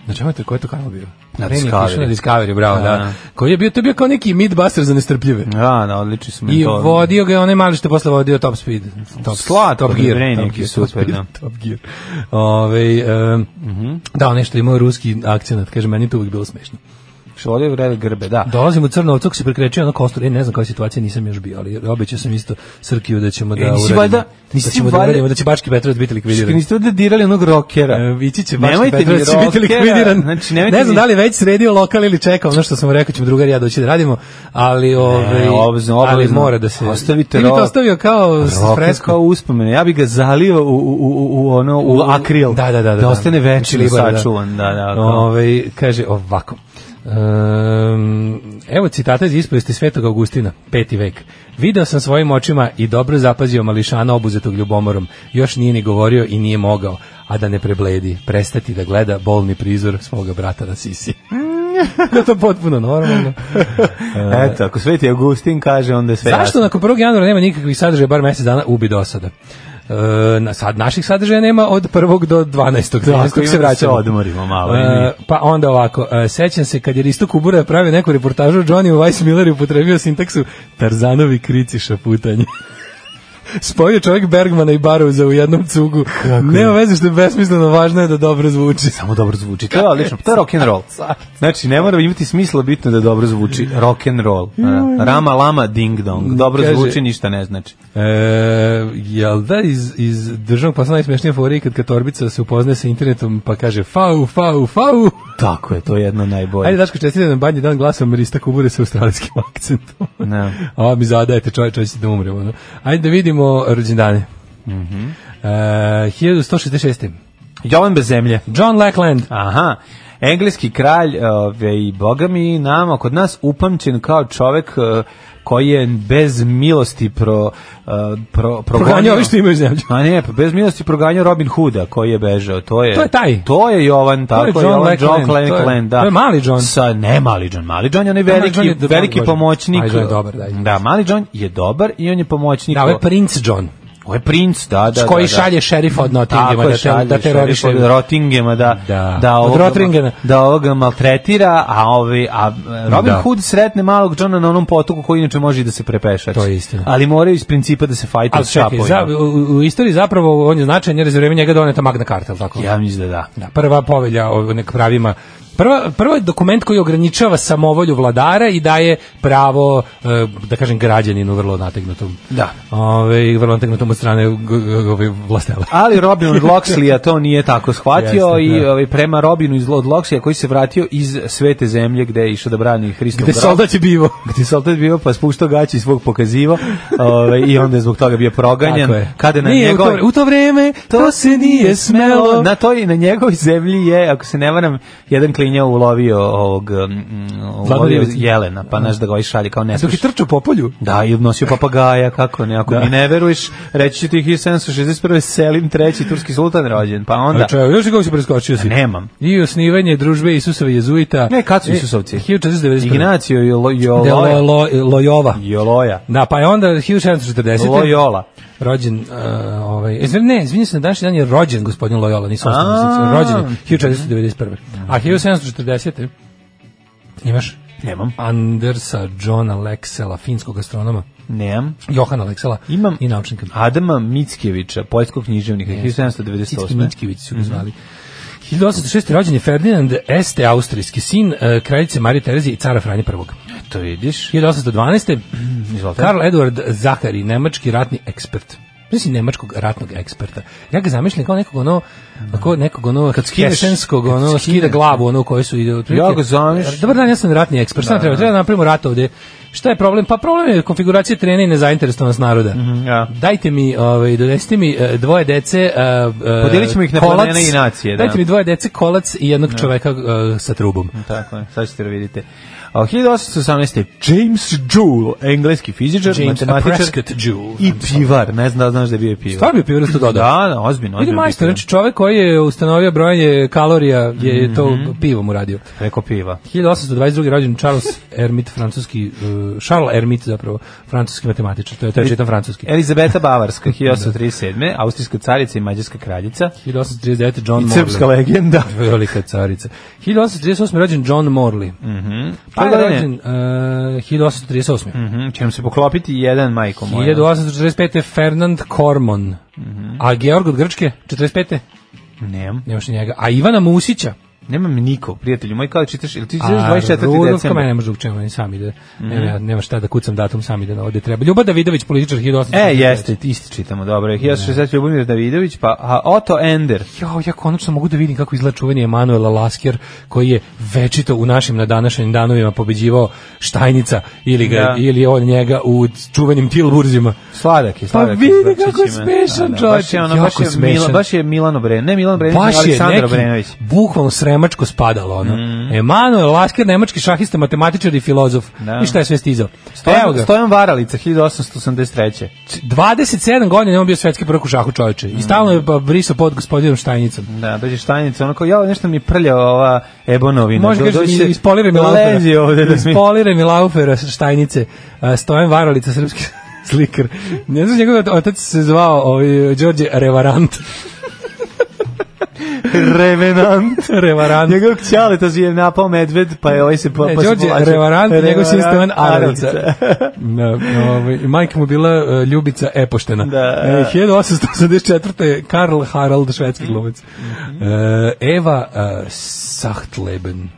F: na čemu je to, koji je to kanal bio? Na
E: Discovery.
F: Na Discovery, bravo, da.
E: Da.
F: Koji je bio, to je bio kao neki midbuster za nestrpljive.
E: Da, da, odlični su
F: I
E: mentori.
F: vodio ga je onaj mali što je posle vodio Top Speed. Top,
E: Slatko
F: top
E: mi
F: Gear.
E: Brenjak je
F: top
E: super,
F: Speed,
E: da. Mhm.
F: Top Gear. Ove, um, Da, nešto imao ruski akcent, kaže, meni je to uvijek bilo smešno.
E: Što vodio vrede grbe, da.
F: Dolazim u Crno ovcu, kako se prekrećio ono kostur, e, ne znam koja je situacija, nisam još bio, ali obećao sam isto Srkiju da ćemo da
E: E, nisi
F: uradimo,
E: valjda-
F: da
E: nisi
F: ćemo da
E: valjda-
F: uradimo, da će Bački Petrovac biti
E: Čekaj,
F: likvidiran.
E: Znači, niste ovde dirali onog
F: E,
E: rokera.
F: Vići će Bački
E: Nemojte mi
F: Petrovac će biti
E: rockera,
F: likvidiran.
E: znači, nemojte
F: ne znam
E: mi-
F: da li je već sredio lokal ili čeka, ono što sam mu rekao ćemo drugar i ja doći da radimo, ali ovaj
E: obvezno,
F: ali
E: obavezno.
F: mora da se
E: Ostavite
F: Ti bi to
E: rock.
F: ostavio kao
E: Roket
F: fresko
E: kao uspomene. Ja bih ga zalio u, u, u, u, ono, u akril.
F: Da, da, da.
E: Da ostane
F: Znači,
E: večno
F: libera,
E: sačuvan. Da, da, kao.
F: Ovaj, kaže ovako. E, Um, evo citata iz ispovesti Svetog Augustina, peti vek. Video sam svojim očima i dobro zapazio mališana obuzetog ljubomorom. Još nije ni govorio i nije mogao, a da ne prebledi, prestati da gleda bolni prizor svoga brata na sisi. Kako je to potpuno normalno.
E: Eto, ako Sveti Augustin kaže, onda je sve
F: e. Zašto nakon 1. januara nema nikakvih sadržaja, bar mesec dana ubi dosada? E, na sad naših sadržaja nema od 1. do 12.
E: Da,
F: 13.
E: ako
F: se
E: se
F: vraćamo.
E: odmorimo malo.
F: E, pa onda ovako, e, sećam se kad je Risto Kubura pravio neku reportažu o Johnny Weissmilleru i upotrebio sintaksu Tarzanovi krici šaputanje. Spojio čovjek Bergmana i Barouza u jednom cugu. Nema veze što je besmisleno, važno je da dobro zvuči.
E: Samo dobro zvuči. To je odlično. To je rock and roll. Znači, ne mora imati smisla bitno da dobro zvuči. Rock and roll. A, Rama lama ding dong. Dobro
F: Kaže-
E: zvuči, ništa ne znači.
F: E, jel da iz, iz državnog posla najsmešnija fora je kad Katorbica se upoznaje sa internetom pa kaže fau, fau, fau.
E: Tako je, to je jedno najbolje.
F: Ajde Daško, čestitam na badnji dan glasom Rista Kubure sa australijskim akcentom.
E: Ne.
F: A ovo mi zadajete, čovječ, čovječ da umremo. No? Ajde da vidimo rođendane.
E: Mhm.
F: Mm -hmm. uh, 1166.
E: Jovan bez zemlje.
F: John Lackland.
E: Aha. Engleski kralj ove, i bogami nama kod nas upamćen kao čovek e, koji je bez milosti pro, e, pro,
F: Proganjao ovi što imaju zemlju.
E: A ne, pa bez milosti proganjao Robin Hooda koji je bežao. To je,
F: To je taj.
E: To je Jovan, tako
F: John
E: Jovan,
F: Lackland,
E: John Lackland,
F: to je-
E: da.
F: to je mali John.
E: Sa, ne mali John, mali John je onaj
F: mali
E: veliki,
F: John je dobar,
E: veliki
F: Bože.
E: pomoćnik.
F: Mali John je dobar, da.
E: Da, mali John je dobar i on je pomoćnik.
F: Da, ovo je Prince John.
E: Ovo je princ, da, da.
F: koji
E: da, da.
F: šalje šerifa od Nottinghama
E: Tako
F: da,
E: je,
F: te,
E: šalje
F: da teroriše.
E: šerifa od Rottingema da
F: Da.
E: da
F: Od
E: ovoga-
F: Rottingena.
E: da ovoga maltretira, a ovi a e, Robin
F: Da.
E: Hood sretne malog Johna na onom potoku koji inače može i da se prepešači.
F: To je istina.
E: Ali moraju iz principa da se fajtaju
F: Ali
E: s
F: čekaj,
E: šapovima.
F: za, u, u istoriji zapravo on je značajan jer je za vreme njega doneta Magna Carta, ili tako?
E: Ja mislim da da.
F: Da, prva povelja o nek pravima Prva, prvo je dokument koji ograničava samovolju vladara i daje pravo, e, da kažem, građaninu vrlo nategnutom.
E: Da.
F: Ove, vrlo nategnutom od strane g- g- ove vlastela.
E: Ali Robin od Loxlija to nije tako shvatio
F: Jeste,
E: i
F: da.
E: ovaj, prema Robinu iz od Loxlija koji se vratio iz svete zemlje gde je išao da brani Hristov
F: Gde
E: grob.
F: soldat je bivo.
E: gde je soldat bio pa spuštao gaći iz svog pokazivo ovaj, i onda je zbog toga bio proganjan.
F: Tako je.
E: Kada je na
F: Nije, u, to,
E: njegov...
F: vre- u to vreme to se nije smelo.
E: Na toj na njegovoj zemlji je, ako se ne varam, jedan klinja ulovio ovog mm, ulovio
F: Ribicu.
E: jelena, pa znaš da ga ovaj šalje kao
F: Dok je
E: nesluš.
F: trčao po polju.
E: Da, i nosio papagaja, kako ne, ako mi ne veruješ, reći ću ti 1761. Selim III. turski sultan rođen, pa onda...
F: Da. Čeo, još kako si preskočio si?
E: Nemam.
F: I osnivanje družbe Isusova jezuita.
E: Ne, kad su
F: E,
E: Isusovci?
F: 1491.
E: Ignacio Jolo,
F: De Lo-
E: Joloja.
F: Lo- Lojova.
E: Joloja.
F: Da, pa je onda 1740.
E: Lojola.
F: rođen uh, ovaj izvin, ne izvinite se na današnji dan je rođen gospodin Loyola nisam ostao
E: A.
F: mjesec rođen je 1491. A 1740 imaš
E: Nemam.
F: Andersa Johna Lexela, finskog astronoma,
E: Nemam.
F: Johana Lexela
E: Imam-
F: i naučnika.
E: Adama Mickevića, poljskog književnika, 1798.
F: Mickivić su ga
E: Mhm.
F: zvali. 1806. rođen je Ferdinand Este, austrijski sin uh, kraljice Marije Terezije i cara Franje I.
E: To vidiš.
F: 1812.
E: Izvolite.
F: Karl Eduard Zahari, nemački ratni ekspert. Znači nemačkog ratnog eksperta. Ja ga zamišljam kao nekog ono, kao nekog ono hesenskog,
E: kad
F: ono
E: skine.
F: skida glavu, ono koje su ide otprilike.
E: Ja ga zamišljam.
F: Dobar dan, ja sam ratni ekspert. Šta nam treba? Treba da napravimo rat ovde. Šta je problem? Pa problem je konfiguracija terena i nezainteresovanost naroda.
E: Mhm, ja.
F: Dajte mi, ovaj, donesite mi e, dvoje dece, e, e,
E: Podijelit ćemo ih na
F: kolac.
E: plemena i nacije, da.
F: Dajte mi dvoje dece, kolac i jednog čoveka e, sa trubom.
E: Tako je, sad ćete da vidite. A 1818. James Joule, engleski fizičar,
F: James a
E: matematičar
F: Prescott Jew.
E: i pivar. Ne znam da li znaš da je bio pivar.
F: Stvarno bi pivara sto dodao.
E: Da, da, ozbiljno.
F: Vidi
E: ozbiljno
F: majstor,
E: bio.
F: znači čovek koji je ustanovio brojanje kalorija
E: Mhm.
F: je to pivom uradio.
E: Preko piva.
F: 1822. rođen Charles Hermit, francuski, uh, Charles Hermit zapravo, francuski matematičar, to je taj čitan francuski.
E: E- Elizabeta Bavarska, 1837. Austrijska carica i mađarska kraljica.
F: 1839. John
E: I
F: Morley.
E: srpska legenda.
F: Velika carica. 1838. rođen John Morley. Pa je
E: Mhm. Koje godine?
F: rođen uh, 1838.
E: Mhm, će nam se poklopiti jedan, majko moja.
F: 1845. Fernand Kormon.
E: Mhm.
F: A Georg od Grčke, 45.
E: Nemam.
F: Nemaš ni njega. A Ivana Musića.
E: Nemam niko, prijatelju moj, kao da čitaš, ili ti čitaš
F: A
E: 24.
F: Rudolf
E: decembra?
F: mene ne može drugčije, on sam ide.
E: Mhm.
F: Nema, nema šta da kucam datum, sam ide na ovde treba. Ljuba Davidović, političar 1800.
E: E, jeste, isti čitamo, dobro. 1860 Ljubomir Davidović, pa a, Otto Ender.
F: Jo, ja konačno mogu da vidim kako izgleda čuveni Emanuel Lasker, koji je večito u našim na današnjim danovima pobeđivao Štajnica ili, ga,
E: Da.
F: ili on njega u čuvenim Tilburzima.
E: Sladak je, sladak je.
F: Pa vidi
E: s vrčićima.
F: kako je smešan,
E: Da, da, Baš
F: čovječe,
E: je ono,
F: jako
E: baš je,
F: smešan.
E: Mila, baš je Milan Obrenović, ne Milan Obrenović,
F: Baš
E: nego
F: je
E: Aleksandar
F: neki
E: Obrenović.
F: bukvalno nemačko spadalo ono.
E: Mhm.
F: Emanuel Lasker nemački šahista, matematičar i filozof.
E: Da.
F: I šta je sve stizao? Evo
E: Stojan,
F: ga.
E: Stojan Varalica, 1883.
F: 27 godina je on bio svetski prvak u šahu čoveče. I stalno je pa brisao pod gospodinom Štajnicom.
E: Da, dođe štajnica, ono kao, jao, nešto mi je prljao ova ebonovina.
F: Može
E: Do-
F: kažeš,
E: dođe-
F: ispolira mi laufera.
E: Lezi ovde da mi...
F: Ispolira mi laufera štajnice. A, Stojan Varolica, srpski slikar. Ne znam, njegov otac se zvao ovaj, Đorđe Revarant.
E: Revenant.
F: Revarant.
E: Njegov kćaleta je napao medved, pa je ovaj se... Pa,
F: E,
E: pa se
F: Đorđe
E: povlačio.
F: Revarant, njegov sin Stojan
E: Revarant
F: Aralica. Da, ovaj, i majka mu bila e, Ljubica Epoštena.
E: Da.
F: E, 1884. je Karl Harald, švedski
E: Mhm.
F: glumac. E, Eva e, Sachtleben,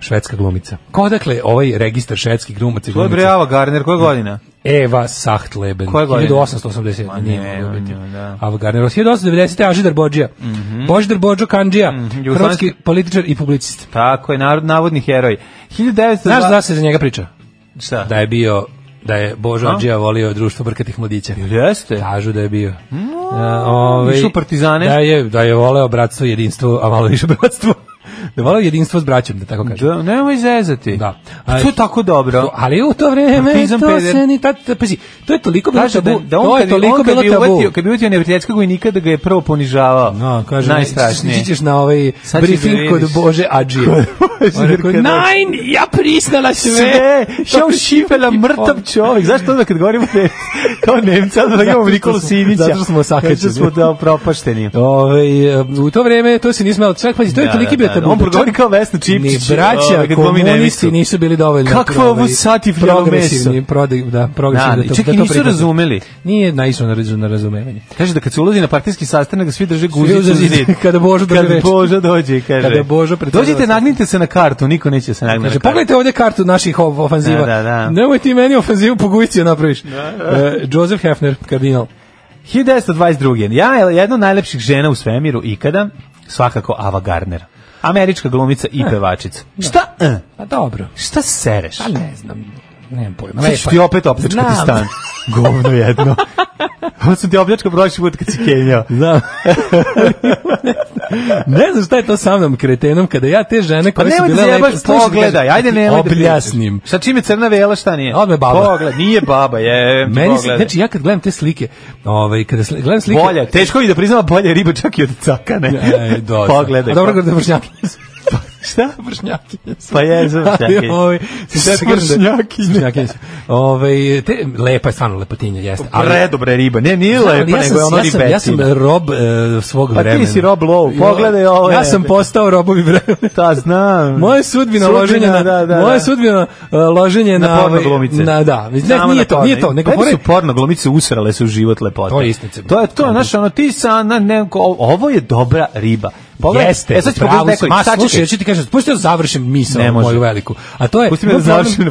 F: švedska glumica. Ko dakle ovaj registar švedskih glumaca i
E: To je bre
F: glumica?
E: Ava Garner, koja godina?
F: Eva Sachtleben,
E: Koje godine?
F: 1880.
E: Ma
F: nije
E: ne,
F: moglo biti.
E: ono, da. Mhm.
F: Ava Garner, 1890. Ažidar Bođija. Božidar Bođo Kanđija,
E: Jugoslavski-
F: hrvatski političar i publicist.
E: Tako je, narod, navodni heroj. 1902...
F: Znaš da se za njega priča?
E: Šta?
F: da je bio da je Božo Adžija volio društvo brkatih mladića.
E: Jeste.
F: Kažu da je bio. A, ovaj,
E: išao u Mm, partizane?
F: Da je, da je voleo bratstvo i jedinstvo, a malo više bratstvo. da je voleo jedinstvo s braćom, da tako kažem.
E: Da, nemoj zezati.
F: Da.
E: A, to je tako dobro.
F: To- ali u to vreme
E: Partizan
F: to
E: peder.
F: se ni tad, pazi, to je toliko bilo
E: Kaže da,
F: tabu,
E: da
F: to
E: on
F: je
E: kad, bi-
F: toliko
E: on kad
F: bilo
E: bi
F: tabu.
E: uvatio, kad bi uvatio nevrijatskog vojnika da ga je prvo ponižavao.
F: No, kaže,
E: Najstrašnije.
F: Ti ćeš na ovaj
E: Sad ćeš
F: briefing
E: da vidiš.
F: kod Bože Adžije.
E: Bože
F: On rekao,
E: Adžije.
F: Nein, ja priznala sve.
E: sve, šao
F: To-
E: šifela, mrtav čovjek. Zašto onda kad govorimo ne, kao Nemca, onda
F: Zato
E: imamo
F: što
E: Nikolu
F: smo-
E: Sinića?
F: zato što smo osakaćeni.
E: Zato što smo da, propašteni.
F: Ovaj e, u to vreme to se nismo čak pazi, to je
E: Da,
F: toliki
E: da,
F: bio
E: da,
F: tabu.
E: on
F: da
E: progovori
F: čak
E: kao Vesna Čipčić,
F: Ni braća
E: ovaj, kad pominje
F: komunisti
E: Evicu.
F: nisu bili dovoljno. ovaj,
E: Kakvo je ovo sati vrelo meso?
F: progresivni, prodi, da,
E: Da,
F: progresivni da, to,
E: čak i
F: da to
E: nisu
F: prihvate.
E: razumeli.
F: Nije naišao na razu- na razumevanje.
E: Kaže da kad se ulazi na partijski sastanak, da svi drže
F: Svi
E: guzicu u
F: uzeti,
E: zid.
F: kada Božo dođe
E: Kad
F: reč.
E: Božo dođe i kaže.
F: Kada Božo predsedava
E: Dođite,
F: sastanku.
E: nagnite se na kartu, niko neće se
F: Kaže,
E: nagnati. na kartu.
F: Znači, pogledajte ovdje kartu naših of- ofanziva.
E: Da, da, da.
F: Nemoj ti meni ofanzivu po gujici joj napraviš. E, Joseph Hefner, kardinal.
E: 1922. Ja je jedna od najlepših žena u svemiru ikada, svakako Ava Gardner. Američka glumica i pevačica. Šta? eh,
F: A Pa dobro.
E: Šta sereš?
F: Pa ne znam. Nemam pojma.
E: Sad ću
F: Lepa
E: ti
F: je.
E: opet opljačkati
F: Znam.
E: stan. Govno jedno. Ovo sam ti opljačkao prošli put kad si kenjao.
F: Znam. ne znam šta je to sa mnom kretenom kada ja te žene
E: Pa
F: koje su
E: nemoj da
F: bile lepe,
E: zajebaš,
F: Slušaj,
E: pogledaj,
F: kažem,
E: ajde nemoj da pričaš.
F: objasnim.
E: Sa čime crna vela, šta nije?
F: Odme baba.
E: Pogled, nije baba, je.
F: Meni se, znači ja kad gledam te slike, ovaj kada sli- gledam slike
E: Bolje, teško mi da priznava bolje je riba čak i od cakane.
F: E, do,
E: Pogledaj.
F: A dobro da vršnjakinje su.
E: šta?
F: Vršnjakinje su.
E: Pa je, znam šta
F: Ali, ovaj, sad ti kažem da-
E: Smršnjakinje.
F: Smršnjakinje su. Ovaj, te, lepa je stvarno lepotinja, jeste. Ali,
E: Predobre riba, ne, nije
F: ali
E: lepa,
F: ja sam,
E: nego je ono
F: ja sam, ja sam
E: ribetina.
F: rob e, svog
E: Pa ti
F: vremena.
E: si Rob Lowe, pogledaj ovo,
F: Ja
E: evo.
F: sam postao robovi vremena.
E: Ta znam.
F: Moje sudbina loženje na
E: da, da,
F: moje
E: da.
F: sudbina e, loženje na
E: na porno
F: ovaj,
E: glumice.
F: Na da, ne,
E: Samo
F: nije
E: na
F: to,
E: porno.
F: nije to, nego
E: Meni
F: pored
E: su porno glumice usrale se u život lepote.
F: To je istina.
E: To je to, znaš, ono ti sa na ne, o- ovo je dobra riba. Pogledaj.
F: Jeste,
E: e sad ću
F: pravo
E: pogledati
F: si.
E: nekoliko.
F: Ma
E: Sad čekaj.
F: slušaj, ja ću ti kažem, pusti da završim misao
E: Ne može.
F: moju veliku. A to je...
E: Pusti me da završim na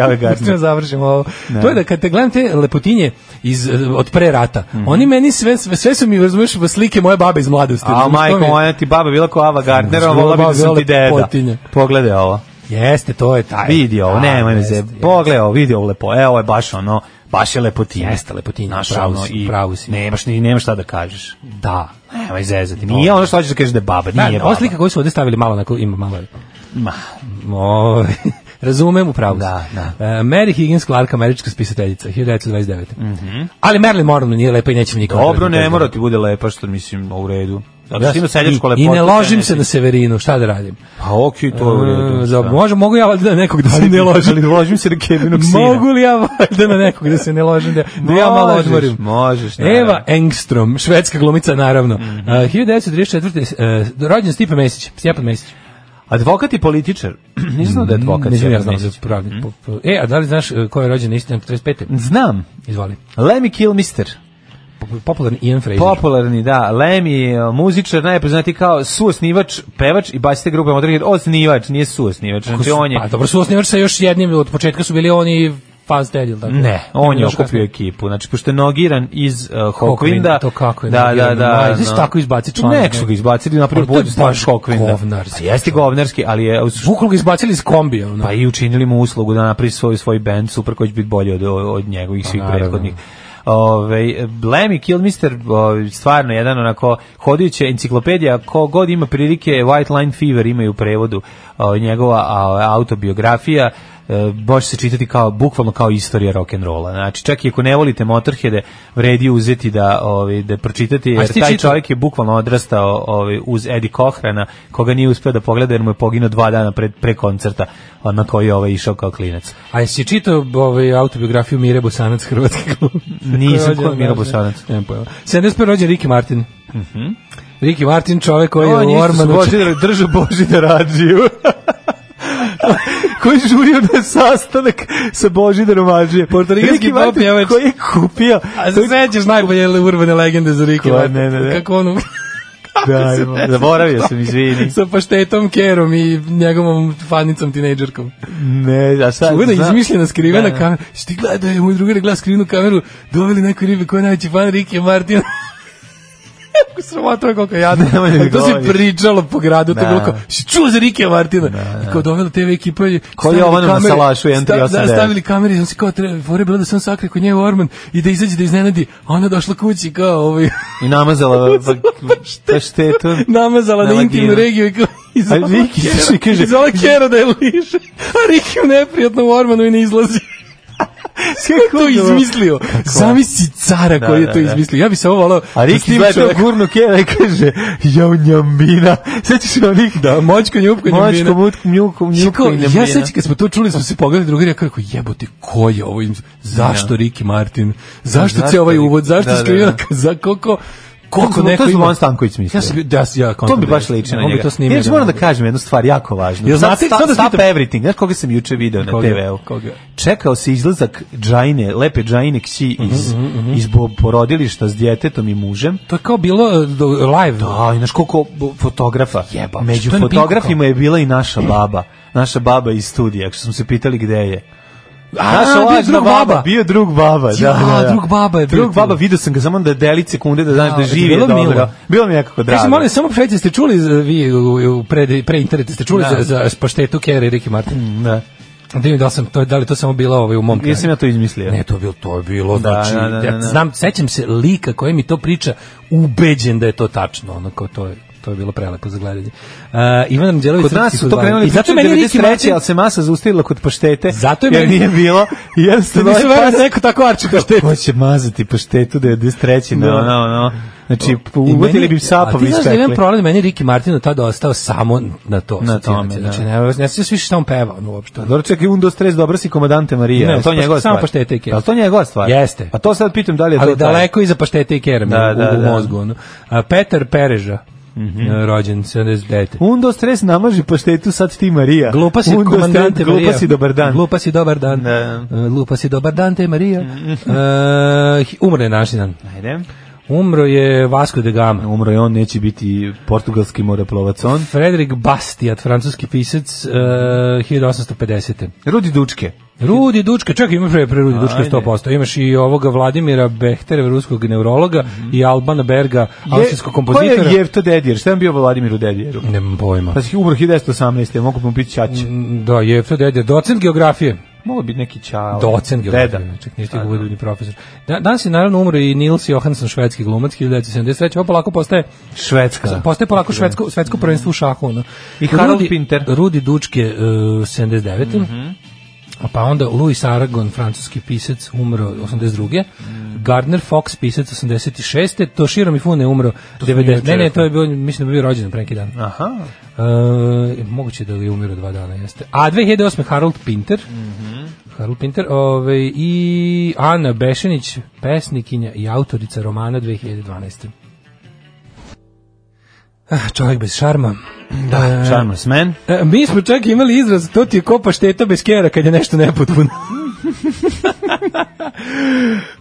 E: Ave Gardner.
F: Pusti me da završim ovo. To je da kad te gledam te lepotinje iz, eh, od pre rata,
E: Mhm.
F: oni meni sve, sve, sve su mi, razumiješ, slike moje babe iz mladosti.
E: A
F: Razumeš, to
E: majko
F: mi je-
E: moja ti baba bila kao Ava Gardner,
F: Zgodba,
E: volila bi da sam ti
F: bila
E: deda.
F: lepotinja.
E: Pogledaj ovo.
F: Jeste, to je taj.
E: Vidi ovo,
F: A,
E: nemoj me
F: jeste,
E: zeb. Pogledaj ovo, vidi ovo lepo. E, ovo je baš ono, baš je lepotinja.
F: Jeste lepotinja,
E: Znaš,
F: pravo
E: ono,
F: si,
E: i
F: pravo si.
E: Nemaš, ni, nemaš šta da kažeš.
F: Da.
E: Pa, Nemoj zezati. Nije ono što hoćeš da kažeš da je baba,
F: Da,
E: nije
F: ova
E: baba.
F: slika koju su ovde stavili malo, onako, ima malo.
E: Ma,
F: Ove, Ovaj, razumem u pravu. si.
E: Da, da.
F: E, Mary Higgins Clark, američka spisateljica, 1929. Ali Marilyn Monroe nije lepa i nećemo nikada.
E: Mhm. Dobro, ne mora ti bude lepa, što mislim, u redu. Zato što ima seljačko
F: I-
E: lepotu.
F: I ne ložim
E: ne
F: se
E: si-
F: na severinu, šta da radim?
E: Pa okej, to je u redu.
F: E,
E: šta?
F: za, može, mogu ja valjda na nekog da se ne ložim?
E: Ali ložim se na Kevinog sina.
F: Mogu li ja valjda na nekog da se ne ložim, da, da ja malo
E: Možeš,
F: odmorim?
E: možeš, naravno. Mhm.
F: Eva Engstrom, švedska glumica, naravno. Mm -hmm. 1934. Uh, rođen Stipe Mesić, Stjepan Mesić.
E: Advokat i političar. Nisam znao da je advokat.
F: Ne znam, ja znam
E: Stjepan
F: za
E: Mesić. Mhm.
F: pravnik. Po- po- E, a da li znaš e, ko je rođen na istinu 35.
E: Znam.
F: Izvoli.
E: Lemmy Kilmister.
F: Pop- Popularni Ian Fraser.
E: Popularni, da. Lemmy je muzičar, najpoznati kao suosnivač, pevač i basite grupe Motorhead. Osnivač, nije suosnivač. Znači on je...
F: Pa dobro, su osnivač sa još jednim, od početka su bili oni i Fast Dead, ili tako?
E: Ne, on je
F: Još
E: okupio
F: kasnije.
E: ekipu. Znači, pošto je nogiran iz
F: Hokvinda,
E: uh, Hokvinda.
F: to kako je
E: Da, da,
F: nogiran,
E: da.
F: ma, znaš tako izbaci članak,
E: Nek su ga
F: ne?
E: izbacili, napravili
F: Ali to je
E: bolju stavu
F: baš
E: Hokvinda.
F: govnarski
E: Pa jeste
F: čovek.
E: govnarski, ali je... u suštini-
F: Bukvalno ga izbacili iz kombija. Ono.
E: Pa i učinili mu uslugu da napravi svoj, svoj band, super koji će biti bolji od, od njegovih svih
F: Pa naravno.
E: prethodnih. Ovaj Lemmy Kill Mister ovaj, stvarno jedan onako hodajuća enciklopedija ko god ima prilike White Line Fever imaju u prevodu ovaj, njegova a, autobiografija e, može se čitati kao bukvalno kao istorija rock and rolla. Znači čak i ako ne volite Motorheade, vredi uzeti da ovaj da pročitate jer
F: jesi ti
E: taj
F: čitao?
E: čovjek je bukvalno odrastao ovaj uz Eddie Cochrana, koga nije uspio da pogleda jer mu je poginuo dva dana pre, pre koncerta a na koji je ovaj išao kao klinac.
F: A jesi čitao ovaj autobiografiju Mire Bosanac hrvatski glumice?
E: Nisam,
F: Koja je rođena,
E: ko je Mira
F: da,
E: Bosanac?
F: Nemam pojma. 71. rođen Ricky Martin. Mhm. Ricky Martin, čovek koji je
E: On
F: u
E: je
F: Ormanu.
E: Božidar, drža Božidar Adžiju. koji žurio na sastanak sa Božidarom Adžije.
F: Portorikanski
E: Ricky Martin
F: pop pjevač.
E: Koji je kupio...
F: A se sećaš najbolje urbane legende za Ricky
E: Ko-
F: Martin?
E: ne, ne, ne.
F: Kako on
E: Da, evo, zaboravio sam, izvini.
F: sa paštetom Kerom i njegovom fanicom tinejdžerkom.
E: Ne, a sad...
F: Čuvena
E: zna-
F: izmišljena skrivena
E: Da, da.
F: kamera. Šti gleda da je moj drugar gleda skrivenu kameru, doveli neku ribe koja je najveći fan Rikija Martina. Kako sramota je koliko je jadno.
E: Nemoj da mi
F: A to se
E: govoriš.
F: pričalo po gradu, to je
E: Da.
F: bilo kao, si čuo za Rikija Martina? I kao dovela TV ekipa i
E: Ko je
F: stavili
E: Jovanu na
F: kamere,
E: salašu, 1389?
F: sta- Da, stavili kamere i on se kao, treba, fora je bila da sam sakri kod nje u Orman i da izađe da iznenadi, a ona je došla kući kao, ovaj,
E: I namazala pa, pa štetu.
F: namazala
E: Na
F: na intimnu
E: vaginu.
F: regiju i kao, i zvala
E: A Riki
F: Kera-
E: izašao i kaže-
F: i zvala Kera da je liže, a Riki u neprijatno u Ormanu i ne izlazi. Ko je to izmislio? Zamisli cara koji
E: Da,
F: je
E: da,
F: to
E: da.
F: izmislio. Ja bi se ovo volao
E: A
F: da s
E: Riki
F: tim
E: gledao
F: čovekom-
E: gurnu kjera i kaže, jao njambina. Sećaš se onih?
F: Da, moćko njupko
E: Močko,
F: njubina.
E: mutko, mjuko, mjuko i njambina.
F: ja sećam kad smo to čuli, smo se pogledali drugari, ja kako jebote, ko je ovo? izmislio? Zašto Riki Martin? Zašto
E: zašto
F: ceo ovaj
E: Ricky?
F: uvod? Zašto
E: Da,
F: da,
E: da,
F: skrivena
E: da.
F: za koliko
E: To
F: koliko
E: je
F: neko
E: Zvonko
F: ima?
E: Stanković mislio.
F: Ja sam bio- da, ja
E: To bi baš ličilo na njega.
F: to snimio.
E: Inače moram da kažem jednu stvar jako važnu.
F: Jel
E: Sad
F: znate-
E: sta-
F: sad da
E: stop
F: pitam-
E: everything. Znaš koga sam juče video na
F: Koga?
E: TV-u?
F: Koga?
E: Čekao se izlazak Džajne, lepe Džajne kći
F: Mhm,
E: iz, iz bo- porodilišta s djetetom i mužem.
F: To je kao bilo e, do- live.
E: Da, i znaš koliko bo- fotografa.
F: Jeba,
E: Među
F: što je na Pinku
E: fotografima je bila i naša baba. Naša baba iz studija, što smo se pitali gde je.
F: A,
E: Naša
F: bio
E: lažna
F: drug
E: baba,
F: baba.
E: Bio drug baba, da,
F: Ja,
E: da, da.
F: drug baba je bio
E: Drug
F: tu.
E: baba, vidio sam ga samo da deli sekunde da znaš
F: Ja,
E: da
F: je
E: živi
F: bilo
E: dobro.
F: milo.
E: Bilo mi je nekako drago.
F: Mislim, molim, samo preći ste čuli za- vi u, u pre, pre internetu, ste čuli
E: Da. Mm.
F: za, za paštetu Kera i Ricky Martin?
E: Da.
F: Da vidim da li sam to da li to samo bilo ovaj u mom kraju.
E: Jesam ja to izmislio.
F: Ne, to je bilo, to je bilo,
E: Da,
F: znači,
E: da, da, da,
F: ja
E: da.
F: znam, sećam se lika koji mi to priča, ubeđen da je to tačno, onako, to je, to je bilo prelepo za gledanje. Uh, Ivan Anđelović
E: Kod nas su to krenuli
F: I zato
E: pričati
F: meni Ricky
E: 93.
F: Martin,
E: ali se masa zaustavila kod paštete.
F: Zato je
E: jer
F: meni-
E: nije bilo. I jednostavno
F: nisam
E: ovaj
F: verujem da
E: pas-
F: neko tako arči paštetu.
E: Ko će mazati paštetu da je 93. No,
F: Da.
E: no, no. Znači,
F: I
E: ugotili
F: meni-
E: bi psa pa
F: A ti
E: bi
F: znaš da imam
E: ispekli.
F: problem, meni je Ricky Martin od tada ostao samo na to.
E: Na
F: asocijacija.
E: tome, da.
F: Znači, ne, ne, ne sjećam se više šta on peva, on uopšte.
E: Dobro, čekaj, un, dos, tres, dobro si komadante Marija.
F: Ne,
E: Ne, to
F: pa-
E: njegova stvar.
F: samo paštete i keš.
E: Ali to njegova stvar.
F: Jeste.
E: A to sad pitam da li je to
F: ali
E: taj-
F: daleko iza paštete i kerame
E: Da,
F: u,
E: da,
F: u
E: da. Mhm.
F: mozgu. ono. A, Petar Pereža, rođen 79.
E: Un, dos, tres, namaži paštetu, sad ti Marija.
F: Glupa si
E: Un, dos, tres,
F: komandante Marija.
E: Glupa si, dobar dan.
F: Glupa si dobar dan.
E: Da.
F: E, Glupa si dobar dan te Marija. E, hi- umro je naš dan.
E: Ajde.
F: Umro je Vasco de Gama.
E: Umro je on, neće biti portugalski moreplovac on.
F: Frederik Bastiat, francuski pisac, e, 1850.
E: Rudi Dučke.
F: Rudi Dučka, čekaj, imaš pre, pre Rudi Dučka
E: Ajde.
F: 100%. Imaš i ovoga Vladimira Behtereva, ruskog neurologa, i Albana Berga, austrijskog kompozitora.
E: Ko Mhm. je Jevto Dedijer? Šta je on bio Vladimiru Dedijeru?
F: Nemam pojma.
E: Pa si umro 1918. Mogu bi mu biti Ćać.
F: Mm. Da, je to dede, docent geografije.
E: Mogu biti neki Ćao.
F: Docent
E: Deda.
F: geografije, čak nisi ti govorio ni profesor. Da, danas je naravno umro i Nils Johansson, švedski glumac, 1973. Ovo polako postaje,
E: Švedska.
F: postaje polako švedsko, svetsko prvenstvo u šahu. Ono.
E: I Harald
F: Rudi-
E: Pinter. Mhm.
F: Rudi Dučke, uh, 79. A Pa onda Louis Aragon, francuski pisac, umro 82.
E: Mhm.
F: Gardner Fox, pisac 86. Toshiro Mifune umro 90. Ne, ne, to je bio, mislim da bi bio rođen pre neki dan.
E: Aha.
F: E, moguće da je umiru dva dana, jeste. A 2008. Harold Pinter. Harold Pinter ovaj, i Ana Bešenić, pesnikinja i autorica romana 2012. Ah, čovjek bez šarma. Da,
E: Charmless man.
F: E, mi smo čak imali izraz, to ti je kopa šteta bez kjera kad je nešto nepotpuno.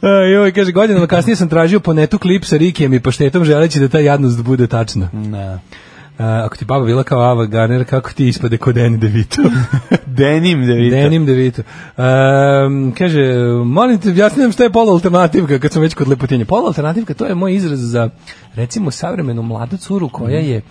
F: E, I ovaj kaže, godinama kasnije sam tražio po netu klip sa Rikijem i paštetom želeći da ta jadnost bude tačna.
E: Da.
F: E, ako ti baba bila kao Ava Garner, kako ti ispade ko Danny DeVito?
E: Denim Devito.
F: Denim DeVito. Um, kaže, molim te, objasni nam šta je polualternativka, kad sam već
E: Mhm.
F: kod lepotinje. Polualternativka, to je moj izraz za, recimo, savremenu mladu curu koja je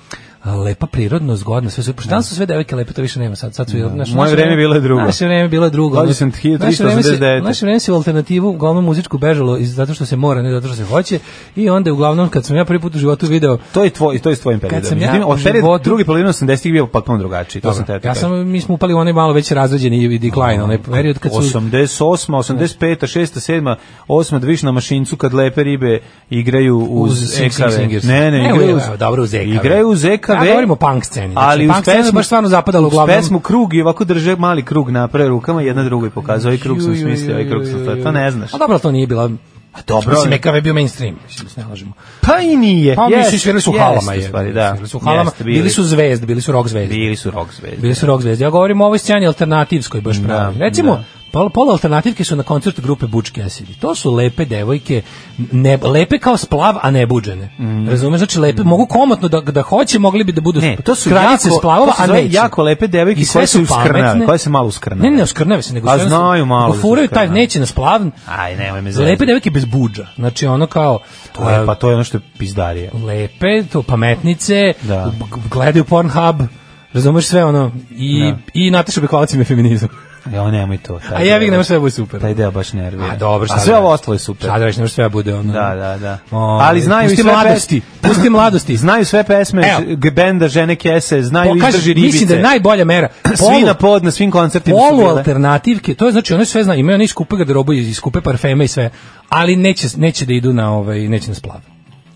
F: lepa, prirodno, zgodna, sve super. Danas su sve devojke lepe, to više nema sad. Sad su da. naš,
E: Moje vreme bilo je drugo.
F: Naše vreme bilo je drugo.
E: Rođen sam 1389.
F: Naše vreme se- Naše vreme se u alternativu uglavnom muzičku bežalo iz, zato što se mora, ne zato što se hoće. I onda uglavnom kad sam ja prvi put u životu video
E: To je tvoj, to je s tvojim periodom.
F: sam ja
E: Međutim,
F: u
E: od period
F: životu-
E: drugi polovina 80-ih bio potpuno drugačiji. To sam te
F: Dobro,
E: eto
F: ja
E: kažem.
F: sam, mi smo upali u onaj malo već razređeni i decline, onaj period kad su...
E: 88, 85, 6, 7, 8, da vidiš na mašincu kad lepe ribe igraju uz,
F: Uz Sing Sing
E: ekave.
F: Singers.
E: Ne, ne,
F: Ne,
E: igraju
F: u- dobro, uz ekave.
E: Igraju uz ekave.
F: Ja govorim o punk sceni, znači,
E: Ali
F: punk
E: uz
F: scena je
E: pesmu,
F: baš stvarno zapadala
E: uz
F: uglavnom-
E: pesmu krug i ovako drže mali krug naprave rukama, jedna drugoj pokazuje. Ovaj krug sam
F: Ju, ju,
E: smislio, ovaj
F: ju,
E: krug
F: ju,
E: sam
F: ju,
E: to.
F: ju.
E: To ne znaš.
F: A dobro, to nije bila...
E: A dobro,
F: Mislim,
E: ne.
F: EKV je bio mainstream, mislim, se ne lažemo.
E: Pa i nije.
F: Pa
E: Jeste,
F: mislim, svirali su u
E: jeste,
F: halama. Je,
E: u stvari, da.
F: Svirali su u halama,
E: Jeste,
F: bili su zvezde, bili su rock zvezde.
E: Bili su rock zvezde.
F: Bili su rock zvezde. Ja govorim o ovoj sceni alternativskoj baš pravi. Recimo,
E: da.
F: Pol, pol alternativke su na koncertu grupe Butch Cassidy. To su lepe devojke, ne, lepe kao splav, a ne buđene. Razumeš? Znači, lepe, mogu komotno da, da hoće, mogli bi da budu
E: Mhm. Ne, to su
F: kraljice
E: jako,
F: splavova,
E: to su
F: a
E: zove
F: neće.
E: jako lepe devojke
F: I sve
E: koje se
F: su
E: uskrnave,
F: pametne.
E: koje se malo uskrnave.
F: Ne, ne, uskrnave se, nego
E: A
F: jednostavno-
E: znaju malo
F: nego furaju
E: se
F: taj,
E: uskrnave.
F: neće na splav.
E: Aj, nemoj me zezati.
F: Lepe devojke bez buđa. Znači, ono kao...
E: To je,
F: a,
E: pa to je ono što je pizdarija.
F: lepe, to pametnice,
E: Da.
F: g- g- gledaju Pornhub, razumeš sve ono, i, i Nataša Bekvalac im je feminizam.
E: Ja, ono, nemoj to. taj
F: A jebi
E: deo.
F: ga, ne može sve da bude super.
E: Taj deo baš nervira.
F: A dobro,
E: A
F: sad
E: sve
F: da-
E: ovo ostalo je super.
F: Sad da već ne može sve da bude ono.
E: Da, da, da.
F: Ove,
E: Ali znaju i
F: pusti
E: sve
F: mladosti,
E: pesme.
F: pusti mladosti.
E: Znaju sve pesme,
F: Evo.
E: ž- benda Žene Kese, znaju
F: Po-
E: izdrži
F: kažem,
E: ribice.
F: mislim da je najbolja mera.
E: Svi
F: Polu-
E: na pod, na svim koncertima su
F: polu
E: bile.
F: alternativke, to je znači one sve znaju, imaju one iskupe garderobu i iskupe parfeme i sve, ali neće, neće da idu na ovaj, neće na splav.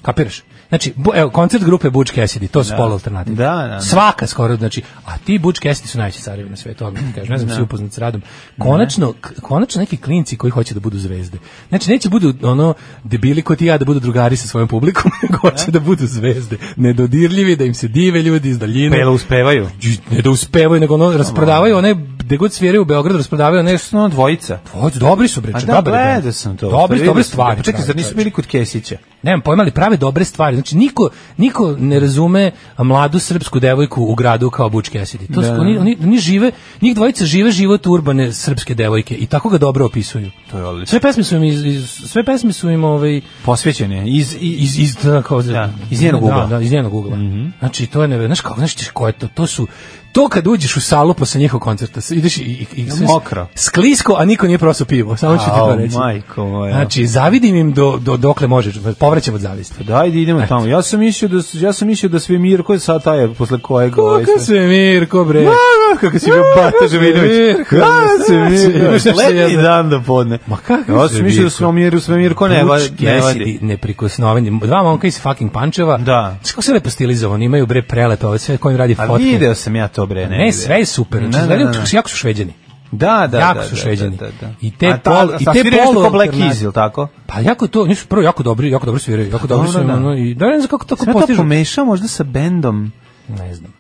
F: Kapiraš? Znači, bu, evo, koncert grupe Butch Cassidy, to su da. polu alternative.
E: Da, da, da.
F: Svaka skoro, znači, a ti Butch Cassidy su najveći carevi na svetu, odmah ti kažem, ne znam, da. si upoznat s radom. Konačno, k- konačno neki klinci koji hoće da budu zvezde. Znači, neće budu, ono, debili ko ti i ja da budu drugari sa svojom publikom, nego hoće da budu zvezde. Nedodirljivi, da im se dive ljudi iz daljine
E: Pela uspevaju.
F: ne da uspevaju, nego ono rasprodavaju one, gde god sviraju u Beogradu, rasprodavaju one
E: Ono dvojica.
F: Hoću, dobri su bre,
E: A da,
F: Znači, dobar je bend.
E: gledao sam to.
F: Dobri,
E: Vidio
F: dobre
E: sam.
F: stvari.
E: Pa Čekaj, zar
F: pravi,
E: nisu
F: čoveče.
E: bili kod Kesića?
F: Nemam pojma, ali prave dobre stvari. Znači, niko, niko ne razume mladu srpsku devojku u gradu kao Bučke Esidi. To su, oni, oni, oni žive, njih dvojica žive život urbane srpske devojke i tako ga dobro opisuju.
E: To je odlično.
F: Sve pesme su im, iz, iz, sve pesme su im ovaj,
E: Posvećen je. Iz,
F: iz iz da, kao,
E: Da, Mhm. iz njenog ugla.
F: Da, da, iz njenog ugla. Znači to je ne, znaš kako, znaš ti ko je to? To su to kad uđeš u salu posle njihovog koncerta, s- ideš i, i, i sve s-
E: Mokro.
F: Sklisko, a niko nije prosao pivo. Samo ću ti
E: Au,
F: to reći.
E: majko moja.
F: Znači zavidim im do, do dokle možeš, povraćam od zavisti.
E: Da, ajde idemo tamo. Ja sam mislio da ja sam mislio da sve mir koji sad taj posle kojeg ovaj
F: Kako se Mirko bre?
E: A, kako si bio Bata Živinović.
F: Mirko,
E: Kako si
F: Mirko, imaš
E: bio?
F: nešto
E: Letni
F: jezno.
E: dan do podne.
F: Ma kako
E: Ja
F: si
E: sam mislio
F: Mirko?
E: da smo mir u svemiru ko ne vadi.
F: Vučki,
E: Ne
F: Esidi,
E: vadi.
F: neprikosnoveni. Dva momka iz fucking Pančeva.
E: Da.
F: Znaš kako se lepo stilizovani, imaju bre prelepe, ove sve kojim radi
E: A
F: fotke.
E: video sam ja to bre, ne.
F: Ne,
E: ide.
F: sve je super. Znači,
E: Ne, ne,
F: izgledaju
E: ne, ne.
F: jako su šveđani.
E: Da, da,
F: jako
E: da,
F: su
E: da,
F: šveđani.
E: da, da, da.
F: I te
E: A ta-
F: pol-
E: a
F: i
E: sad
F: te
E: sviraju nešto
F: polu
E: ko Black
F: alternativ-
E: Keys, jel tako?
F: Pa jako to, nisu prvo jako dobri, jako dobro sviraju, jako dobro
E: dobro,
F: su im,
E: da.
F: ono, i da ne znam kako tako
E: Sve to
F: postižu.
E: pomešao možda sa bendom.
F: Ne znam.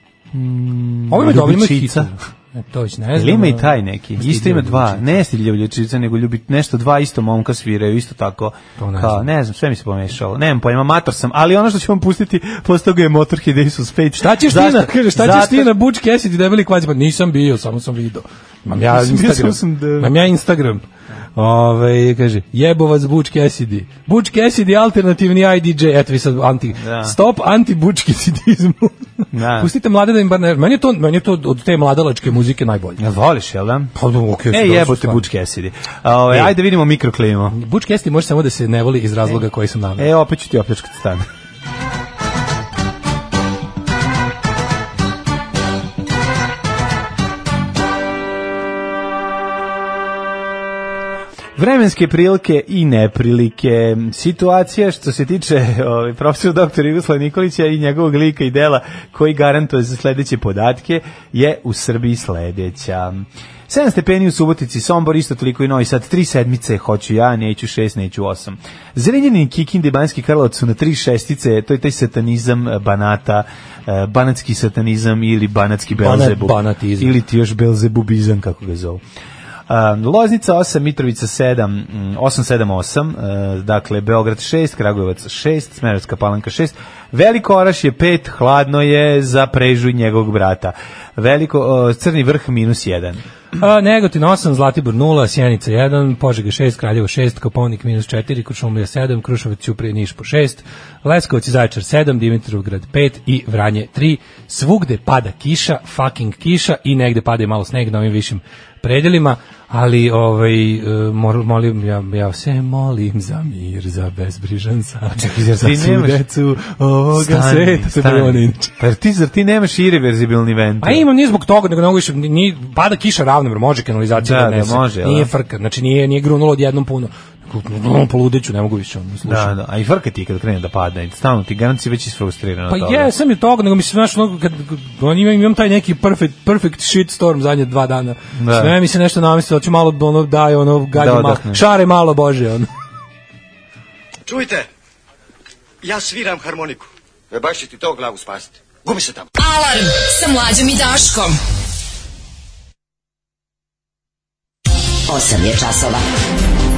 F: Ovo ima dobro, ima
E: Mm, Ljubičica.
F: hitu. E, To već ne znam.
E: Ili ima i
F: ono.
E: taj neki. Isto
F: Stidljiva
E: ima dva,
F: Ljubičica.
E: ne stilja ljubičica, nego ljubi nešto dva isto momka sviraju, isto tako.
F: To ne
E: Kao,
F: znam.
E: ne znam, sve mi se pomešalo. Nemam pojma, mator sam, ali ono što ću vam pustiti posle toga je Motorhead i Isus Fate.
F: Šta ćeš ti na, kaže, šta ćeš ti
E: Zato-
F: na Butch Cassidy debeli kvađi? Pa nisam bio, samo sam video. Mam ja
E: Nisam bio,
F: Instagram.
E: samo sam da-
F: Mam ja Instagram. Ove, kaže, jebo vas Butch Cassidy. Butch Cassidy alternativni IDJ. Eto vi sad anti,
E: Da.
F: stop anti Butch Cassidizmu.
E: Da.
F: Pustite mlade da im bar ne... Meni je to, meni je to od te mladalačke muzike najbolje.
E: Ja voliš, jel da?
F: Pa, dobro, okej,
E: E,
F: dobro,
E: jebote
F: stvarno.
E: Butch Cassidy. A, ovaj,
F: E.
E: Ajde vidimo mikroklimu.
F: Butch Cassidy može samo da se ne voli iz razloga koji sam naveo.
E: E, opet ću ti opljačkati stan. Vremenske prilike i neprilike. Situacija što se tiče ovaj, profesora doktora Jugoslava Nikolića i njegovog lika i dela koji garantuje za sledeće podatke je u Srbiji sledeća. 7 stepeni u Subotici, Sombor isto toliko i Novi Sad, 3 sedmice hoću ja, neću 6, neću 8. Zrenjanin, Kikin, Banjski Karlovac su na 3 šestice, to je taj satanizam eh, Banata, eh, banatski satanizam ili banatski
F: Banat-
E: Belzebub.
F: banatizam.
E: Ili ti još Belzebubizam, kako ga zovu. Um, Loznica 8, Mitrovica 7, mm, 878, uh, dakle Beograd 6, Kragujevac 6, Smerovska palanka 6, Veliko Oraš je 5, hladno je za prežu njegovog brata. Veliko, o, crni vrh minus 1.
F: A, Negotin 8, Zlatibor 0, Sjenica 1, Požega 6, Kraljevo 6, Koponik minus 4, Kuršumlija 7, Kruševac Ćuprije Niš po 6, Leskovac i Zaječar 7, Dimitrovgrad 5 i Vranje 3. Svugde pada kiša, fucking kiša i negde pada i malo sneg na ovim višim predelima, ali ovaj e, mor- molim ja ja se molim za mir, za bezbrižan san. Čekaj, za
E: ti
F: svu
E: nemaš-
F: decu ovoga sveta, to je bilo ono inače.
E: Pa jer ti, zar ti nemaš irreverzibilni vent?
F: A imam Pa nije zbog toga, nego ne mogu više, ni, pada kiša ravno, bre, može kanalizacija
E: Da,
F: da,
E: da,
F: odnese.
E: može,
F: Nije
E: da.
F: frka, znači nije, nije grunulo odjednom puno. Ono poludeću, ne mogu više ono slušati.
E: Da, da, a i frka ti je kad krene da padne, stalno ti garanti si već isfrustriran od
F: Pa
E: toga.
F: jesam i toga, nego mi se znaš, ono, kad, on imam, imam taj neki perfect, perfect shitstorm zadnje dva dana.
E: Da.
F: Sve mi se nešto namislio, hoću malo, ono, daj, ono, gađe
E: Da,
F: malo,
E: odahne.
F: šare malo, bože, ono.
C: Čujte, ja sviram harmoniku. E baš će ti to glavu spasiti. Gubi se tamo.
I: Alarm sa mlađom i Daškom.
K: 8 je časova.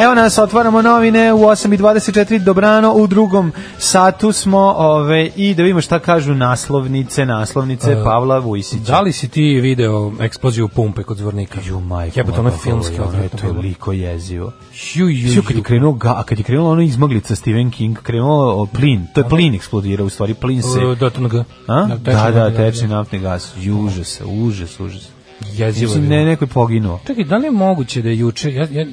E: Evo nas, otvaramo novine u 8.24, dobrano, u drugom satu smo ove, i da vidimo šta kažu naslovnice, naslovnice Pavla Vujsića.
F: Da li si ti video eksploziju pumpe kod zvornika?
E: Ju, majko,
F: Jebote, ono je filmski
E: ono je
F: odvratno bilo.
E: toliko jezivo.
F: Ju, ju,
E: Sio kad je
F: ju.
E: krenuo, ga, a kad je krenulo ono izmaglica Stephen King, krenuo o, plin, to je plin eksplodirao, u stvari plin se...
F: E, Da, to na G.
E: A?
F: Na tečni
E: Da, da,
F: vodi,
E: tečni naftni gas. Juže se, užas, užas.
F: Jezivo je
E: Mislim,
F: bilo.
E: ne, neko je poginuo.
F: Čekaj, da li je moguće da je juče, ja, ja,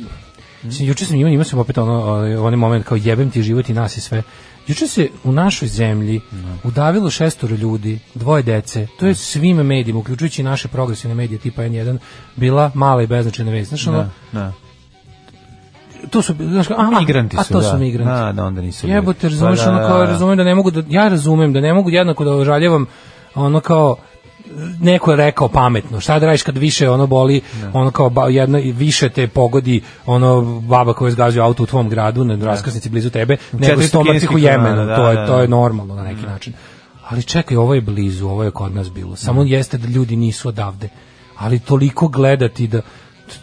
F: mislim, juče sam imao, imao sam opet ono, onaj- onaj moment kao jebem ti život i nas i sve. Juče se u našoj zemlji udavilo šestoro ljudi, dvoje dece, to je svim medijima, uključujući i naše progresivne medije tipa N1, bila mala i beznačajna vez. Znaš, ono,
E: Da, da.
F: to su, znaš, kao, a,
E: Migranti
F: a
E: su,
F: to
E: da.
F: su migranti.
E: Da, da, onda nisu bili.
F: Jebote, razumeš,
E: Pa da,
F: ono
E: da,
F: kao,
E: da.
F: razumem da ne mogu da, ja razumem da ne mogu jednako da ožaljevam ono kao, neko je rekao pametno, šta da radiš kad više ono boli, ono kao ba, jedno, i više te pogodi ono baba koja je zgazio auto u tvom gradu na raskrsnici blizu tebe, nego
E: 400
F: stomak tih u
E: kineskih
F: Jemenu,
E: komada,
F: to,
E: da,
F: je,
E: da,
F: to je
E: da.
F: normalno na
E: Mhm.
F: neki način. Ali čekaj, ovo je blizu, ovo je kod nas bilo. Samo
E: Mhm.
F: jeste da ljudi nisu odavde. Ali toliko gledati da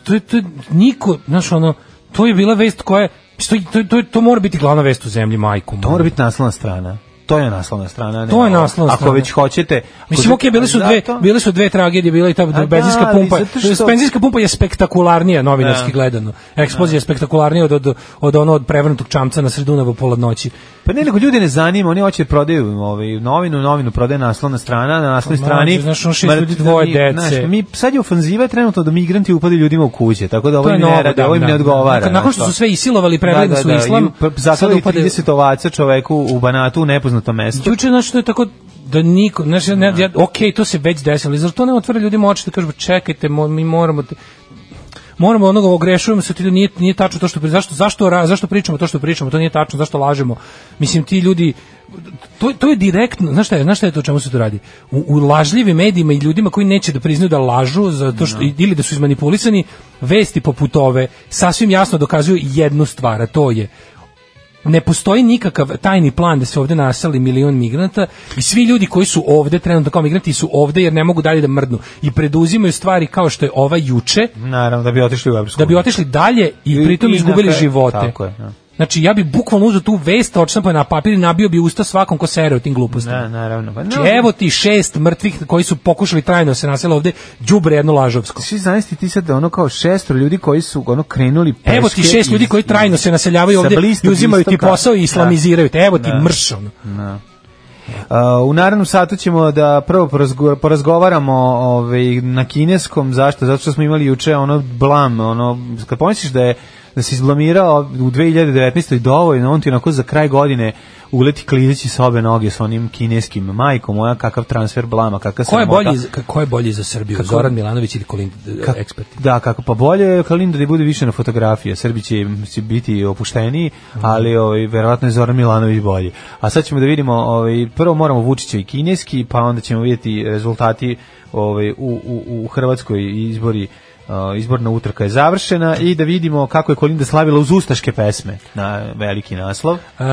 F: to je to je- niko, znaš ono, to je bila vest koja je- to, je- to, je- to, je- to mora biti glavna vest u zemlji, majku.
E: To mora biti naslovna strana. To je naslovna strana. a ne
F: To je
E: ovo.
F: naslovna
E: Ako
F: strana.
E: već hoćete... ako
F: Mislim,
E: žel-
F: okej, bile su
E: Da,
F: dve,
E: to-
F: bile su dve tragedije, bila i ta
E: da,
F: benzinska
E: ali
F: pumpa.
E: zato što-
F: Benzinska pumpa je spektakularnija novinarski gledano. Eksplozija je spektakularnija od, od, od ono od prevrnutog čamca na sredunava pola noći.
E: Pa ne, nego ljudi ne zanima, oni hoće da prodaju ovaj, novinu, novinu prodaje naslovna strana, na naslovnoj
F: Pa,
E: strani...
F: mlađe, znaš, ono šest
E: mrt-
F: ljudi, dvoje
E: mi-
F: dece.
E: znaš, mi, sad je ofanziva trenutno da migranti upadaju ljudima u kuće, tako da ovo
F: To je
E: im
F: novo,
E: ne rade,
F: da,
E: ovo im
F: da,
E: ne
F: da.
E: odgovara.
F: Nakon- nakon što
E: znaš,
F: su
E: to.
F: sve isilovali, prevreli su u islam,
E: i p- Zaklali
F: sad upadaju-
E: pa, 30 ovaca čoveku u Banatu u nepoznatom mestu.
F: Juče znači to je tako da niko, znaš, ja ne, ja, ok, to se već desilo, ali zar to ne otvara ljudima oči da kažu, "Pa čekajte, mo- mi moramo, te- moramo onoga, ogrešujemo se, ti ljudi, nije, nije tačno to što, pri- zašto, zašto, ra- zašto pričamo to što pričamo, to nije tačno, zašto lažemo, mislim, ti ljudi, to, to je direktno, znaš šta je, znaš šta je to o čemu se to radi? U, u lažljivim medijima i ljudima koji neće da priznaju da lažu zato što, ili da su izmanipulisani, vesti poput ove sasvim jasno dokazuju jednu stvar, a to je ne postoji nikakav tajni plan da se ovde naseli milion migranata i svi ljudi koji su ovde trenutno kao migranti su ovde jer ne mogu dalje da mrdnu i preduzimaju stvari kao što je ova juče
E: Naravno, da bi otišli u Evropsku
F: da bi
E: uniju.
F: otišli dalje i
E: I-
F: pritom
E: i
F: izgubili
E: na kraju-
F: živote.
E: tako je, da.
F: Znači ja bi bukvalno uzeo tu vest, odštampao je na papir i nabio bi usta svakom ko sere u tim glupostima.
E: Da, naravno. Pa,
F: Znači, evo ti šest mrtvih koji su pokušali trajno da se nasele ovde, đubre jedno lažovsko.
E: Svi zanesti ti sad ono kao šestro ljudi koji su ono krenuli peške.
F: Evo ti šest ljudi
E: iz-
F: koji trajno se naseljavaju
E: sa
F: ovde i
E: blistog
F: uzimaju ti
E: istoka.
F: posao i islamiziraju te. Evo ti
E: Da.
F: mrš ono.
E: Da. Uh, u narednom satu ćemo da prvo porazgo- porazgovaramo ovaj, na kineskom, zašto? Zato što smo imali juče ono blam, ono, kad pomisliš da je da se izblamirao u 2019. dovoljno, on ti onako za kraj godine uleti klizeći sa obe noge s onim kineskim majkom, moja kakav transfer blama, kakav
F: Ko je
E: sramota.
F: bolji za- ka- ko je bolji za Srbiju?
E: Kako-
F: Zoran Milanović ili Kolin e,
E: Ka-
F: ekspert?
E: Da, kako pa bolje je Kalinda da bude više na fotografije. Srbi će, će biti opušteniji,
F: Mhm.
E: ali ovaj verovatno je Zoran Milanović bolji. A sad ćemo da vidimo, ovaj prvo moramo Vučića i kineski, pa onda ćemo vidjeti rezultati ovaj u, u, u Hrvatskoj i izbori Uh, izborna utrka je završena i da vidimo kako je Kolinda slavila uz ustaške pesme na veliki naslov.
F: A,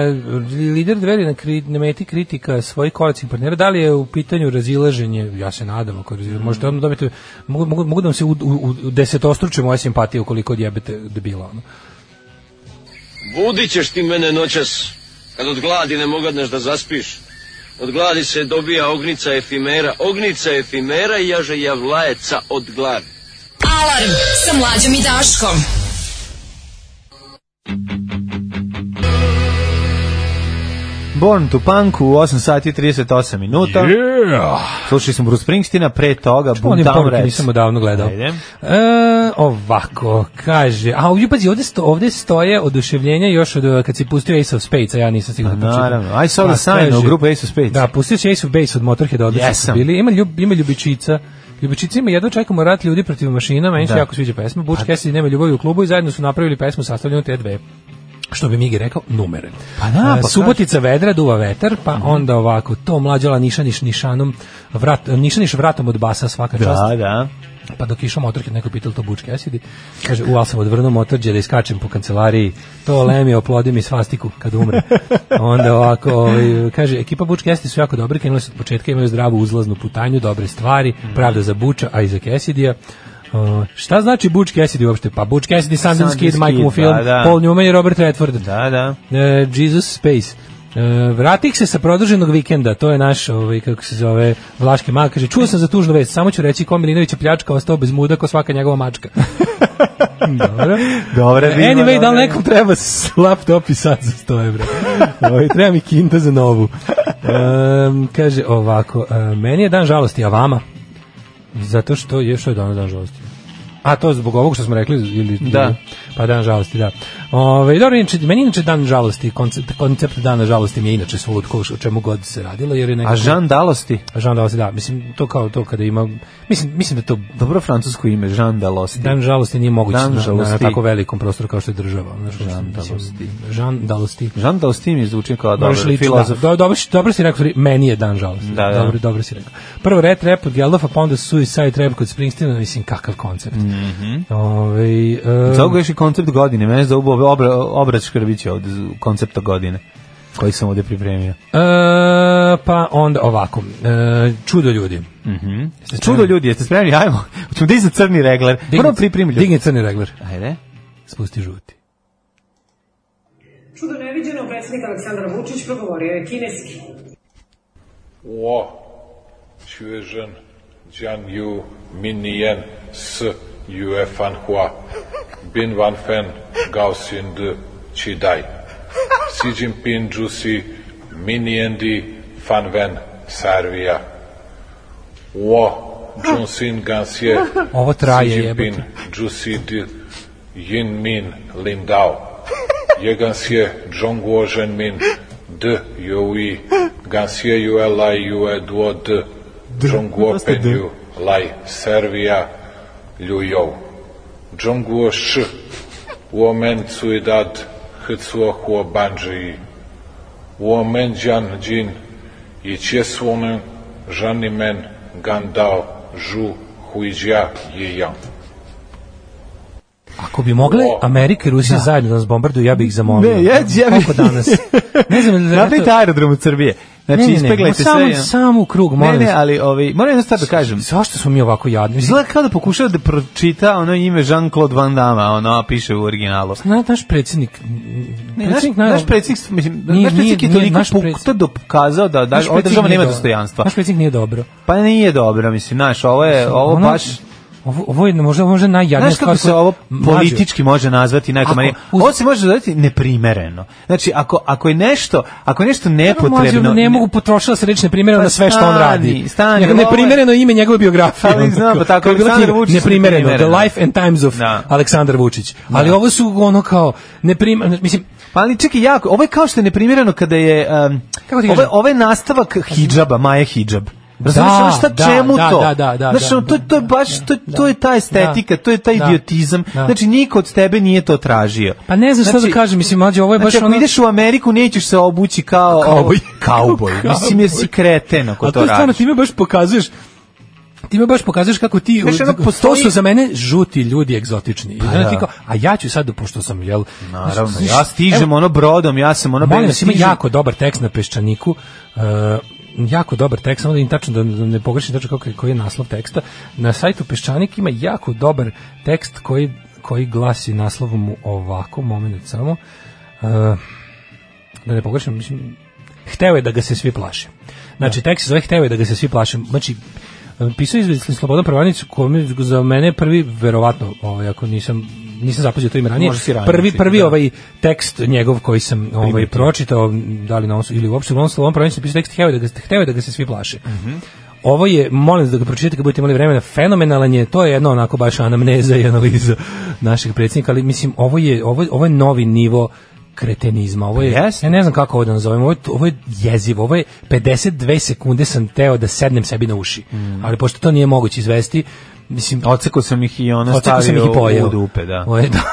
F: E, lider dveri na, kri, na meti kritika svojih koalicijih partnera, da li je u pitanju razilaženje, ja se nadam, ako je razilaženje, možete odmah dobiti, mogu, mogu, mogu da vam se u, u, u desetostruče moja simpatija ukoliko odjebete debila. Ono.
L: Budit ćeš ti mene noćas, kad od gladi ne mogadneš da zaspiš. Od gladi se dobija ognica efimera, ognica efimera i jaže javlajeca od gladi.
I: Alarm sa mlađom i Daškom.
E: Born to Punk u 8 sati i 38 minuta.
F: Yeah!
E: Slušali smo Bruce Springsteena, pre toga
F: Što onim
E: Boomtown
F: pomrke
E: Rats.
F: nisam odavno gledao.
E: Ajde.
F: E, ovako, kaže, a ovdje, pazi, ovdje, sto, ovdje stoje oduševljenja još od, e, kad si pustio Ace of Spades, a ja nisam sigurno
E: A,
F: pročitao.
E: naravno. I saw the
F: Pa,
E: sign
F: kaže-
E: u grupu Ace of Spades.
F: Da, pustio si Ace of Base od Motorhead, odlično
E: Jesam.
F: su bili. Ima, ljub, ima ljubičica. Ljubičica ima jedno čekamo rat ljudi protiv mašina, meni se
E: Da. Pa-
F: jako sviđa pesma. Butch Cassidy nema ljubavi u klubu i zajedno su napravili pesmu sastavljenu te dve što bi Migi rekao, numere.
E: Pa da,
F: E,
E: pa Mhm. kaži.
F: Subotica vedra, duva vetar, pa onda ovako, to mlađala nišaniš nišanom, vrat, nišaniš vratom od basa svaka čast.
E: Da, da.
F: Pa dok je išao motorke, neko je pitalo to Butch Cassidy. Kaže, u, ali sam odvrnuo motorđe da iskačem po kancelariji. To lemi, oplodi mi svastiku kad umre. Onda ovako, ovaj, kaže, ekipa Butch Cassidy su jako dobri, krenuli su od početka, imaju zdravu uzlaznu putanju, dobre stvari, pravda za Buča, a i za Cassidya. Uh, šta znači Butch Cassidy uopšte? Pa Butch Cassidy, Sundance
E: Sundance
F: Kid, Mike
E: Kid,
F: Mufield,
E: da, da.
F: Paul Newman i Robert Redford.
E: Da, da.
F: E, Jesus Space. E, vratih se sa produženog vikenda, to je naš, ovaj, kako se zove, Vlaški mag, kaže, čuo sam za tužnu vest, samo ću reći ko Milinović je pljačka, ostao bez muda ko svaka njegova mačka. Dobro.
E: Dobre,
F: E,
E: Dima,
F: anyway, da li
E: dobre.
F: nekom treba s- laptop i sad za 100 evra? Ovaj, treba mi kinda za novu. Em, kaže ovako, e, meni je dan žalosti, a vama? Zato što je, što je danas dan žalosti? A to zbog ovog što smo rekli ili
E: Da.
F: pa dan žalosti, da. Ove, dobro, inače, meni inače dan žalosti, koncept, koncept dana žalosti mi je inače svud ko o čemu god se radilo, jer je nekako...
E: A Jean Dalosti?
F: A Jean Dalosti, da, mislim, to kao to kada ima... Mislim, mislim da to
E: Dobro francusko ime, Jean Dalosti.
F: Dan žalosti nije moguće
E: E, Dan
F: na- na, na,
E: žalosti.
F: tako velikom prostoru kao što je država. Znaš,
E: Žan
F: mislim,
E: žalosti.
F: Žan dalosti.
E: Jean Dalosti mi zvuči kao
F: Moraš
E: dobar
F: lično,
E: filozof.
F: da. Do- dobro, si- dobro si rekao, sorry, meni je dan žalosti.
E: Da, da.
F: Dobro, dobro si rekao. Prvo Red Rap od Geldofa, pa onda Suicide Rap kod Springsteena, mislim, kakav koncept.
E: Mhm.
F: Ovaj, em,
E: Zogo još i koncept godine, mene za ubo obra, obrać Škrbić je ovde z- koncepta godine koji sam ovde pripremio.
F: E, pa onda ovako. E, čudo ljudi.
E: Mhm.
F: Mm
E: Čudo ljudi, jeste spremni? Ajmo, ćemo da iza crni regler. Prvo pripremi ljudi.
F: Digne crni regler.
E: Ajde.
F: Spusti žuti.
M: Čudo neviđeno, predsjednik Aleksandar Vučić progovorio je kineski.
N: Wo, Xuezhen, Jiang Yu, Min Nian, S, Yue Fan Hua, Bin Wan Fen, Gao Xin De, Qi Dai, Xi Jinping Zhu Si, Min Nian Di, Fan Wen, Sarvija. Wo, Junsin Gansie,
F: Ovo traje,
N: Xi Jinping,
F: jebote.
N: Zhu Si Di, Yin Min, Lin Dao, Jegansie, Zhongguo Zhenmin, D, Yui, Gansie Yue Lai Yue Duo D, Zhongguo
E: dosta D.
N: Penju, Lai Servija, Liu Jou, Zhongguo Sh, Uomen Cui Dad, Hcuo Huo Banji, Uomen Jian Jin, i Qiesuonen, Zhanimen, Gan Dao, Zhu, Huijia, Yi Yang.
F: Ako bi mogle Amerika i Rusija zajedno da nas bombarduju, ja bih ih zamolio.
E: Ne, ja- ja bih-
F: Koliko danas? Ne znam, da li je
E: Napravite
F: to...
E: aerodrom od Srbije. Znači,
F: Ne, ne, ne,
E: ispeglajte
F: samo-
E: sve. ja.
F: samo u krug, molim
E: Ne, ne,
F: vas.
E: ali ovaj, moram jednu stvar da kažem.
F: Zašto smo mi ovako jadni? Mislim,
E: Izgleda kao da pokušava da pročita ono ime Jean-Claude Van Damme, a ono piše u originalu.
F: na- naš predsjednik...
E: Ne, naš,
F: predsjednik
E: naš
F: naravno-
E: predsjednik, mislim,
F: Nije-
E: naš predsjednik je
F: nije- nije
E: toliko
F: naš predsjednik.
E: pukta dokazao da, da
F: naš
E: ova
F: predsjednik
E: država
F: nije
E: nema
F: dobro.
E: dostojanstva.
F: Naš predsjednik nije dobro.
E: Pa nije dobro, mislim, znaš, ovo je, ovo
F: Ono-
E: baš...
F: Ovo, ovo je možda, možda najjadnija
E: Znaš kako se
F: koja-
E: ovo
F: Mlađo,
E: politički može nazvati najkomarnije?
F: Ako- uz-
E: Ovo se može nazvati neprimereno. Znači, ako, ako je nešto, ako je nešto
F: dobro, mlađo,
E: nepotrebno...
F: ono, ne mogu potrošila se reći neprimjereno
E: Pa
F: na sve što on radi.
E: stani, stani,
F: Nego
E: ovo je-
F: neprimereno ime njegove biografije.
E: Ali
F: ono,
E: znam, pa tako,
F: kao je bila
E: Aleksandar
F: knjiga,
E: Vučić
F: Neprimereno,
E: neprimereno.
F: The Life and Times of
E: Da.
F: Aleksandar Vučić. Ali ovo su ono kao neprimereno, mislim,
E: Pa ali čekaj, jako, ovo je kao što je neprimjereno kada je... Um,
F: Kako ti
E: ovo, je-
F: kažem?
E: ovo je nastavak hidžaba, Maje hidžab. Razumiješ,
F: Da,
E: ono šta
F: da,
E: čemu
F: da,
E: to?
F: da, da, da,
E: Znaš, ono,
F: da,
E: to, to je baš, to, to je ta estetika,
F: da,
E: to je taj
F: da,
E: idiotizam.
F: da.
E: Znači, niko od tebe nije to tražio.
F: pa ne znam šta da kažem, mislim, mlađe, ovo je baš
E: Znači, ako
F: ono...
E: ideš u Ameriku, nećeš se obući kao...
F: Kauboj.
E: Kauboj. Mislim, jer si kreten ako
F: A
E: to
F: to stvarno
E: radiš.
F: time baš pokazuješ ti me baš pokazuješ kako ti
E: Znaš, ono,
F: to
E: postoji-
F: su za mene žuti ljudi egzotični. I
E: Pa
F: onda ti
E: da.
F: kao, a ja ću sad pošto sam jel
E: Naravno,
F: znaš,
E: ja stižem
F: evo,
E: ono brodom, ja sam ono...
F: Molim
E: bega
F: vas, ima
E: stižem.
F: jako dobar tekst na peščaniku. e, jako dobar tekst, samo da im tačno da da ne pogrešim tačno kako je- koji je naslov teksta. Na sajtu Peščanik ima jako dobar tekst koji koji glasi naslovom ovako, moment samo. E, da ne pogrešim, mislim hteo je da ga se svi plaše. Znači, tekst se zove hteo je da ga se svi plaše. Znači, pisao je izveditelj Slobodan Prvanić, koji za mene je prvi, verovatno, ovaj, ako nisam, nisam zapazio to ime ranije,
E: Možda si ranije
F: prvi,
E: čitao,
F: prvi
E: da.
F: ovaj tekst njegov koji sam ovaj, pročitao, da li na ovom, ili uopšte, u ovom Slobodan Prvanić je pisao tekst hteo je da ga, hteo je da ga se svi plaše. Ovo je, molim vas da ga pročitate kad budete imali vremena, fenomenalan je, to je jedno onako baš anamneza i analiza našeg predsjednika, ali mislim, ovo je, ovo, ovo je novi nivo kretenizma. Ovo je,
E: Jeste.
F: ja ne znam kako ovo da nazovem, ovo je, ovo je jezivo, ovo je 52 sekunde sam teo da sednem sebi na uši, ali pošto to nije moguće izvesti, mislim,
E: Ocekao sam ih i ono
F: Odsekao sam ih
E: stavio
F: i pojeo.
E: u dupe, da.
F: Ovo je, da,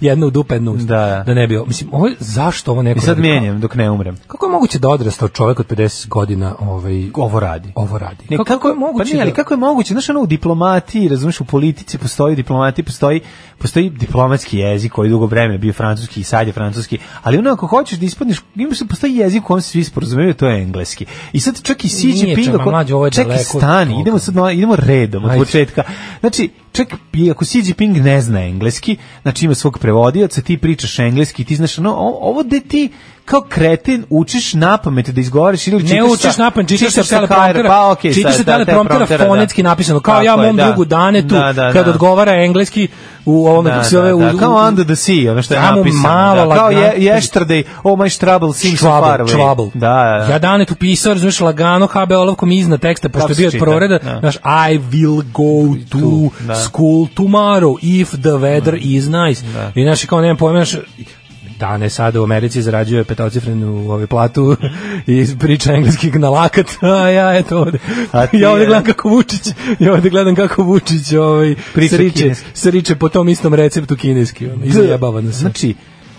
F: jedno u dupe, jedno u usta.
E: Da.
F: ne bi, ovo- mislim, ovo je, zašto ovo neko...
E: I sad
F: radi?
E: mijenjam dok ne umrem.
F: Kako je moguće da odrastao čovjek od 50 godina ovaj,
E: Ovo radi.
F: ovo radi?
E: Ne, kako, je moguće? Pa nije, ali
F: da-
E: kako je moguće? Znaš, ono u diplomatiji, razumiješ, u politici postoji diplomatiji, postoji, postoji diplomatski jezik koji je dugo vreme bio francuski i sad je francuski, ali ono ako hoćeš da ispadneš, imaš, postoji jezik u kojem se svi sporazumevaju, to je engleski. I sad čak i Siđi
F: Nije,
E: Pinga,
F: čekaj,
E: ko-
F: mlađe, ovo je
E: čekaj,
F: daleko od
E: stani,
F: toga.
E: idemo sad, na- idemo redom od
F: Ajde.
E: početka. Znači, čak i ako Xi Jinping ne zna engleski, znači ima svog prevodioca, ti pričaš engleski, ti znaš, no, o- ovo gde ti kao kreten učiš na pamet da izgovoriš ili
F: Ne
E: čitaš
F: učiš
E: Znači, sa-
F: napamet, čitaš sa
E: Kajra,
F: telepromptera.
E: Pa okej,
F: čitaš
E: sa-
F: sa
E: da,
F: telepromptera
E: da.
F: fonetski napisano. Kao
E: Tako
F: ja
E: je,
F: mom
E: da.
F: drugu dane tu
E: Da, da,
F: kad
E: da.
F: odgovara engleski u ovome
E: Da,
F: kako se
E: da,
F: zove u-
E: da,
F: u-
E: kao Under the Sea, ono što je
F: Samo
E: napisano.
F: malo
E: da, kao je,
F: lagano.
E: yesterday, oh my trouble seems so far
F: Čvabl,
E: away.
F: čvabl.
E: Da, da, da.
F: Ja dane tu pisao, razumiješ, lagano HB olovkom iznad teksta, pošto
E: Tako
F: je
E: se
F: bio od
E: čita,
F: proreda,
E: da.
F: znaš, I will go to
E: Tu, da. Mm.
F: school tomorrow if the weather is nice. I znaš, kao nemam pojma, znaš, dane sada u Americi zarađuje petocifrenu ovaj platu i priča engleski na lakat, a ja eto ovde.
E: A ti
F: ja ovde
E: je-
F: gledam kako Vučić, ja ovde gledam kako Vučić ovaj,
E: Priča
F: sriče,
E: kineski.
F: sriče po tom istom receptu kineski. ono, Izjebava nas.
E: Znači,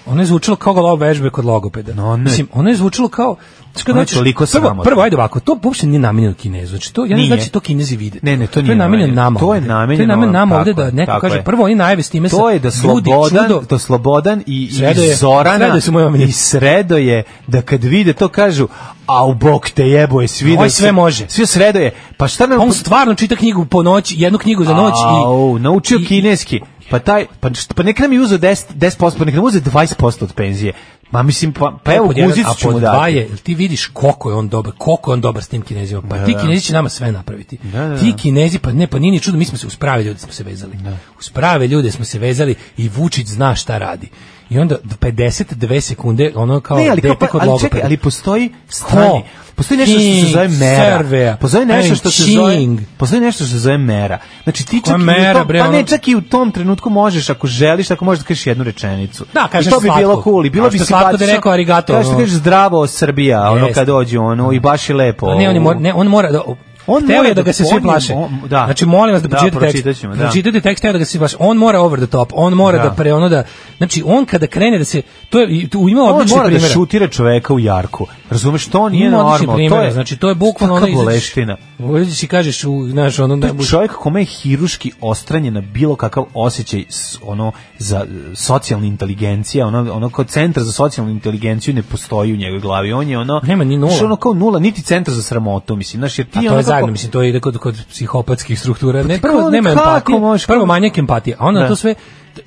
F: Ono je zvučalo kao glava vežbe kod logopeda.
E: No, ne.
F: Mislim, ono je zvučalo kao... Znaš, kad
E: Ono je
F: hoćeš-
E: toliko
F: prvo,
E: sramotno.
F: prvo, ajde ovako, to uopšte nije namenjeno Kinezu. Znači, to, ja ne
E: Nije.
F: znači to Kinezi vide.
E: Ne, ne, to nije
F: je namenjeno
E: namenjeno.
F: nama.
E: To je
F: ovde. To je
E: namenjeno
F: namenjeno
E: onom,
F: nama ovde
E: tako
F: da
E: je,
F: neko
E: tako
F: kaže,
E: je.
F: prvo oni najave s time sa...
E: to je da
F: Ljudi,
E: slobodan,
F: čudo,
E: da slobodan i,
F: Sredo
E: i
F: je-
E: Zorana
F: Sredo su moje omiljeni.
E: i sredo je da kad vide to kažu, a u bok te jebo je svi.
F: Ovaj
E: da
F: sve
E: se-
F: može.
E: Svi sredo je. Pa šta nam...
F: Pa on stvarno čita knjigu po noći, jednu knjigu za noć i...
E: Au, naučio
F: i-
E: kineski. Pa taj pa št- pa nek nam je uzeo 10 10%, pa nek nam uzeo 20% od penzije. Ma mislim pa pa evo
F: pod jedan,
E: guzicu
F: a
E: ćemo
F: pod
E: dati.
F: dva je, jel ti vidiš koliko je on dobar, koliko je on dobar s tim kinezima. Pa ti kinezi će nama sve napraviti.
E: da,
F: Ti kinezi, pa ne, pa nije ni čudo, mi smo se uz prave ljude smo se vezali. Uz prave ljude smo se vezali i Vučić zna šta radi. I onda 52 sekunde, ono kao
E: Ne, ali, kao,
F: dete
E: pa,
F: kod
E: ali
F: logopeda.
E: čekaj, ali postoji strani. Postoji nešto što se
F: King,
E: zove mera.
F: Serveja,
E: Postoji nešto što se zove
F: King.
E: Postoji nešto što se zove mera. Znači ti čak i u
F: mera,
E: tom,
F: bre,
E: pa ne
F: ono-
E: čak i u tom trenutku možeš ako želiš, ako možeš da kažeš jednu rečenicu.
F: Da, kažeš
E: I to bi
F: slatko.
E: bilo cool, i bilo
F: Kao
E: bi
F: što je slatko da je
E: simpatično.
F: rekao arigato,
E: Kažeš da
F: ono.
E: kažeš zdravo Srbija, ono
F: Jeste.
E: kad dođu ono i baš je lepo.
F: A Ne, on, je mora, ne, on mora da...
E: On
F: On hteo
E: mora
F: je da
E: da-
F: ga se
E: on
F: svi
E: je
F: plaše.
E: mo- da.
F: Znači, molim vas da
E: Da,
F: pročitate
E: pročitat
F: tekst.
E: ćemo, da.
F: Pročitate tekst, hteo je da ga se plaše. On mora over the top, on mora
E: Da.
F: da, pre ono da... Znači, on kada krene da se... To je, i tu ima
E: on
F: odlični
E: mora
F: primjer.
E: da šutira čoveka u jarku. Razumeš, to nije
F: Ima odličnih
E: normalno. to
F: primjera,
E: je,
F: znači to je bukvalno
E: Kakva
F: ono izađeš-
E: boleština.
F: Uđeš i kažeš, u, znaš, ono...
E: To
F: da-
E: je čovjek kome je hiruški ostranjen na bilo kakav osjećaj s- ono za e, socijalna inteligencija, ono, ono kao centar za socijalnu inteligenciju ne postoji u njegovoj glavi. On je ono
F: Nema ni nula.
E: znaš, ono kao nula, niti centar za sramotu, mislim, znaš, jer ti
F: A to
E: ono
F: je
E: kako-
F: zajedno, mislim, to ide kod, kod psihopatskih struktura. Ne,
E: Pa
F: prvo,
E: kako-
F: nema
E: kako
F: empatije,
E: možeš- ono-
F: prvo manjak empatije, a onda
E: Da.
F: to sve,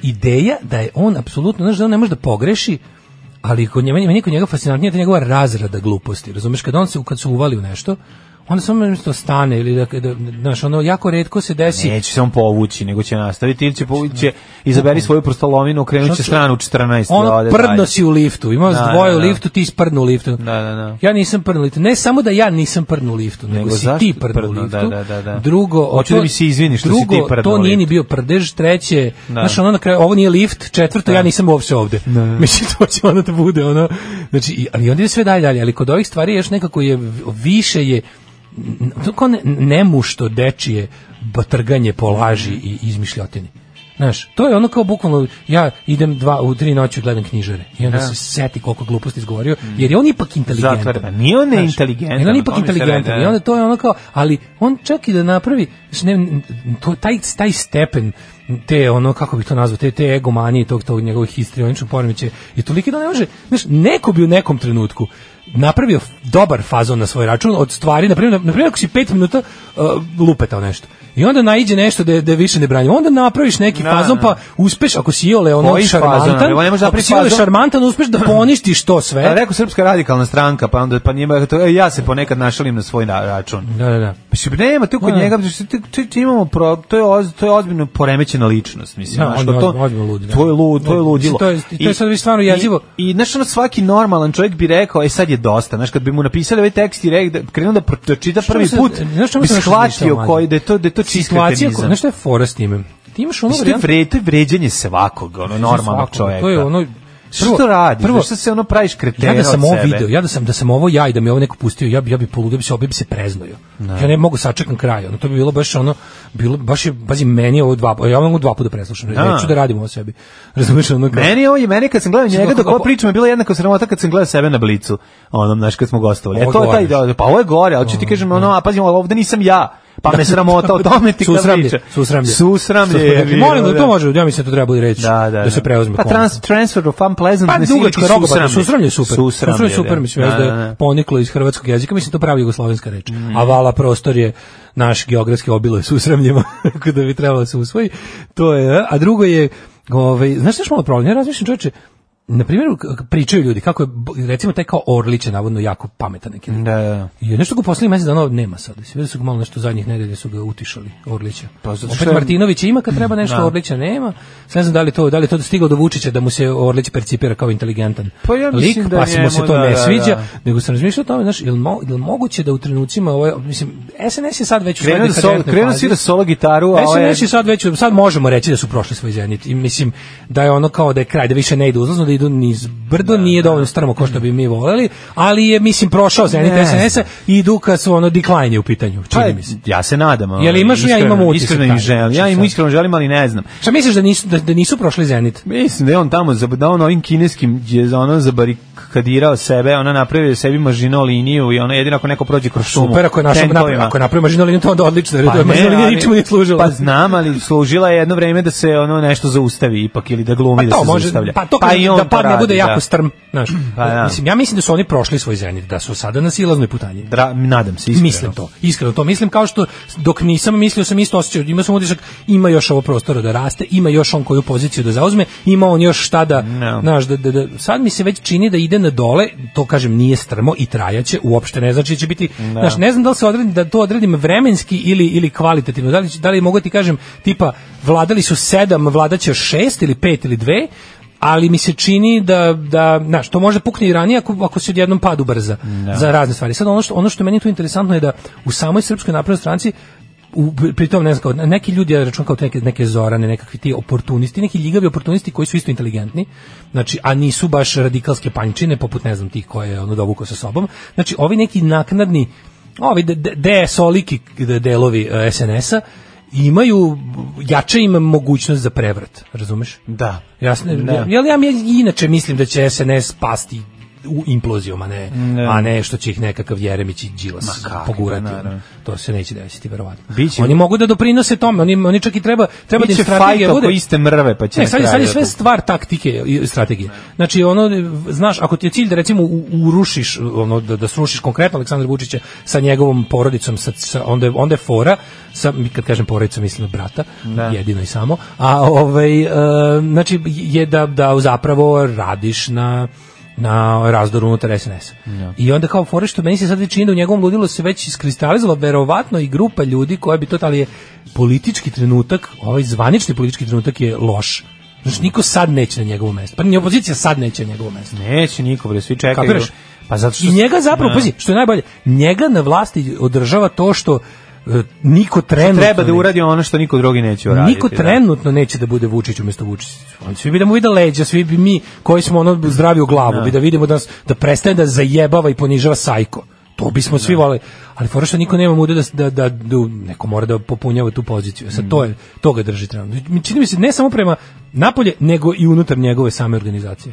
F: ideja da je on apsolutno, znaš, da on ne može da pogreši, ali kod njega, meni je kod njega fascinantnije ta njegova razrada gluposti, razumeš, kad on se, kad se uvali u nešto, onda samo nešto stane ili da, da, znaš, ono, jako redko se desi
E: Neće se on povući, nego će nastaviti ili će povući, će izaberi svoju prostolovinu, okrenut
F: Znači,
E: će stranu 14. i
F: ono
E: ode
F: prdno
E: dalje.
F: si u liftu, ima vas
E: Da,
F: dvoje
E: da,
F: u
E: da.
F: liftu, ti sprnu u liftu.
E: Da, da, da.
F: Ja nisam prnu u liftu. Ne samo da ja nisam prnu u liftu, nego,
E: Nego
F: si
E: zašto
F: ti prnu u
E: prdno,
F: liftu.
E: da, da, da, da.
F: Drugo,
E: Hoću
F: to-
E: da mi se izviniš što si ti
F: drugo,
E: prdno
F: to
E: u
F: nije ni
E: liftu.
F: bio prdež, treće,
E: Da.
F: znaš, ono na kraju, ovo nije lift, četvrto, ja nisam uopšte ovde. Mislim, to će ono da bude, ono, znači, i- ali onda ide sve dalje, dalje, ali kod ovih stvari još nekako je, v- više je, n- to kao ne- nemušto dečije batrganje po laži i izmišljotini. Znaš, to je ono kao bukvalno, ja idem dva, u tri noći gledam knjižare i onda
E: Da.
F: se seti koliko gluposti izgovorio, jer je on ipak inteligentan.
E: Zatvara. Nije on
F: Znaš,
E: neinteligentan,
F: jer On je ipak
E: o tome se
F: inteligentan
E: radi,
F: i
E: da.
F: onda to je ono kao, ali on čak i da napravi, znaš, ne, to, taj, taj stepen te ono kako bih to nazvao te te egomanije i tog tog njegovih histrioničnog poremećaja je toliki da ne može znaš neko bi u nekom trenutku napravio f- dobar fazon na svoj račun od stvari na primjer na primjer ako si 5 minuta uh, lupetao nešto i onda naiđe nešto da je- da je više ne branimo onda napraviš neki
E: Da,
F: fazon
E: da.
F: pa uspeš ako si iole ono
E: Koji fazon?
F: šarmantan
E: Ovo ne može
F: ako
E: napraviti
F: si iole
E: fazon.
F: šarmantan uspeš da poništiš to sve
E: Da, rekao srpska radikalna stranka, pa onda pa njima to, e, ja se ponekad našalim na svoj na- račun.
F: Da, da, da.
E: Pa se nema to kod
F: Da, da.
E: njega, znači, to, to, to imamo pro, to je oz, to je ozbiljno poremećena ličnost, mislim,
F: Da,
E: znaš,
F: on je
E: to,
F: ozbiljno- ozbiljno lud, da.
E: to je lud, to je
F: Mislim,
E: ludilo.
F: to je- to je sad već stvarno jezivo.
E: I, i znaš, ono, svaki normalan čovjek bi rekao, e sad je dosta, znaš, kad bi mu napisali ovaj tekst i rekao, krenuo da pročita prvi
F: se-
E: put,
F: znaš čemu
E: bi
F: sam još razmišljao,
E: shvatio
F: mlađe?
E: koji da je to da je to čist
F: situacija ko-
E: kretenizam.
F: znaš šta je fora s time ti imaš ono
E: Mislim, to je
F: varijantu
E: vre- to je vređanje svakog, ono, normalnog
F: svakog.
E: čovjeka.
F: To je ono-
E: Što
F: prvo-
E: radiš?
F: prvo-
E: Prvo, što se ono praviš kretena
F: Ja da sam
E: od
F: ovo
E: sebe?
F: video, ja da sam da sam ovo ja i da mi ovo neko pustio, ja bi ja bi poludio, bi se obje bi se preznojio. Ja ne mogu sačekam kraj, ono to bi bilo baš ono bilo baš je bazi meni je ovo dva, ja mogu dva puta preslušam,
E: Da.
F: neću da radim ovo sebi. Razumeš ono kao,
E: Meni je ovo, meni kad sam gledao
F: Mislim,
E: njega dok
F: kako-
E: ovo pričam je bila jednaka sramota kad sam gledao sebe na blicu. Onom, znaš, kad smo gostovali. E,
F: Ovo
E: to je taj
F: gore.
E: deo, pa ovo je gore, ali ću ti kažem, ono, a pazim, ali ovde nisam ja. Pa me sramota o tome ti kad
F: susramlje,
E: priča.
F: susramlje.
E: Susramlje. je bilo,
F: Molim da to može, ja mislim da to treba bude reći.
E: Da, da, da.
F: se preuzme.
E: Pa
F: konačno.
E: trans, transfer of unpleasantness
F: Pa dugačka
E: iliti
F: rogobatno, susramlje je super.
E: Susramlje,
F: Susramlje je super,
E: da.
F: mislim, da,
E: Da,
F: da
E: da, Mm. da.
F: je poniklo iz hrvatskog jezika, mislim, to pravi jugoslovenska reč. A vala prostor je naš geografski obilo je susramljima, tako da bi trebalo da se usvoji. To je, a drugo je, ovaj, znaš što je malo problem? Ja razmišljam, čoveče, Na primjer, k- pričaju ljudi kako je, b- recimo, taj kao Orlić je navodno jako pametan neki.
E: Da, da, da.
F: I nešto ga u poslednjih mesec dana nema sad. Sve da su ga malo nešto zadnjih nedelja su ga utišali, Orlića.
E: Pa zato što
F: Opet
E: je-
F: Martinović ima kad treba nešto,
E: Da.
F: Orlića nema. Sad Ne znam da li to, da li to stiglo do Vučića da mu se Orlić percipira kao inteligentan
E: Pa ja
F: lik,
E: mislim da
F: pa se mu se
E: njemu,
F: to
E: da,
F: ne
E: da,
F: sviđa,
E: da.
F: nego sam razmišljao o tome, znaš, jel, mo, jel moguće da u trenucima ovo, je- mislim, SNS je sad već u svojoj
E: Krenuo da solo-
F: dekadentnoj
E: krenuo
F: fazi.
E: svira solo gitaru, a Pa ovo je-
F: SNS je sad već, sad možemo reći da su prošli svoj zenit i mislim da je ono kao da je kraj, da više ne ide uzlazno, da idu niz brdo, nije dovoljno strmo kao što bi mi voleli, ali je, mislim, prošao zenit
E: Ne.
F: SNS-a i Duka su ono decline je u pitanju,
E: Pa,
F: čini mi se.
E: ja se nadam. ono,
F: Jel imaš, ja
E: iskreno-
F: imam utisak
E: Iskreno im
F: taj.
E: želim. Ja im iskreno želim, ali ne znam.
F: Šta misliš da nisu, da, da nisu prošli zenit?
E: Mislim da je on tamo zab- da on ovim kineskim je ono zabarikadirao sebe, ona napravio sebi mažino liniju i ono jedino ako neko prođe kroz šumu.
F: Super, ako je našao
E: tenkovima. Pa
F: napravio, ako je napravio mažinu liniju, to onda odlično, jer
E: ne,
F: mažina linija
E: ali-
F: ničemu nije služila.
E: Pa znam, ali služila je jedno vreme da se ono nešto zaustavi ipak ili da glumi da
F: to
E: se
F: može,
E: zaustavlja.
F: Pa to kad-
E: i on
F: da pad ne
E: radi,
F: bude jako
E: da.
F: strm. Znaš,
E: Pa da.
F: Mislim, ja mislim da su oni prošli svoj zenit, da su sada na silaznoj putanji.
E: Dra- nadam se, iskreno.
F: Mislim to, iskreno to mislim kao što dok nisam mislio sam isto osjećao, imao sam utisak ima još ovo prostora da raste, ima još on koju poziciju da zauzme, ima on još šta da,
E: No.
F: znaš, da, da, da, sad mi se već čini da ide na dole, to kažem nije strmo i trajaće, uopšte ne znači da će biti, znaš, ne znam da li se odredi, da to odredim vremenski ili, ili kvalitativno, da li, da li mogu ti kažem, tipa, vladali su sedam, vladaće još šest ili pet ili dve, ali mi se čini da, da znaš, to može pukne i ranije ako, ako se odjednom pad ubrza za razne stvari. Sad ono što, ono što meni tu interesantno je da u samoj Srpskoj naprednoj stranci u, pri tom ne znam, kao, neki ljudi, ja računam kao te neke, neke zorane, nekakvi ti oportunisti, neki ljigavi oportunisti koji su isto inteligentni, znači, a nisu baš radikalske pančine, poput ne znam tih koje je ono dovukao sa sobom. Znači, ovi neki naknadni, ovi de- de- DS-oliki delovi e, SNS-a, imaju, jače im mogućnost za prevrat, razumeš?
E: Da.
F: Jasno, je. jel ja mi- inače mislim da će SNS pasti u implozijom, a ne, a ne što će ih nekakav Jeremić i Đilas
E: Ma kakvi,
F: pogurati.
E: naravno.
F: To se neće desiti, verovatno.
E: Biće-
F: Oni mogu da doprinose tome, oni, oni čak i treba, treba da im
E: Biće fajt
F: strategija
E: oko
F: bude...
E: iste mrve, pa će
F: Ne,
E: na
F: sad, je- sad je
E: kraju
F: sve
E: to-
F: stvar taktike i strategije. Znači, ono, znaš, ako ti je cilj da recimo u- urušiš, ono, da, da srušiš konkretno Aleksandra Vučića sa njegovom porodicom, sa, sa, onda, je, onda je fora, sa, kad kažem porodicom, mislim na brata, jedino i samo, a ovaj, e, znači, je da, da zapravo radiš na na razdoru unutar SNS. I onda kao fore što meni se sad čini da u njegovom ludilu se već iskristalizala verovatno i grupa ljudi koja bi to, ali je politički trenutak, ovaj zvanični politički trenutak je loš. Znači, niko sad neće na njegovo mesto. Pa ni opozicija sad neće na njegovo mesto.
E: Neće niko, bre, svi čekaju.
F: Kapiraš?
E: Pa zato što...
F: I njega zapravo,
E: Da.
F: pazi, što je najbolje, njega na vlasti održava to što e, niko trenutno...
E: Treba da
F: ne-
E: uradi ono što niko drugi neće uraditi.
F: Niko
E: da.
F: trenutno neće da bude Vučić umjesto Vučića. On svi bi da mu vide leđa, svi bi mi koji smo ono zdravi u glavu, bi da vidimo da, nas, da prestane da zajebava i ponižava sajko. to bismo svi voleli. Ali fora što niko nema muda da, da, da, da neko mora da popunjava tu poziciju. Sad to,
E: Mm.
F: je, to ga drži trenutno. Čini mi se ne samo prema napolje, nego i unutar njegove same organizacije.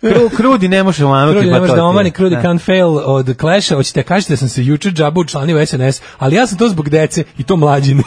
E: Kru, krudi ne može omanuti.
F: Krudi
E: pa
F: ne može
E: to
F: da
E: ti je.
F: omani, krudi
E: Da.
F: can't fail od Clash-a. Hoćete da kažete da sam se juče džabu učlanio u SNS, ali ja sam to zbog dece i to mlađine.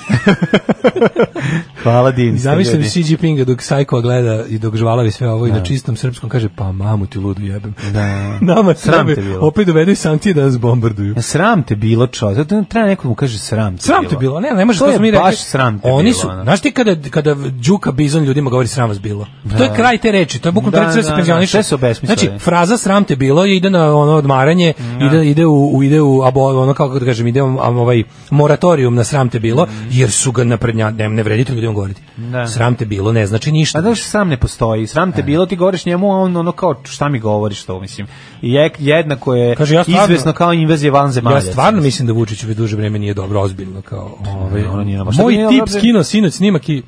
E: Hvala Din.
F: Zamišljam Xi Jinpinga dok Sajko gleda i dok žvalavi sve ovo i na čistom srpskom kaže pa mamu ti ludu jebem.
E: Da.
F: Nama
E: Sram
F: sram
E: te bilo.
F: opet dovedu i sankcije da nas bombarduju.
E: Sram te bilo, čo. Zato nam treba neko da mu kaže sram te
F: Sram te bilo, ne, ne može to,
E: je
F: smo mi rekli.
E: baš sram te
F: Oni
E: bilo,
F: su,
E: ono.
F: znaš ti kada, kada Đuka Bizon ljudima govori sram vas bilo. Pa To je kraj te reči, to je bukvalno
E: Da,
F: da, da,
E: da,
F: se
E: da,
F: penzioniše.
E: sve se obesmislili.
F: Znači, fraza sram te bilo je ide na ono odmaranje, ide, ide u, u- ide u abo, ono kako da kažem, ide u, am, ovaj moratorijum na sram te bilo, jer su ga naprednja, ne, ne vredite ljudima govoriti.
E: Da.
F: Sram te bilo ne znači ništa.
E: A da što sram ne postoji, sram
F: E.
E: te bilo, ti govoriš njemu, a on ono kao, šta mi govoriš to, mislim. I je, jednako je
F: Kaže, ja stvarno-
E: izvesno kao invazija vanzemalja.
F: Ja stvarno mislim da Vučić već duže vreme nije dobro ozbiljno kao ovaj.
E: ono nije nama. Šta
F: Moj
E: bi nije
F: tip
E: dobro?
F: skinuo sinoć snimak i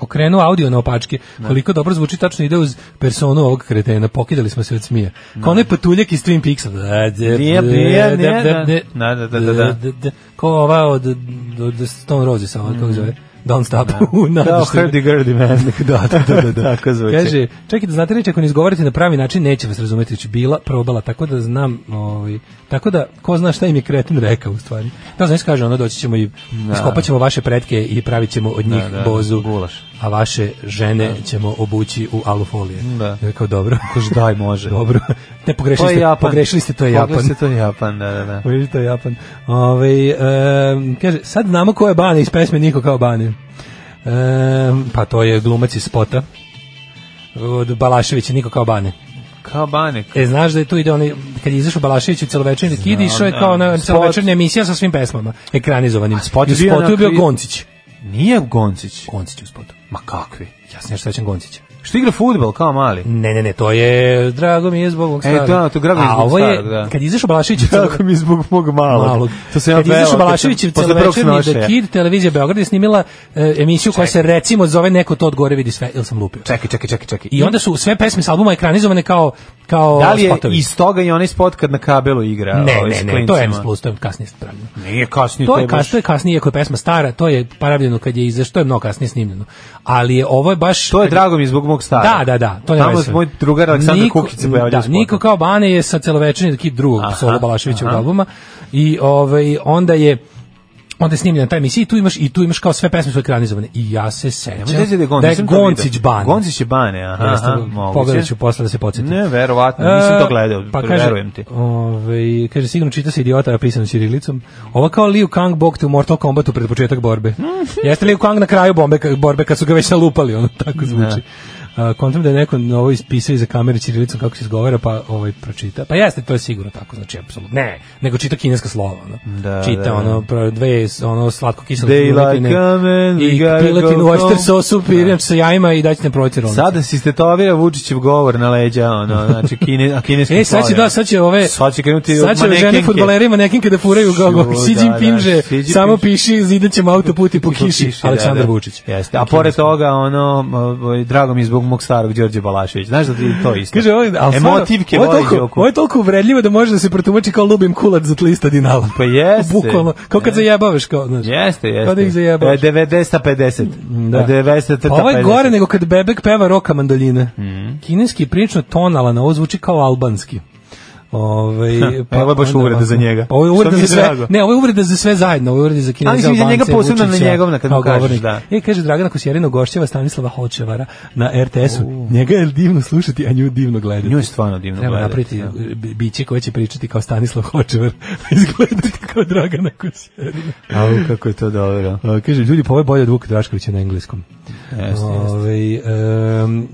F: okrenuo audio na opačke. Koliko dobro zvuči tačno ide uz personu ovog kretena. Pokidali smo se od smije. Kao onaj patuljak iz Twin Peaksa.
E: Nije, nije, nije, da. Da, da, da, da.
F: Kao ova od od Stone Roses, ova kako zove. Don't stop. U
E: Mhm. Kao
F: nadištima.
E: hurdy-gurdy man.
F: Da, da, da, da, da.
E: Tako zvuči.
F: Kaže, čekajte, znate reći, ako ne izgovorite na pravi način, neće vas razumeti, već bila, probala, tako da znam, ovaj, tako da, ko zna šta im je kretin rekao, u stvari. Da, znaš, kaže, ono, doći ćemo i iskopat ćemo vaše pretke i pravit ćemo od njih
E: da,
F: bozu,
E: gulaš.
F: a vaše žene ćemo obući u alufolije.
E: Da.
F: Ja Rekao, dobro.
E: Kaže, daj, može.
F: Dobro. Ne, pogrešili
E: To je
F: ste,
E: Pa Japan.
F: pogrešili ste, to je
E: Pogledaj
F: Japan.
E: se, to je Japan, da, da, da.
F: Pogrešili to je Japan. Ovaj, em, kaže, sad znamo ko je Bane iz pesme Niko kao Bane. Em, pa to je glumac iz spota. Od Balaševića, Niko kao Bane.
E: Kao banek.
F: E, znaš da je tu ide onaj, kad je izašao Balašević u celovečerni kid, išao je
E: da.
F: kao ona
E: Spot.
F: celovečernja emisija sa svim pesmama, ekranizovanim. A
E: spot je bio
F: spotu je bio
E: onako-
F: Goncić.
E: Nije Goncić.
F: Goncić u spotu.
E: Ma kakvi?
F: Ja se nešto sećam Goncića.
E: Što igra futbol, kao mali?
F: Ne, ne, ne, to je drago mi je zbog ovog
E: E,
F: starog.
E: da, to drago mi je
F: A
E: zbog
F: ovo je,
E: starog, da.
F: kad je izašao Balašević u
E: Tako mi je zbog mog malog.
F: malog.
E: To sam ja
F: Kad je izašao
E: pevao, kad
F: Balašević
E: sam-
F: u
E: posle prvog
F: celovečerni The
E: snošaja.
F: Kid, televizija Beograd je snimila e, emisiju koja se recimo zove Neko to od gore vidi sve, ili sam lupio.
E: Čekaj, čekaj, čekaj, čekaj.
F: I onda su sve pesme s albuma ekranizovane kao, kao
E: Da li je
F: spotovi.
E: iz toga i onaj spot kad na kabelu igra?
F: Pa, Ne,
E: ovaj, s
F: ne, ne, to je
E: klincima?
F: MS+, Plus, to je kasnije spravljeno.
E: Nije kasnije,
F: To je
E: baš-
F: kasnije, to je kasnije, iako je pesma stara, to je paravljeno kad je izašlo, to je mnogo kasnije snimljeno. Ali je ovo je baš
E: To je drago mi je zbog mog stara.
F: Da, da, da, to ne
E: Tamo
F: veze.
E: moj drugar Aleksandar
F: Niko-
E: Kukić se pojavlja u
F: Da,
E: spotu.
F: Niko kao Bane je sa celovečerni kip drugog
E: Aha,
F: solo Balaševićevog
E: aha.
F: albuma i ovaj onda je onda je snimljena ta emisija i tu imaš i tu imaš kao sve pesme su ekranizovane i ja se sećam
E: Nemoj da je Goncić.
F: da je
E: nisam to vidio.
F: Goncić Bane
E: Goncić je Bane, aha,
F: Jeste,
E: aha, moguće.
F: pogledat ću posle da se podsjetim. E, pa
E: Ne, verovatno, nisam to gledao, verujem ti.
F: Ovaj kaže sigurno čita se idiota a pisano ćirilicom. Ovo kao Liu Kang bok te u Mortal Kombatu pred početak borbe.
E: Mhm.
F: Jeste Liu Kang na kraju bombe ka- borbe kad su ga već nalupali, ono tako zvuči. A, kontam da je neko ovo ispisao iza kamere ćirilicom kako se izgovara, pa ovaj pročita. Pa jeste, to je sigurno tako, znači apsolutno. Ne, nego čita kineska slova, ono.
E: Da,
F: čita
E: da.
F: ono pro- dve ono slatko kiselo
E: They like ramen, we
F: i
E: gotta
F: piletin
E: go
F: u oyster
E: home.
F: sosu, pirinač sa jajima i daćete nam probati rolnicu.
E: Sada si stetovira Vučićev govor na leđa, ono, znači kine, a kineski
F: E, sad će
E: slovi.
F: da, sad će ove...
E: Sad će krenuti
F: sad će žene
E: manekenke.
F: fudbalerima nekinke da furaju
E: Šu,
F: gogo.
E: da,
F: Xi Jinping
E: da,
F: že
E: Xi Jinping.
F: samo piši, zidaćemo autoput i po
E: Po
F: kiši.
E: da,
F: Aleksandar
E: da.
F: Vučić.
E: Jeste, a pored toga, ono, ovaj, drago mi je zbog mog starog Đorđe Balašević. Znaš da ti to isto?
F: Kaže, ovo, je- ali stvarno,
E: Emotivke
F: ovo je
E: voli
F: toliko-
E: Đoku.
F: Ovo je toliko uvredljivo da može da se protumači kao lubim kulac za lista dinala.
E: Pa jeste.
F: Bukvalno, kao kad zajebavaš. Kao, znaš.
E: Jeste, jeste.
F: Kao da ih zajebavaš.
E: E, 90-50.
F: Da.
E: E, 90-50.
F: Pa ovo je gore nego kad bebek peva roka mandoline.
E: Mhm.
F: Kineski je prilično tonalan, a ovo zvuči kao albanski. Ove,
E: e, ovo je baš
F: onda
E: uvreda
F: ovako.
E: za njega.
F: Pa Ovo je
E: Što
F: uvreda
E: mi je
F: za sve.
E: drago.
F: Ne, ovo je uvreda za sve zajedno, ovo je uvreda za Kineze,
E: Ali mislim za njega
F: Albance,
E: posebno, na
F: Vučića,
E: njegovna, kad mu
F: kao
E: kažeš,
F: govornik.
E: da.
F: E, kaže Dragana Kosjerina gošćeva Stanislava Hočevara na RTS-u. Njega je divno slušati, a nju divno gledati.
E: Nju je stvarno divno
F: Treba
E: gledati,
F: napraviti e,
E: da.
F: bi- biće koje će pričati kao Stanislav Hočevar, a izgledati kao Dragana Kosjerina.
E: Au, kako je to dobro.
F: E, A, kaže, ljudi, pa ovo je bolje od Vuka Draškovića na engleskom.
E: Jeste, jeste.
F: Ovaj, em,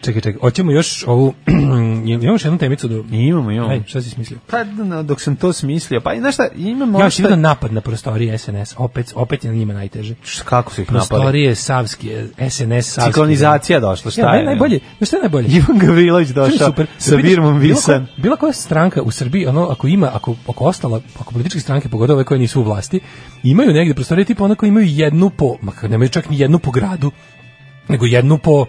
F: čekaj, čekaj, hoćemo još ovu, imamo još jednu temicu do...
E: Imamo, imamo.
F: Aj, šta si smislio?
E: Pa, no, dok sam to smislio, pa i znaš šta, imamo...
F: Ja, šta... vidio napad na prostorije SNS, opet, opet je na njima najteže.
E: Kako su ih
F: prostorije, napali? Prostorije Savske, SNS Savske.
E: Ciklonizacija došla, šta
F: ja,
E: je?
F: Najbolje, znaš šta je najbolje?
E: Ivan Gavrilović došao super. sa Birmom Visan.
F: Bila, bila koja stranka u Srbiji, ono, ako ima, ako, ako ostala, ako političke stranke, pogotovo ove koje nisu u vlasti, imaju negde prostorije tipa onako imaju jednu po, makar nemaju čak ni jednu po gradu, nego jednu po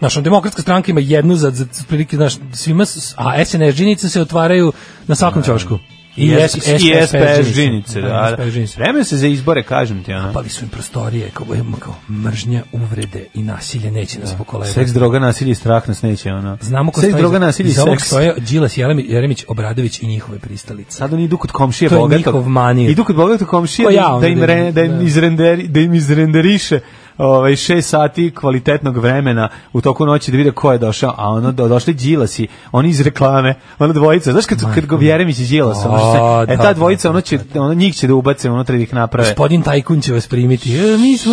F: Naša demokratska stranka ima jednu za, za prilike, znaš, svima, a SNS džinice se otvaraju na svakom ćošku.
E: I, S, S, i SPS džinice, da. Vreme se za izbore, kažem ti. ono. Ona.
F: Pali su im prostorije, kao, kao mržnja, uvrede i nasilje neće nas pokolebati.
E: Seks, droga, nasilje i strah nas neće. Ona.
F: Znamo ko
E: seks, droga, nasilje i seks.
F: stoje Đilas, Jeremić, Obradović i njihove pristalice.
E: Sad oni idu kod komšije
F: to
E: bogatog.
F: To je njihov manir.
E: Idu kod bogatog komšije
F: ja,
E: da, im, re, da, im izrenderi, da im izrenderiše ovaj 6 sati kvalitetnog vremena u toku noći da vide ko je došao, a ono do, došli Đilasi, oni iz reklame, ono dvojica, znaš kad kad go Jeremić i Đilas, ono što se, e ta dvojica ono će ono njih će da ubace unutra da ih naprave.
F: Gospodin Tajkun će vas primiti. E, mi smo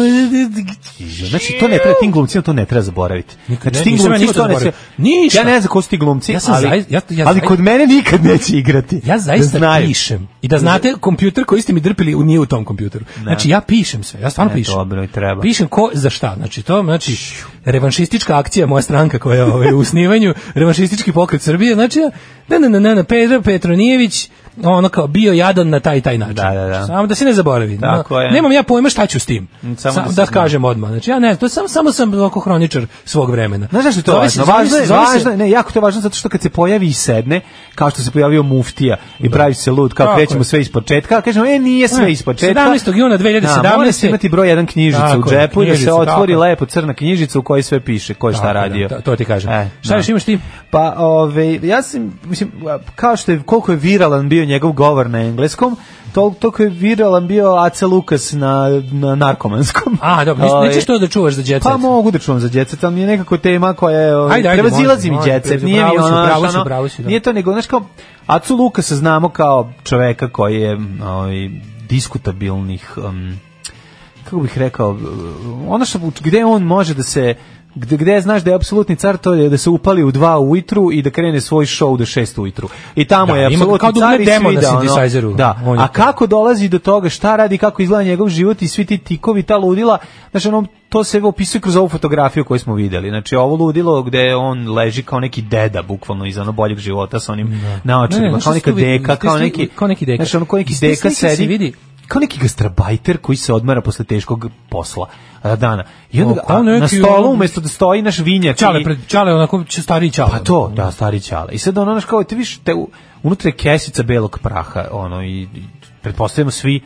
E: Znači to ne treba tim glumcima to ne treba zaboraviti. Znači tim glumcima to ne treba.
F: Ništa.
E: Ja ne znam ko su ti glumci,
F: ja sam
E: ali,
F: zaista, ja, ja
E: ali kod mene nikad neće igrati.
F: Ja zaista
E: da
F: pišem. I da znate, kompjuter koji ste mi drpili u nije u tom kompjuteru. Znači ja pišem sve, ja stvarno pišem.
E: E, Dobro, treba.
F: Pišem ko za šta, znači to, znači revanšistička akcija moja stranka koja je ovaj, u snivanju, revanšistički pokret Srbije, znači ne ne ne ne, ne Pedro Petronijević ono kao bio jadan na taj i taj način.
E: Da, da, da.
F: Samo da se ne zaboravi.
E: Tako
F: no,
E: je.
F: Nemam ja pojma šta ću s tim.
E: Samo
F: Sam,
E: da
F: da,
E: se zna.
F: kažem odmah. Znači ja ne, to sam samo sam oko hroničar svog vremena.
E: Znaš zašto je to
F: Zove
E: važno?
F: se-
E: Važno je,
F: zove se-
E: važno je, ne, jako to je važno zato što kad se pojavi i sedne, kao što se pojavio muftija i pravi se lud, kao
F: Tako
E: krećemo
F: je.
E: sve iz početka, a kažemo, e, nije sve
F: E,
E: iz početka.
F: 17. juna 2017.
E: Da, mora se imati broj jedan knjižica
F: Tako
E: u
F: je,
E: džepu i da se
F: knjižica,
E: otvori
F: tako je.
E: lepo crna knjižica u kojoj sve piše, ko je
F: Tako
E: šta
F: je,
E: radio.
F: da, to ti kažem.
E: E,
F: Šta još imaš ti?
E: Pa, ove, ja sam, mislim, kao što je, koliko je viralan bio njegov govor na engleskom, tol, toliko je viralan bio Ace Lukas na, na narkomanskom.
F: A, dobro, nis-
E: Ove,
F: nećeš to da čuvaš za djeca.
E: Ovaj, pa mogu da čuvam za djecet, ali mi je nekako tema koja je... ovaj,
F: Ajde, ajde,
E: prevazilazi
F: može,
E: mi
F: može,
E: djecet,
F: prezi-
E: nije mi
F: bravo si,
E: ono...
F: bravo
E: znaš,
F: si,
E: ono,
F: bravo si, da.
E: Nije to nego, znaš kao, Acu Lukasa znamo kao čoveka koji je ovaj, diskutabilnih... um, kako bih rekao, ono što, gde on može da se gde, gde znaš da je apsolutni car to je da se upali u dva ujutru i da krene svoj show do šest ujutru. I tamo
F: Da,
E: je
F: ima
E: apsolutni
F: kao da
E: car
F: uzme
E: i
F: demo
E: svi
F: na
E: da, ono-
F: synthesizeru.
E: da.
F: On je
E: A
F: to.
E: kako dolazi do toga, šta radi, kako izgleda njegov život i svi ti tikovi, ta ludila, znaš, ono, to se opisuje kroz ovu fotografiju koju smo vidjeli. Znači, ovo ludilo gde on leži kao neki deda, bukvalno, iz ono boljeg života sa onim
F: Ne, ne,
E: naočarima,
F: znaš
E: kao
F: što
E: neka
F: se vidi?
E: deka,
F: Iz te
E: kao
F: slike-
E: neki,
F: kao neki deka.
E: Znaš, ono, kao neki
F: Iz te
E: deka
F: slike se
E: sedi,
F: vidi-
E: kao neki gastrabajter koji se odmara posle teškog posla a, dana. I onda
F: O,
E: ga-
F: kao
E: a, na
F: neki
E: stolu
F: ono-
E: umesto da stoji naš vinjak
F: Čale,
E: i-
F: pred, čale onako će stariji čale.
E: pa to, da, stari ćale. I sad ono, znaš, kao, ti viš, te, u- unutra je kesica belog praha, ono, i, i pretpostavljamo svi,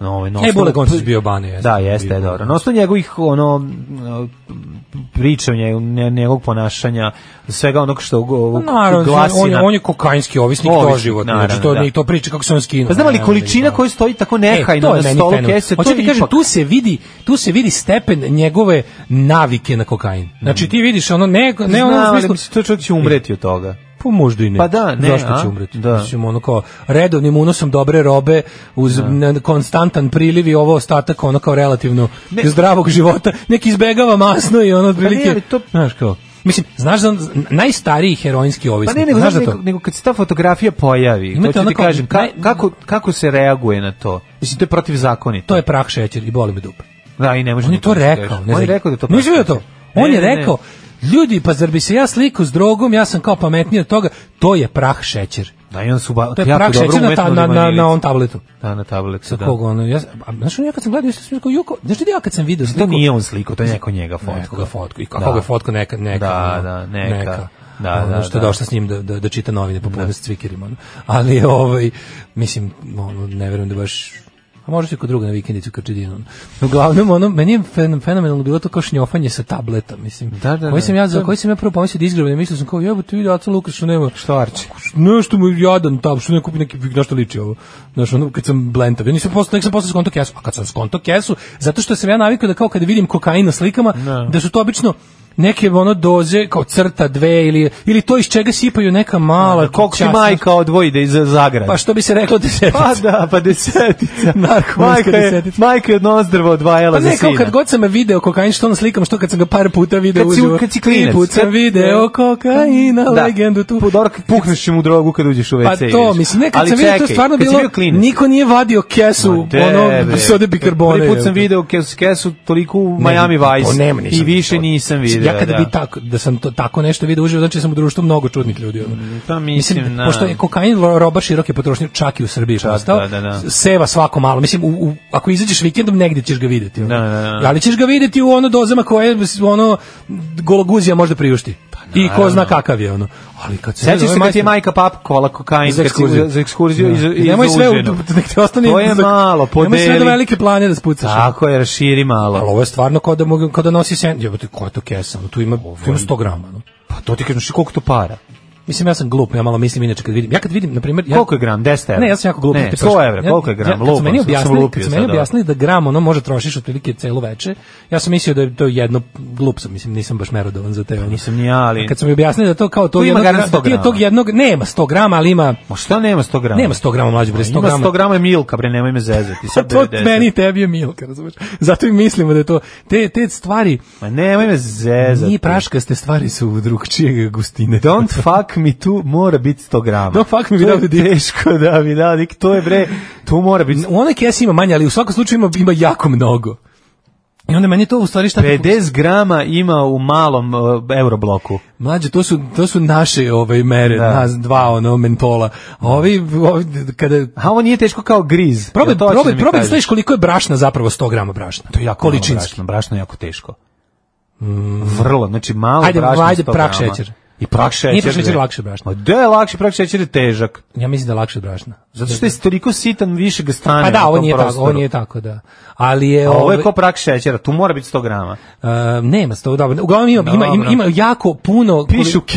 E: no, ovaj,
F: E,
E: na osnovu-
F: Bule Gončić bio Bane, jeste.
E: Da, jeste, je dobro. Na osnovu njegovih, ono, m, priča, njegov, njegovog ponašanja, svega onog što go-
F: Pa Naravno,
E: glasina.
F: on je, on je kokainski ovisnik,
E: Ovisnik,
F: doživotno. Znači,
E: naravno,
F: to,
E: da.
F: i to priča kako se on skinuo.
E: Pa znam li
F: Ne,
E: količina
F: ne, ne.
E: koja stoji tako
F: E, to
E: nehajno
F: je
E: na
F: meni
E: stolu
F: fenomen.
E: kese, to
F: Hoću ti
E: je
F: kažem,
E: ipak...
F: tu se vidi, tu se vidi stepen njegove navike na kokain. Znači ti vidiš ono ne ne
E: Mm. Znam,
F: ono u
E: ali
F: smislu
E: mislim, to čovjek će umreti od toga.
F: Pa možda i ne.
E: Pa da, ne,
F: Zašto
E: a?
F: će umreti?
E: Da.
F: Mislim, ono kao redovnim unosom dobre robe uz ne- konstantan priliv i ovo ostatak ono kao relativno zdravog života. Neki izbegava masno i ono otprilike.
E: Pa ali to-
F: Znaš kao. Mislim, znaš za najstariji heroinski
E: Pa
F: ovisnik.
E: ne, nego,
F: znaš
E: znaš,
F: za to?
E: nego, nego kad se ta fotografija pojavi,
F: Imate
E: to ću ti
F: onako-
E: kažem, ka-
F: naj-
E: kako, kako se reaguje na to? Mislim, to je protivzakonito.
F: To je prah šećer i boli me dupe.
E: Da, i ne može
F: On je
E: mu
F: to
E: da se
F: rekao.
E: kaže.
F: Ne
E: On je
F: znam.
E: rekao da je to
F: Nisi
E: prah
F: vidio to?
E: Ne,
F: On je
E: ne, ne.
F: rekao, ljudi, pa zar bi se ja sliku s drogom, ja sam kao pametniji od toga, to je prah šećer.
E: Da, i on su ba,
F: To je
E: jako
F: prah
E: dobro
F: šećer na,
E: umetno
F: ta- na, na, na
E: limanilicu.
F: on tabletu.
E: Da, na tabletu,
F: Sa
E: da.
F: kog ono, ja, sam- a, znaš, ono, ja kad sam gledao, isto sam kao, juko, znaš ti ja kad sam vidio
E: To
F: sliku,
E: nije on sliko, to je neko njega fotko.
F: Nekoga fotku. I
E: Da.
F: kako ga fotku neka, neka.
E: Da,
F: ono,
E: da, neka. Da,
F: Ono
E: da,
F: što je
E: da.
F: došla s njim da, da, da čita novine popodne s cvikirima. ono. Ali, je, ovaj, mislim, ono, ne verujem da baš A može se kod druga na vikendicu kad čedinu. Uglavnom, ono, meni je fen- fenomenalno bilo to kao šnjofanje sa tableta, mislim.
E: Da, da,
F: koji
E: da.
F: sam ja, za
E: To-
F: koji sam ja prvo pomislio da izgrabim, mislio sam kao, jebote, vidi, Aca Lukas što nema.
E: Što Arči?
F: Nešto mu je jadan tab, što ne kupi neki, na što liči ovo. Znaš, ono, kad sam blentav, ja nisam posle, nek sam posle skonto kesu, a kad sam skonto kesu, zato što sam ja navikao da kao kada vidim kokain na slikama, da su to obično neke ono doze kao crta dve ili ili to iz čega sipaju neka mala
E: koliko ti
F: časna-
E: majka odvojde iz zagrada?
F: Pa što bi se reklo desetica?
E: Pa da, pa desetica.
F: Narkomanska
E: majka je,
F: desetica.
E: majka je od nozdrva odvajala
F: Pa
E: za
F: ne,
E: sina.
F: kao kad god sam video kokain, što on slikam, što kad sam ga par puta video
E: Kad si-
F: uživo.
E: kad si
F: Tri
E: klinec.
F: put sam
E: Kad-
F: video kokaina,
E: Da.
F: legendu tu.
E: Pa dobro, kad pukneš mu drogu kad uđeš u WC.
F: Pa to,
E: ideš.
F: mislim, nekad
E: Ali
F: sam vidio, to
E: čekaj,
F: stvarno
E: kad si
F: bilo,
E: bio klinac.
F: niko nije vadio kesu,
E: Ma
F: ono,
E: tebe.
F: sode bikarbone.
E: Prvi put sam video kes, kesu toliko u Miami Vice i više nisam video.
F: Ja kad
E: da.
F: bi tako, da sam to, tako nešto video uživo, znači sam u društvu mnogo čudnih ljudi. Ono.
E: Pa mislim, na...
F: Pošto je kokain ro- roba široke potrošnje, čak i u Srbiji postao,
E: da, da, da.
F: s- seva svako malo. Mislim, u, u- ako izađeš vikendom, negdje ćeš ga vidjeti. ono.
E: da, da.
F: Ali ćeš ga vidjeti u ono dozama koje ono, gologuzija možda priušti. I ko zna kakav je ono. Ali kad se...
E: Pa Sećaš se
F: zove
E: kad ti je majka papkovala kokain
F: Za
E: kad si-
F: ekskurziju.
E: za ekskurziju E,
F: Da.
E: iz iz
F: Nemoj sve u- nek te ostane-
E: To je
F: za-
E: malo, podeli.
F: nemoj sve do velike plane da spucaš.
E: Tako je, raširi malo.
F: Ali ovo je stvarno kao da, mogu- kao da nosi sen. Jebote, koja je to kesa? ono, Tu ima, tu ima 100 grama. No.
E: Pa to ti kažeš koliko to para?
F: Mislim, ja sam glup, ja malo mislim inače kad vidim. Ja kad vidim, na primjer... Ja,
E: Koliko je gram? 10 evra?
F: Ne, ja sam jako glup.
E: Ne, 100 evra, koliko je gram?
F: Ja, kad su
E: Lupam,
F: meni
E: sad sam
F: objasnili,
E: lupio
F: kad su
E: sad,
F: meni
E: da.
F: objasnili da gram ono može trošiš otprilike celo veče, ja sam mislio da je to jedno, glup sam, mislim, nisam baš merodovan za te. Ono.
E: Pa Nisam ni ja, ali...
F: A Kad su mi objasnili da to kao to,
E: Tu ima
F: jednog,
E: garant
F: gra- da
E: 100
F: ti je tog
E: grama.
F: jednog, nema 100 grama, ali ima...
E: Ma šta nema 100 grama?
F: Nema 100 grama mlađe, bre, 100 grama.
E: Ima 100 grama je Milka, bre, nemoj me zezati.
F: Pa
E: Sad
F: to
E: 90.
F: meni i tebi je Milka, razumeš? Zato i mislimo da je to, te, te stvari,
E: Ma nemoj me zezati.
F: nije praškaste stvari su drugčijeg gustine.
E: E, Don't fuck me tu mora biti 100 grama.
F: Don't fuck me
E: To je
F: without a dick.
E: Teško da mi da, dik, to je bre, tu mora biti
F: U onoj kesi ima manje, ali u svakom slučaju ima, ima jako mnogo. I onda meni to u stvari šta...
E: 50 grama ima u malom uh, eurobloku.
F: Mlađe, to su, to su naše ove mere,
E: Da.
F: nas dva, ono, mentola. A Ovi, ovi kada...
E: A ovo nije teško kao griz.
F: Probaj,
E: Jel to hoćeš da
F: probaj,
E: mi
F: probaj,
E: kažeš?
F: znaš koliko je brašna zapravo 100 grama brašna. To je jako količinski.
E: Brašno, brašno je jako teško. Vrlo, znači malo
F: Ajde,
E: brašno.
F: ajde,
E: 100
F: prah
E: grama.
F: šećer.
E: I prah šećer.
F: Nije prah šećer
E: bre.
F: lakše brašno.
E: Ma da je lakše, prah šećer je težak.
F: Ja mislim da je lakše od brašna.
E: Zato što je toliko sitan, više ga stane.
F: Pa
E: na
F: da, ovo
E: tom
F: nije tako,
E: prostoru.
F: ovo nije tako, da. Ali je...
E: A Ovo je
F: ovaj-
E: kao prah šećera, tu mora biti 100 grama.
F: Uh, nema sto dobro. Uglavnom ima, ima, ima,
E: Dobro.
F: ima jako puno...
E: Pišu
F: koli-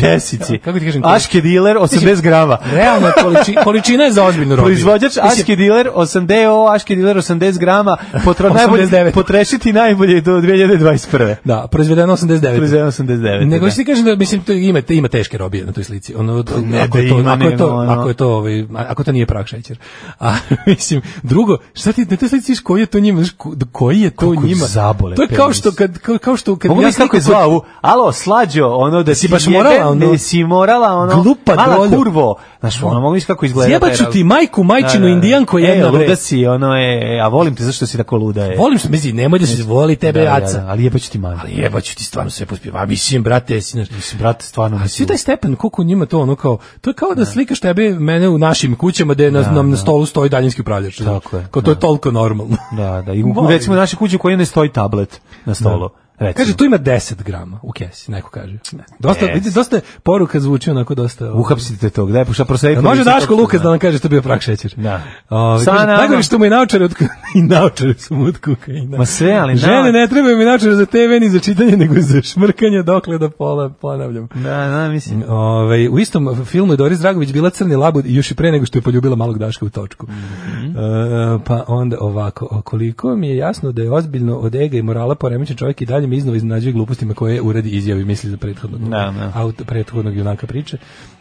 F: Da,
E: kesici.
F: kako ti kažem?
E: Aške dealer, 80 grama.
F: Realno, je količi, količina je za ozbiljnu robiju.
E: Proizvođač
F: Mislim,
E: Aški dealer 80 DO Aški dealer 80 grama potro,
F: 89.
E: najbolje potrešiti najbolje do 2021.
F: Da, proizvedeno 89.
E: Proizvedeno 89,
F: Nego
E: da. Pa
F: ti kažem da mislim to ima ima teške robije na toj slici. Ono
E: ne
F: ako,
E: da
F: to,
E: ima,
F: ako je to
E: nego ono.
F: ako je to ovaj ako to nije prah šećer. A mislim drugo, šta ti na toj slici viš koji je to njima, znaš, ko- koji je to
E: Kako ih
F: njima?
E: zabole
F: to je kao
E: penis. Pa
F: što kad kao, kao što kad
E: Mogu
F: ja
E: mi kako je
F: sliku-
E: zvao, ovu, alo, slađo, ono da si
F: baš
E: jebe,
F: morala, ono?
E: ne, si morala, ono,
F: Glupa
E: mala
F: droljo.
E: kurvo, znaš, ono, mogu mi kako izgleda.
F: Zjebaću ti majku, majčinu, indijanko jedna,
E: e,
F: bre.
E: luda si, ono, e, a volim te, zašto si tako luda, e.
F: Volim se, mislim, nemoj da se voli tebe,
E: Da, da,
F: aca.
E: da, ali jebaću ti manju.
F: Ali jebaću ti stvarno sve pospjeva. Mislim, brate, jesi, znaš,
E: Mislim, brate, stvarno,
F: A svi
E: mislim,
F: taj stepen, koliko njima to ono kao, to je kao da slikaš tebe, mene u našim kućama gde na, nam na stolu stoji daljinski upravljač. znaš.
E: Tako je,
F: Kao to je toliko normalno.
E: da, da, i u,
F: Volim.
E: recimo u našoj kući u kojoj ne stoji tablet na stolu, recimo.
F: Kaže, tu ima 10 grama u kesi, neko kaže. Dosta,
E: Yes.
F: vidi, dosta je poruka zvuči onako dosta... ovo.
E: Uhapsite tog, daj, pošto prosedi.
F: Jel Može Daško Lukas da nam kaže što je bio prah šećer.
E: Da.
F: Ove,
E: Sa
F: kaže,
E: nama.
F: najgore što mu je naučare od i naučare su mu od kokaina.
E: Ma sve, ali
F: Žene
E: nau-
F: ne trebaju mi naučare za TV ni za čitanje, nego za šmrkanje dokle da pola, ponavljam.
E: Da, da, mislim.
F: Ove, Ovaj, u istom filmu je Doris Dragović bila crni labud i još i pre nego što je poljubila malog Daška u točku.
E: Mhm.
F: E, pa onda ovako, o, koliko mi je jasno da je ozbiljno od ega i morala poremećen čovjek i dalje mi iznova iznenađuje glupostima koje uradi izjavi misli za prethodnog,
E: Da, da.
F: aut- prethodnog junaka priče.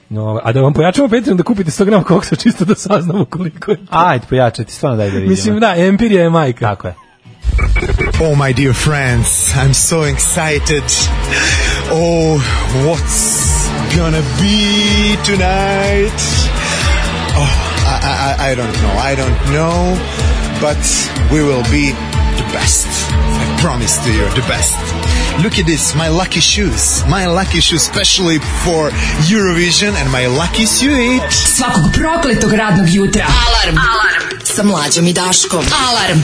F: No, a da vam pojačamo Patreon da kupite 100 grama koksa čisto da saznamo koliko je.
E: Ajde, pojačajte, stvarno daj da vidimo.
F: Mislim, da, empirija je majka.
E: Tako je.
O: Oh, my dear friends, I'm so excited. Oh, what's gonna be tonight? Oh, I, I, I- I don't know. I don't know, but we will be the best. I promise to you, the best. Look at this, my lucky shoes. My lucky shoes, specially for Eurovision and my lucky suit.
I: Svakog prokletog radnog jutra.
K: Alarm. Alarm. Sa mlađom i Daškom.
I: Alarm.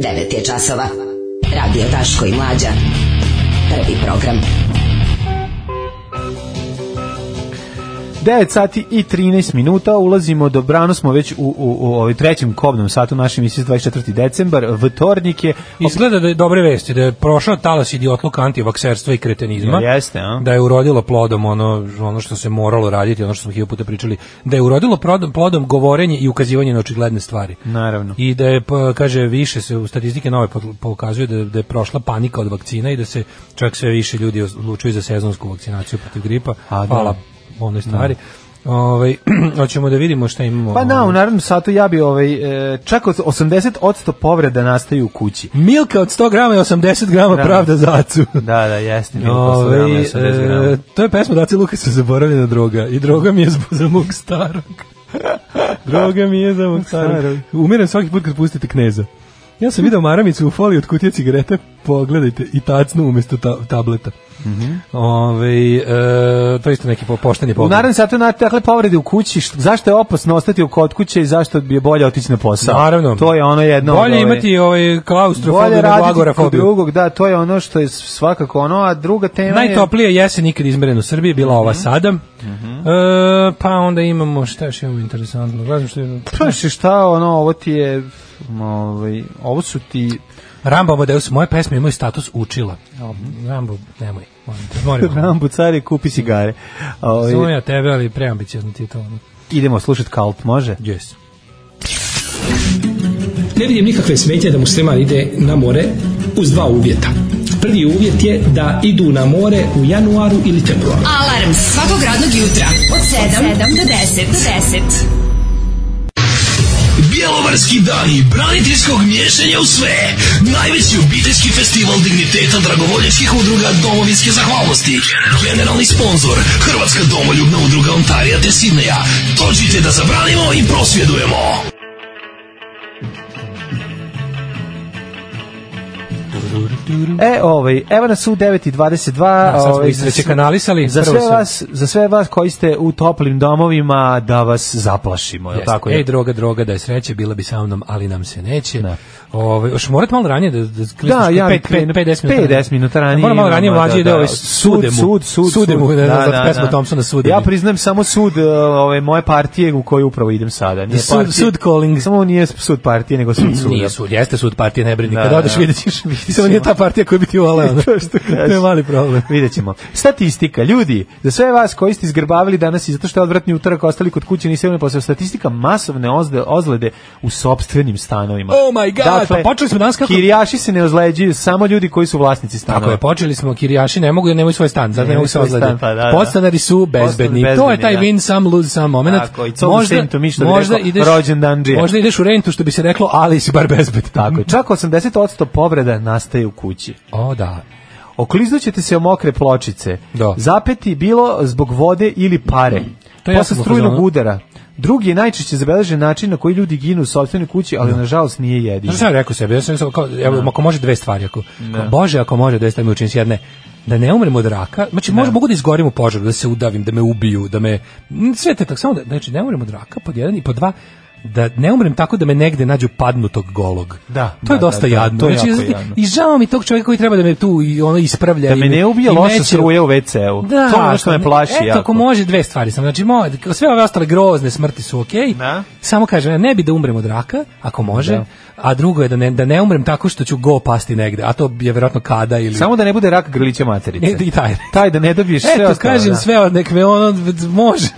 K: 9 je časova. Radio Daško i Mlađa. Prvi program.
E: 9 sati i 13 minuta, ulazimo dobrano, smo već u, u, u ovaj trećem kobnom satu naše emisije 24. decembar, vtornik je...
F: Izgleda da je dobre vesti, da je prošao talas idiotluk antivakserstva i kretenizma,
E: Ja, jeste, a?
F: da je urodilo plodom ono, ono što se moralo raditi, ono što smo hiljadu puta pričali, da je urodilo plodom, plodom govorenje i ukazivanje na očigledne stvari.
E: Naravno.
F: I da je, pa, kaže, više se u statistike nove pot- pokazuje da, da je prošla panika od vakcina i da se čak sve više ljudi odlučuju za sezonsku vakcinaciju protiv gripa.
E: A, da.
F: Hvala onoj stvari. Ovaj, hoćemo da vidimo šta imamo.
E: Pa da, u narednom satu ja bi ovaj, e, čak od 80% povreda nastaju u kući.
F: Milka od 100 grama i 80 grama
E: Da.
F: pravda za acu.
E: Da, da, jeste. Milko, 100
F: Ove,
E: grama i 80 grama.
F: Ovaj, e, to je pesma Daci Lukasa zaboravljena droga i droga mi je zb- za mog starog. droga mi je za mog starog.
E: Starog.
F: Umirem svaki put kad pustite kneza. Ja sam video maramicu u foliji od kutije cigarete, pogledajte, i tacnu umjesto ta- tableta. Ove, e, to je isto neki po- pošteni
E: Mhm. U
F: pogled.
E: narednom satu na dakle povrede u kući, što- zašto je opasno ostati kod kuće i zašto bi je bolje otići na posao.
F: Naravno.
E: To je ono jedno. od
F: Bolje
E: ove-
F: imati ovaj klaustrofobiju
E: Bolje
F: nego
E: raditi kod
F: agorafobiju.
E: drugog, da, to je ono što je svakako ono, a druga tema je...
F: Najtoplija jesen ikad izmerena u Srbiji je bila
E: Mhm.
F: ova sada. E, pa onda imamo, šta još imamo interesantno? Gledam što je...
E: Znaš šta, ono, ovo ti je, ovaj, ovo su ti...
F: Rambo Amadeus, moje pesme imaju status učila. Mm, Rambo, nemoj, molim te, molim.
E: Rambo care, kupi cigare. Ovaj,
F: Samo ja tebe, ali preambiciozno ti je to. ono.
E: idemo slušati Kalp, može?
F: Yes.
P: Ne vidim nikakve smetnje da musliman ide na more uz dva uvjeta. Prvi uvjet je da idu na more u januaru ili februaru.
I: Alarm svakog radnog jutra od 7 do 10. Do 10.
Q: Bjelovarski dani braniteljskog miješanja u sve. Najveći obiteljski festival digniteta dragovoljačkih udruga domovinske zahvalnosti. Generalni sponzor Hrvatska domoljubna udruga Ontarija te Sidneja. Dođite da zabranimo i prosvjedujemo.
E: E, ovaj, evo nas u 9.22.
F: Mm. Da, sad smo
E: ovaj,
F: ih sreće kanalisali,
E: Za
F: prvo
E: sve,
F: se-
E: vas, za sve vas koji ste u toplim domovima, da vas zaplašimo, je li
F: Jeste. E,
E: tako?
F: Ej, droga, droga, da je sreće, bila bi sa mnom, ali nam se neće. Ovaj, još morate malo ranije da, da
E: Da,
F: klisneš
E: ja
F: pet- pet- 50 minuta.
E: 50 minuta ranije.
F: Moram malo ranije
E: imamo,
F: mlađe ide ovaj
E: sud,
F: sude mu.
E: sud, sud,
F: Sude mu,
E: sud.
F: ne znam, za pesmu Thompsona sude
E: Ja
F: mi.
E: priznam samo sud e, ove moje partije u koju upravo idem sada. Nije
F: Sud-
E: partije-
F: sud calling.
E: Samo nije sud partije, nego sud suda.
F: Nije sud, jeste sud partije, ne brini.
E: Da,
F: Kada odeš
E: da.
F: vidjet ćeš, samo nije ta partija koja bi ti voleo. ono.
E: To što kažeš.
F: To je mali problem.
E: Vidjet ćemo. Statistika, ljudi, za sve vas koji ste izgrbavili danas i zato što je odvratni utorak ostali kod kuće niste imali posao statistika masovne ozde, ozlede u sopstvenim stanovima. Dakle,
F: Oh my God, pa počeli smo danas kako-
E: Kirijaši se ne ozleđuju, samo ljudi koji su vlasnici stanova.
F: Tako je, počeli smo, kirijaši ne mogu, jer nemaju svoj stan, zato ne
E: Ono- Nemaju
F: mogu se
E: svoj
F: ozlade.
E: stan, pa da, da.
F: Podstanari su bezbedni. To
E: Podstanari
F: je
E: bezbedni,
F: taj
E: da.
F: win some, lose some moment.
E: Tako, i co to mi što bi rekao, rođendan džija.
F: možda ideš u rentu, što bi se reklo, ali si bar bezbed.
E: Tako je, čak 80% povreda nastaje u kući.
F: O, da.
E: Okliznućete se o mokre pločice.
F: Da.
E: Zapeti bilo zbog vode ili pare.
F: To je
E: Posle
F: jako
E: strujnog
F: fazonu.
E: udara. Drugi je najčešće zabeležen način na koji ljudi ginu u sopstvenoj kući, ali nažalost nije jedini.
F: Znaš šta sam rekao sebi? Ja sam, rekao kao, evo, ako može dve stvari, ako, ako Bože, ako može dve stvari mi učinim s jedne, da ne umrem od raka, znači možda mogu da izgorim u požaru, da se udavim, da me ubiju, da me, m, sve te tako, samo da, znači ne umrem od raka, pod jedan i pod dva, da ne umrem tako da me negde nađu padnutog golog.
E: Da,
F: to je
E: da,
F: dosta
E: da, da,
F: jadno.
E: to je
F: znači,
E: jako
F: znači,
E: jadno.
F: I žao mi tog čovjeka koji treba da me tu i ono ispravlja.
E: Da
F: i
E: me ne ubije
F: i
E: loša
F: meće.
E: struje u WC-u.
F: Da,
E: to je ono što me plaši
F: eto,
E: jako.
F: ako može dve stvari sam. Znači, mo, sve ove ostale grozne smrti su okej. Samo kažem, ja ne bi da umrem od raka, ako može,
E: Da.
F: a drugo je da ne, da ne umrem tako što ću go pasti negde, a to je vjerojatno kada ili...
E: Samo da ne bude rak grlića materice.
F: E, I taj.
E: Taj da ne dobiješ sve
F: Eto,
E: ostalo,
F: kažem
E: da.
F: sve, nek me ono, može.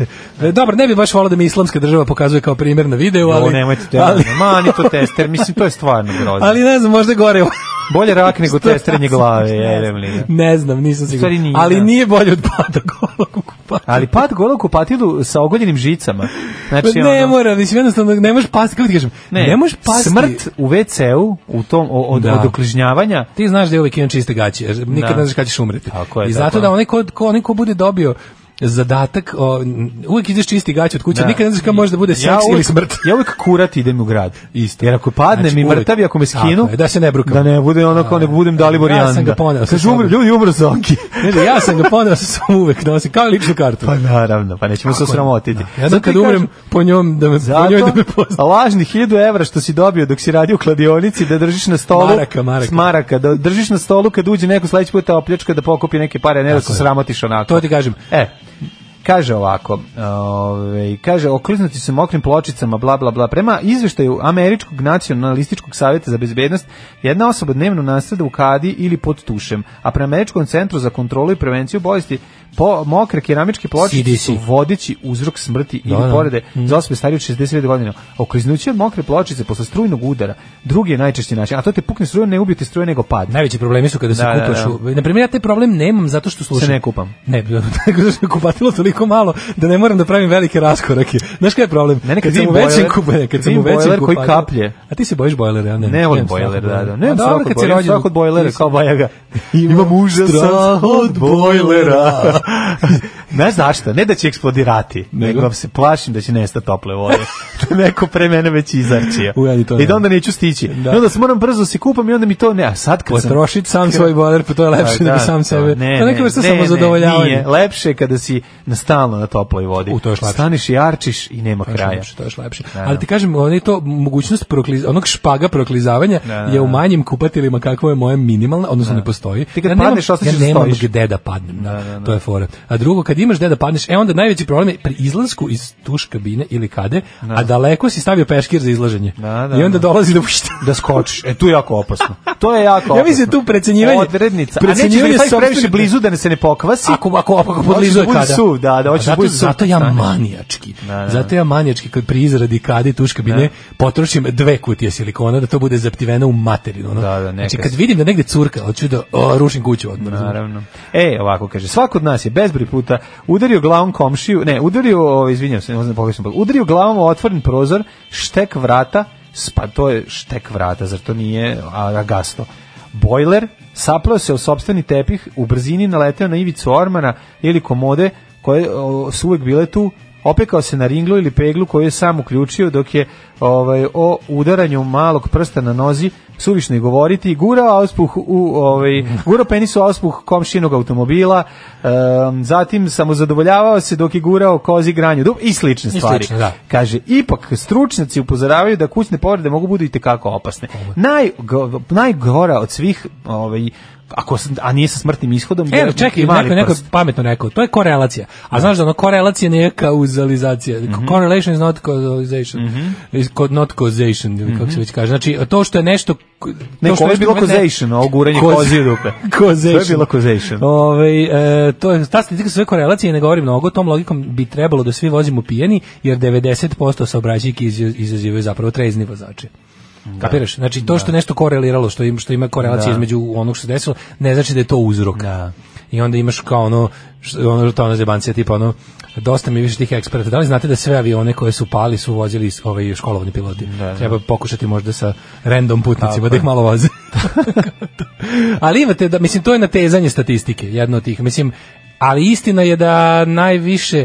F: E, Dobro, ne bi baš volao da mi islamska država pokazuje kao primjer na videu, ali...
E: Jo, nemojte to,
F: ali,
E: ma, ni to tester, mislim, to je stvarno grozno.
F: ali ne znam, možda je gore...
E: Bolje rak nego testerenje glave, jedem li.
F: ne znam, nisam
E: stvari
F: siguran.
E: nije,
F: Ali
E: da.
F: nije bolje od pada pa- golog u kupatilo.
E: Ali pad gola u kupatilu sa ogoljenim žicama. Znači,
F: Pa ne
E: ono-
F: mora, mislim, jednostavno ne možeš pasti, kako ti kažem, ne, možeš pasti.
E: Smrt u WC-u, u tom, o- od,
F: Da.
E: od okližnjavanja,
F: Ti znaš da je uvijek imam čiste gaće, jer nikad
E: Da.
F: ne znaš kada ćeš umreti.
E: Tako je, pa.
F: I zato
E: tako je.
F: da onaj ko, ko, onaj ko bude dobio zadatak, o, n- uvijek ideš čisti gaće od kuće,
E: Da.
F: nikad ne znaš kada može da bude seks ili
E: uvijek-
F: smrt.
E: Ja uvijek kurat idem u grad. Isto. Jer ako padnem
F: Znači,
E: i
F: uvek.
E: mrtav, i ako me
F: Tako
E: skinu,
F: je, da se ne brukam.
E: Da ne bude ono kao nek budem Dalibor
F: Ja sam
E: Janda.
F: ga poneo sa
E: Kaže, umre-
F: sobom.
E: ljudi, umro Zoki.
F: Znači, ja sam ga poneo sa sobom uvek nosim, kao ličnu kartu.
E: Pa naravno, pa nećemo se
F: Tako je.
E: sramotiti.
F: Da. Ja
E: Zato
F: da kad
E: ti kažem,
F: umrem po njom da me po njoj da me pozna.
E: Zato, lažni 1000 evra što si dobio dok si radio u kladionici da držiš na stolu.
F: Maraka, maraka.
E: S maraka, da držiš na stolu kad uđe neko sledeći puta opljačka da pokupi neke pare, ne da se sramotiš onako.
F: To ti kažem.
E: E, kaže ovako, ove, kaže, oklisnuti su mokrim pločicama, bla, bla, bla. Prema izveštaju Američkog nacionalističkog savjeta za bezbednost, jedna osoba dnevno nastrada u kadi ili pod tušem, a prema Američkom centru za kontrolu i prevenciju bolesti po, mokre keramičke pločice su vodeći uzrok smrti
F: Da, da.
E: ili porede za osobe starije od 60 godina. Okliznuće od mokre pločice posle strujnog udara, drugi je najčešći način, a to te pukne struja, ne ubije te struje, nego pad.
F: Najveći problemi su kada se
E: Da, da,
F: kupaš.
E: da.
F: u- Na primjer, ja taj problem nemam zato što slušam.
E: Se ne kupam.
F: Ne, tako da se kupatilo toliko malo da ne moram da pravim velike raskorake. Znaš kaj je problem?
E: Mene kad
F: kad sam
E: vidim
F: u većem
E: bojler-
F: kupa- ne,
E: kad
F: kad sam u
E: vidim
F: većem
E: bojler koji
F: kupatilu-
E: kaplje.
F: A ti se bojiš bojlera, ja ne.
E: Ne volim
F: nemam straha
E: bojler,
F: od
E: da, da.
F: bojlera.
E: Ne
F: A
E: volim
F: dobro,
E: strah od
F: kad si
E: bojlera,
F: rođen-
E: strah od bojlera, kao bajaga.
F: Imam
E: Imam
F: užasan
E: užasan strah od bojlera. ne zašto, ne da će eksplodirati,
F: Nego?
E: nego, se plašim da će nestati tople vode. Neko pre mene već izarčio.
F: U, ja ni to
E: I da
F: nemam.
E: onda neću stići.
F: Da.
E: I onda se moram brzo se kupam i onda mi to ne, a sad kad sam...
F: Potrošit sam svoj bojler, pa to je lepše
E: A,
F: nego sam sebe.
E: Ne,
F: To je
E: ne,
F: neka vrsta
E: ne,
F: samozadovoljavanja.
E: Ne, nije. Lepše je kada si na stalno na toploj vodi.
F: U, to je još lepše.
E: Staniš i arčiš i nema
F: To je još
E: kraja.
F: lepše, Znači, to je još lepše. Ali ti kažem, on je to mogućnost prokliz, onog špaga proklizavanja
E: Da, da,
F: je u
E: da.
F: manjim kupatilima kako je moje minimalna, odnosno ne postoji.
E: Ti kad
F: ja nemam-
E: padneš, osjećaš
F: ja
E: da
F: nemam
E: stojiš.
F: gde da padnem, da, to je fora. A drugo, kad imaš gde da padneš, e onda najveći problem je pri izlasku iz tuš kabine ili kade, a daleko si stavio peškir za izlaženje.
E: Da, da,
F: I onda
E: da.
F: dolazi do
E: da skočiš. E tu je jako opasno. To je jako.
F: Ja mislim
E: opasno.
F: tu precenjivanje-
E: odrednica.
F: precenjivanje
E: a nećeš da staviš
F: sopstvenih-
E: previše blizu da ne se ne pokvasi.
F: Ako ako ako
E: Hoćeš da
F: podlizu je
E: bude
F: kada.
E: Suv, da, da
F: A
E: hoćeš da
F: zato,
E: bude suv.
F: zato ja
E: Stani.
F: manijački.
E: Da, da.
F: Zato ja manijački kad pri izradi kade tuška bi ne potrošim dve kutije silikona da to bude zaptiveno u materinu. Ono.
E: Da, da, neka
F: znači kad
E: si.
F: vidim da negde curka, hoću da o, rušim kuću odmah.
E: Naravno. E, ovako kaže, svako od nas je bezbroj puta udario glavom komšiju, ne, udario, o, izvinjam se, ne znam pogrešno bilo, udario glavom u otvoren prozor, štek vrata, s- pa to je štek vrata, zar to nije agasto. Bojler, sapleo se u sopstveni tepih, u brzini naleteo na ivicu ormana ili komode koje o, su uvek bile tu, opekao se na ringlu ili peglu koju je sam uključio dok je ovaj o udaranju malog prsta na nozi suvišno i govoriti gurao auspuh u ovaj gurao penis u auspuh komšinog automobila em, zatim samozadovoljavao se dok je gurao kozi granju dub i slične
F: I
E: stvari
F: slično, da.
E: kaže ipak stručnjaci upozoravaju da kućne povrede mogu budu i kako opasne naj najgora od svih ovaj ako s- a nije sa smrtnim ishodom
F: E,
E: je
F: čekaj,
E: i mali
F: neko, neko je
E: prst.
F: pametno rekao, to je korelacija. A znaš da ono, korelacija nije kauzalizacija.
E: Mhm.
F: Correlation is not causation. Is co- not causation, ili kako se već kaže. Znači, to što je nešto...
E: Mhm. Ne,
F: to što
E: ovo je bilo
F: ne-
E: causation, ovo guranje
F: Cause-
E: kozi rupe.
F: causation.
E: To je bilo causation.
F: Ovaj, e, to je, ta statistika su sve korelacije, ne govori mnogo, tom logikom bi trebalo da svi vozimo pijeni, jer 90% saobraćajki izaz- izazivaju zapravo trezni vozači. Kapiraš? Znači to što je nešto koreliralo, što im što ima korelacije
E: Da.
F: između onog što se desilo, ne znači da je to uzrok. I onda imaš kao ono š- ono to ona zebancija tipa ono dosta mi je više tih eksperata. Da li znate da sve avione koje su pali su vozili s- ovaj školovani piloti? Treba pokušati možda sa random putnicima da ih malo voze. ali imate da mislim to je natezanje statistike, jedno od tih. Mislim ali istina je da najviše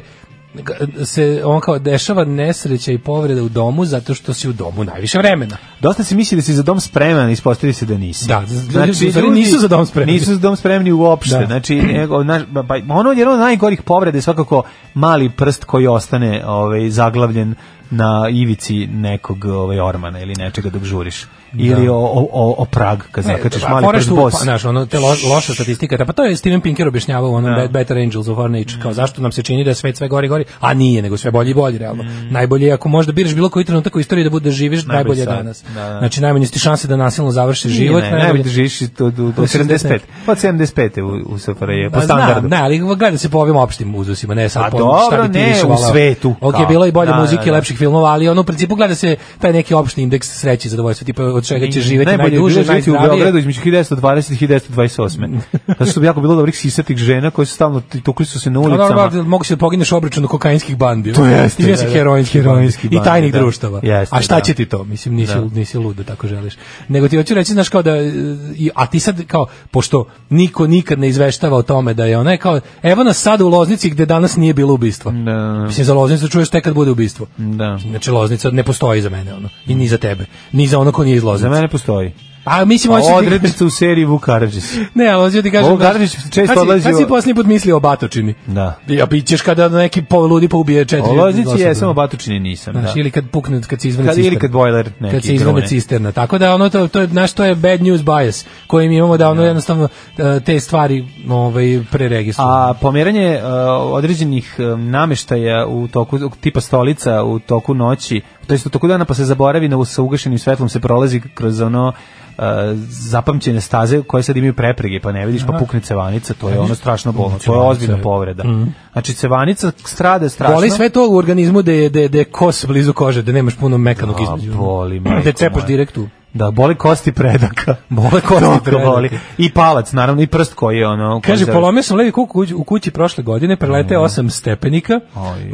F: g- se on kao dešava nesreća i povreda u domu zato što si u domu najviše vremena.
E: Dosta si misli da si za dom spreman, ispostavi se da nisi. Znači,
F: Da, ljudi u stvari nisu za dom spremni.
E: Nisu za dom spremni uopšte.
F: Da.
E: Znači, nego, naš, ba- ba- ono je od najgorih povreda je svakako mali prst koji ostane ovaj, zaglavljen na ivici nekog ovaj, ormana ili nečega dok žuriš. Ili o, o, o, o prag, kad zakačeš
F: a
E: mali
F: fora
E: prst
F: što,
E: bos.
F: pa, znaš, ono, te lo- loša statistika, da, pa to je Steven Pinker objašnjavao u onom
E: Da. Mm.
F: Bad- Better Angels of Our Nature, kao zašto nam se čini da je svet sve gori i gori, a nije, nego sve bolje i bolje, realno. Najbolje je ako možda biraš bilo koji trenutak u istoriji da budeš živiš, najbolje,
E: Mm. Najbolji
F: je
E: sad.
F: danas.
E: Da, da.
F: Znači, najmanje su ti šanse da nasilno završi život.
E: Nije, ne, najbolje da živiš do, do, do 75. Pa 75 je u, u SFRJ, po
F: A, Pa znam,
E: standardu.
F: ne, ali gleda se po ovim opštim uzusima, ne sad
E: A
F: po
E: dobro,
F: bi ti
E: ne,
F: više
E: u
F: volao.
E: svetu,
F: Ok,
E: kao.
F: bilo je i bolje
E: Da, da,
F: muzike, i
E: da.
F: lepših filmova, ali ono u principu gleda se taj neki opšti indeks sreće i zadovoljstva, tipa od čega će živeti
E: najbolje je
F: najduže,
E: bilo živjeti u
F: najzdravije.
E: Beogradu između 1920 i 1928. Zato što bi jako bilo dobrih sisatih žena koje su stalno t- tukli su se na
F: Pa
E: ulicama.
F: Dobro, mogu se da pogineš obračun kokainskih bandi.
E: To jeste,
F: I bio si
E: da, da.
F: heroinski,
E: Heroinski
F: I tajnih
E: bandi, da.
F: društava.
E: Jeste,
F: a šta
E: da.
F: će ti to? Mislim, nisi,
E: Da.
F: nisi lud da tako želiš. Nego ti hoću reći, znaš, kao da... e, i- A ti sad, kao, pošto niko nikad ne izveštava o tome da je ona, kao, evo nas sad u Loznici gde danas nije bilo ubistva.
E: Da.
F: Mislim, za Loznicu čuješ tek kad bude ubistvo.
E: Da.
F: Znači, Loznica ne postoji za mene, ono. I ni za tebe. Ni za ono ko nije iz Loznice.
E: Za mene postoji.
F: Pa mislim hoće
E: odrednica u seriji Vukarađis.
F: Ne, ali hoću ti kažem.
E: Ovo Karadžić
F: znaš,
E: često
F: kad si-
E: odlazi
F: Kad
E: u-
F: si posljednji put mislio o Batočini?
E: Da.
F: Ja bićeš kada neki poludi pa ubije četiri.
E: O Loznici
F: osobe.
E: jesam, o Batočini nisam,
F: Znaš,
E: da.
F: ili kad pukne kad se izvane
E: Kad- ili kad bojler neki
F: Kad se izvane
E: krune.
F: cisterna. Tako da ono to to je znaš, to je bad news bias koji mi imamo da ono jednostavno e, te stvari ovaj preregistrujemo.
E: A pomeranje e, određenih e, nameštaja u toku tipa stolica u toku noći, to jest u toku dana pa se zaboravi na sa ugašenim svetlom se prolazi kroz ono e, zapamćene staze koje sad imaju preprege, pa ne vidiš, pa
F: Aha.
E: pukne cevanica, to je
F: Vidiš?
E: ono strašno bolno, to je
F: Cevanica
E: ozbiljna
F: je-
E: povreda.
F: Mhm.
E: Znači cevanica strada strašno.
F: Boli sve to u organizmu da je, da je, da je kos blizu kože, da nemaš puno mekanog
E: A,
F: između.
E: boli, majko
F: Da cepaš
E: moja.
F: direkt u.
E: Da, boli kosti predaka.
F: Bole kosti
E: Toliko
F: predaka.
E: boli. I palac, naravno, i prst koji je ono... koji
F: Kaže,
E: zavis-
F: polomio sam levi kuk u kući- u kući prošle godine, preleteo osam stepenika,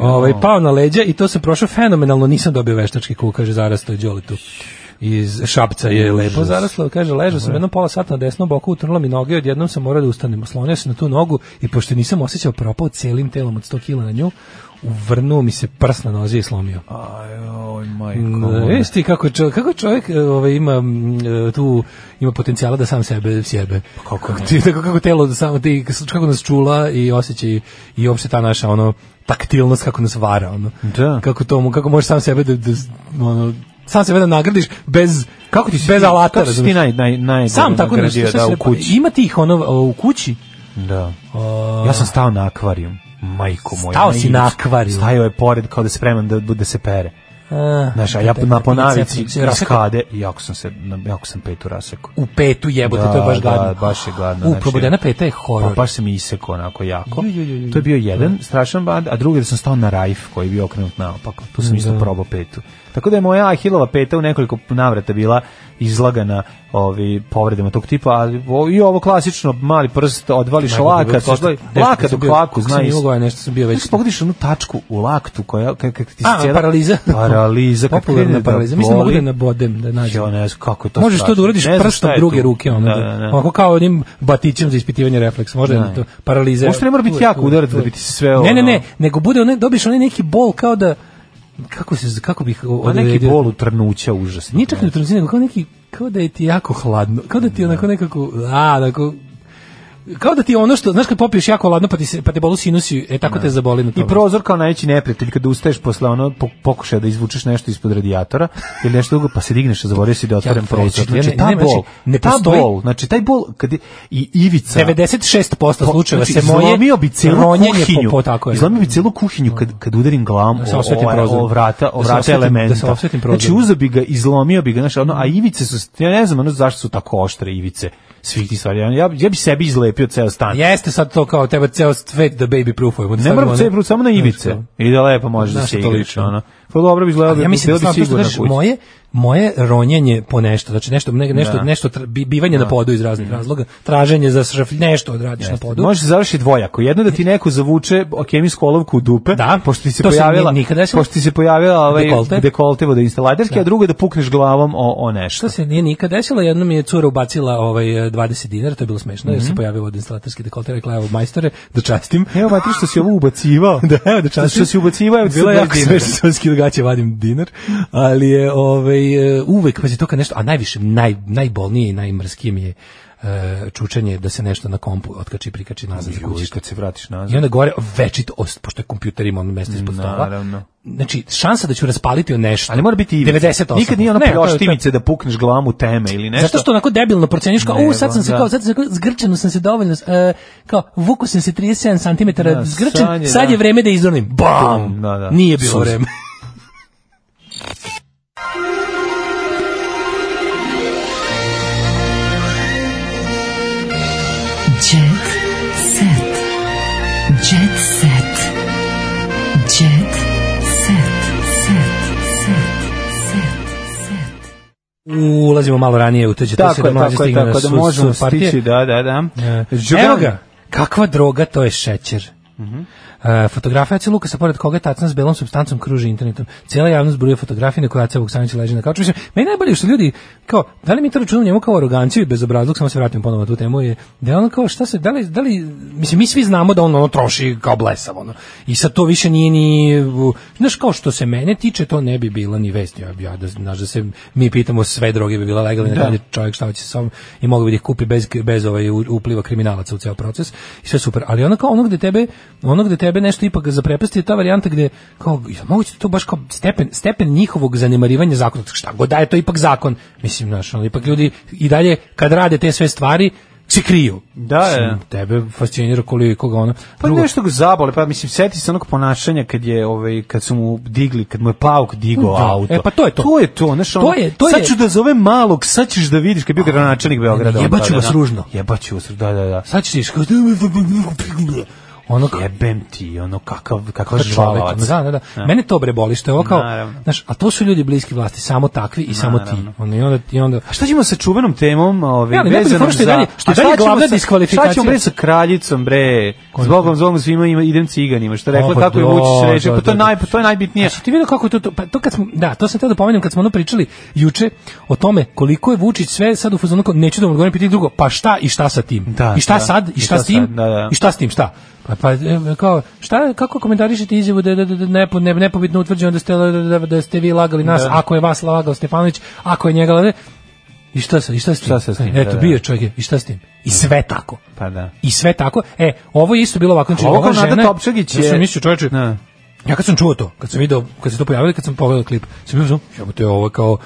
F: ovaj, pao na leđa i to sam prošao fenomenalno, nisam dobio veštački kuk, kaže, zarasto je Đolitu. Iz Šapca je lepo zaraslo, kaže, ležao sam jednom pola sata na desnom boku, utrnula mi noge, odjednom sam morao da ustanem, oslonio sam na tu nogu i pošto nisam osjećao propao celim telom od 100 kila na nju, uvrnuo mi se prst na nozi i slomio.
E: Ajoj, majko
F: Da,
E: moja.
F: vidiš ti kako čovjek, kako čovjek e, ovaj, ima mm, e, tu ima potencijala da sam sebe sjebe.
E: Pa
F: Kako ti tako kako telo da samo ti kako nas čula i osjećaj i uopšte ta naša ono taktilnost kako nas vara ono.
E: Da.
F: Kako to mu- kako možeš sam sebe da, da ono sam sebe da nagradiš bez kako ti bez alata.
E: kako si ti
F: razumeš?
E: naj- naj- najgore
F: sam tako
E: nagradio,
F: nešto šta
E: da,
F: se
E: u
F: ne-
E: kući.
F: Ima tih ono o, u kući.
E: Da.
F: O,
E: Ja sam stao na akvarijum. Majko moja.
F: Stao si
E: naivno.
F: na akvarijum.
E: Stajao je pored kao da spreman da bude se pere.
F: a,
E: Znaš, a ja
F: da,
E: na
F: da,
E: ponavici
F: da, da,
E: iz kade, jako sam se, jako sam petu rasekao.
F: u petu jebote, to je baš
E: Da,
F: gadno.
E: Da, baš je gadno.
F: U,
E: znači,
F: probodena peta je horor.
E: Pa baš se mi isekao onako jako.
F: Ju, ju, ju, ju.
E: To je bio jedan strašan bad, a drugi da sam stao na rajf koji je bio okrenut naopako. Tu sam isto
F: Da.
E: probao petu. Tako da je moja Ahilova peta u nekoliko navrata bila izlagana ovi povredama tog tipa, ali o- i ovo klasično mali prst odvališ
F: Najbolje bi bilo
E: lakat,
F: to što-
E: odvali-
F: nešto kad
E: lakat u
F: sam bio-
E: kvaku,
F: kako sam
E: znaš.
F: imao ovaj, nešto sam bio već-
E: Kako pogodiš onu tačku u laktu koja kak, kak ti se
F: A,
E: cijela-
F: paraliza.
E: Pa, Paraliza, kad
F: Popularna
E: krene da
F: paraliza. Mislim da mogu da
E: boli.
F: nabodem, da nađem.
E: Ja ne znam kako je to
F: Možeš to
E: strašno.
F: da uradiš
E: Ne znam šta
F: prstom
E: je tu.
F: druge ruke, ono, da,
E: Da, da, da.
F: Ovako kao onim batićem za ispitivanje refleksa, možda
E: Da.
F: je to paraliza.
E: Uopšte ne mora biti
F: Tu je,
E: jako
F: tu je,
E: udarac
F: tu
E: da
F: je.
E: bi ti sve
F: Ne, ne, ne,
E: ono-
F: nego bude onaj, dobiješ onaj neki bol kao da, kako se, kako bih
E: Pa neki
F: odredio?
E: bol utrnuća užasno.
F: Nije čak ni utrnuci, nego kao neki, kao da je ti jako hladno, kao da ti onako nekako, a, onako, kao da ti ono što, znaš kad popiješ jako hladno pa, ti se, pa te bolu sinusi, e tako te zaboli na
E: I
F: tome.
E: prozor kao najveći neprijatelj kada ustaješ posle ono po- pokušaja da izvučeš nešto ispod radijatora ili nešto drugo pa se digneš a zaboravio si da otvorem
F: Ja,
E: prozor.
F: znači,
E: Znači, ta
F: ne, znači,
E: bol,
F: ne
E: ta
F: postoji-
E: bol, znači taj bol kad je, i ivica
F: 96% Pa, slučajeva
E: znači,
F: se moje
E: izlomio bi celu
F: ronjenje
E: kuhinju.
F: po, po tako je.
E: Izlomio bi celu kuhinju kad kad udarim glavom
F: Da se
E: o,
F: osvetim
E: o-
F: prozor.
E: o vrata, o
F: Da se
E: vrata
F: osvetim- da se
E: elementa.
F: osvetim prozor.
E: znači uzeo bi ga, izlomio bi ga, znači ono, a ivice su ja ne znam ono zašto su tako oštre ivice svih tih stvari. Ja, ja, ja bi sebi izlepio ceo stan.
F: Jeste sad to kao tebe ceo svet da baby proofujemo. da
E: Ne
F: stavimo
E: moram
F: one-
E: sve prut samo na ivice.
F: ono- Znaš
E: I da lepo može da
F: Znaš
E: se
F: što to
E: igraš,
F: liči?
E: ono. Pa dobro bi izgledalo,
F: Ali ja mislim da
E: bilo bi
F: stvarno, to
E: sigurno
F: znaš,
E: kuća.
F: moje moje ronjenje po nešto, znači nešto ne- nešto
E: Da.
F: nešto tra- bi- bivanje na
E: Da.
F: podu iz raznih razloga, traženje za šraf, nešto odradiš na podu.
E: Može se završiti dvojako. Jedno da ti neko zavuče o kemijsku olovku u dupe,
F: Da,
E: pošto ti se
F: to se
E: pojavila,
F: nije nikada desilo.
E: pošto ti se pojavila ovaj
F: Dekolte.
E: dekolte, vodoinstalaterke, a drugo da pukneš glavom o, o nešto.
F: To se nije nikad desilo, jednom je cura ubacila ovaj eh, 20 dinara, to je bilo smešno,
E: Mhm.
F: jer se pojavio od instalatorski dekolte, rekla evo majstore, da častim.
E: Evo, Matri, što si ovo ubacivao.
F: da, evo da častim.
E: Što si ubacivao, evo ti
F: Bilo je
E: sad
F: jako
E: 10 dinara.
F: smešno, sam skidao gaće, vadim dinar, ali je ovaj, e, uvek, pazi, to kad nešto, a najviše, naj, najbolnije i najmrskije mi je e, čučanje da se nešto na kompu otkači i prikači nazad za
E: Uj,
F: kućište.
E: kad se vratiš nazad.
F: I onda gore večito ost, pošto je kompjuter ima ono mesto ispod stola.
E: Naravno.
F: Znači, šansa da ću raspaliti o nešto.
E: Ali mora biti ivica.
F: 98.
E: Nikad nije ono
F: Ne, to je- to je-
E: pljoštimice da pukneš glavom u teme ili nešto.
F: Zato E što onako debilno proceniš kao, u, sad sam se
E: Nego,
F: kao,
E: da.
F: sad sam se kao, zgrčeno sam se dovoljno, e, kao, vuku sam se 37 cm
E: Da,
F: zgrčen,
E: sad je,
F: sad
E: da.
F: je vreme da izdonim. Bam!
E: Da, da.
F: Nije bilo
E: Suz.
F: vreme.
I: Jet set. Jet set. Jet set. Set. Set. Set. Set.
F: Ulazimo malo ranije u to će to se
E: Tako
F: da
E: je,
F: mlađe
E: tako je,
F: stigne na
E: tako da
F: su-
E: možemo
F: su partije.
E: stići, da, da, da.
F: E,
E: Žugan-
F: Evo ga, kakva droga to je šećer. E, fotografija Ace Lukasa, pored koga tacan s belom substancom kruži internetom. Cijela javnost bruje fotografije na koja Ace Vuksanović leži na kauču. Mislim, meni je najbolje što ljudi, kao, da li mi to računamo njemu kao aroganciju i bezobrazluk, samo se vratim ponovo na tu temu, je, da je ono kao, šta se, da li, da li, mislim, mi svi znamo da on ono troši kao blesav, ono. I sad to više nije ni, u, znaš, kao što se mene tiče, to ne bi bila ni vest. Ja, ja da, znaš, da se mi pitamo, sve droge bi bila legalne,
H: Da.
F: da. čovjek šta hoće sa sobom i mogao bi da ih kupi bez, bez ovaj u- upliva kriminalaca u ceo proces i sve super. Ali ono kao ono gde tebe, ono gde tebe nešto ipak zaprepasti je ta varijanta gde kao ja moguće da to baš kao stepen stepen njihovog zanemarivanja zakona. Šta god da je to je ipak zakon. Mislim znaš, ono, ipak ljudi i dalje kad rade te sve stvari se kriju. Da,
E: da.
F: Tebe fascinira koliko ga ono.
E: Pa nešto ga zabole, pa mislim, seti se onog ponašanja kad je, ovaj, kad su mu digli, kad mu je pauk digao
F: Da.
E: auto.
F: E, pa to je to.
E: To je to, znaš,
F: To
E: ono,
F: je- to
E: sad
F: je-
E: ću da zovem malog, sad ćeš da vidiš kad je bio gradonačelnik Beograda.
F: Jebaću vas ružno.
E: Jebaću vas ružno, da, da, da.
F: Sad ćeš ti kao- ono
E: jebem ti, ono kakav kakav
F: Pa čovek,
E: žvalovac.
F: Da, da, da.
E: Ja.
F: Mene to bre boli što je ovo kao,
E: Naravno.
F: znaš, a to su ljudi bliski vlasti, samo takvi i samo ti.
E: Naravno.
F: Ono, i onda, i onda...
E: A šta ćemo sa čuvenom temom, ovaj
F: Ja, ali najbolje
E: vezanom
F: fora što je
E: za-
F: dalje- što je
E: A šta
F: dalje
E: ćemo
F: glavna
E: sa-
F: diskvalifikacija?
E: Šta ćemo bre sa kraljicom bre? Zbogom zbogom svima ima idem ciganima, što je rekla
F: O, pa
E: kako je
F: da,
E: Vučić reče,
F: da,
E: pa to je
F: da,
E: naj pa to je najbitnije.
F: Znači, ti vidio kako je to, to, pa to kad smo, da, to sam teo da pomenem kad smo ono pričali juče o tome koliko je Vučić sve sad u fazonu, kao, neću da vam odgovorim pitanje drugo, pa šta i šta sa tim?
E: Da,
F: I šta
E: da.
F: sad? I
E: I
F: šta,
E: šta
F: s tim?
E: sad? Da, da.
F: I šta s tim? Šta? Pa, pa e, kao, šta, kako komentarišete izjavu da je da, da, da, nepo- ne- nepobitno utvrđeno da ste, da, da, da ste vi lagali nas,
E: Da.
F: ako je vas lagao Stefanović, ako je njega lagao, I šta sa, i šta s tim?
E: Šta sa s tim,
F: Eto,
E: da, da.
F: bio je čovjek, je, i šta s tim? I sve tako.
E: Pa da.
F: I sve tako. E, ovo je isto bilo ovako, znači,
E: A ovo
F: ova
E: kao Nada
F: žena je-
E: Topčagić
F: Ja sam
E: je-
F: mislio, čoveče, ja kad sam čuo to, kad sam video, kad se to pojavilo, i kad sam pogledao klip, sam bio znam, jebote, ovo je kao,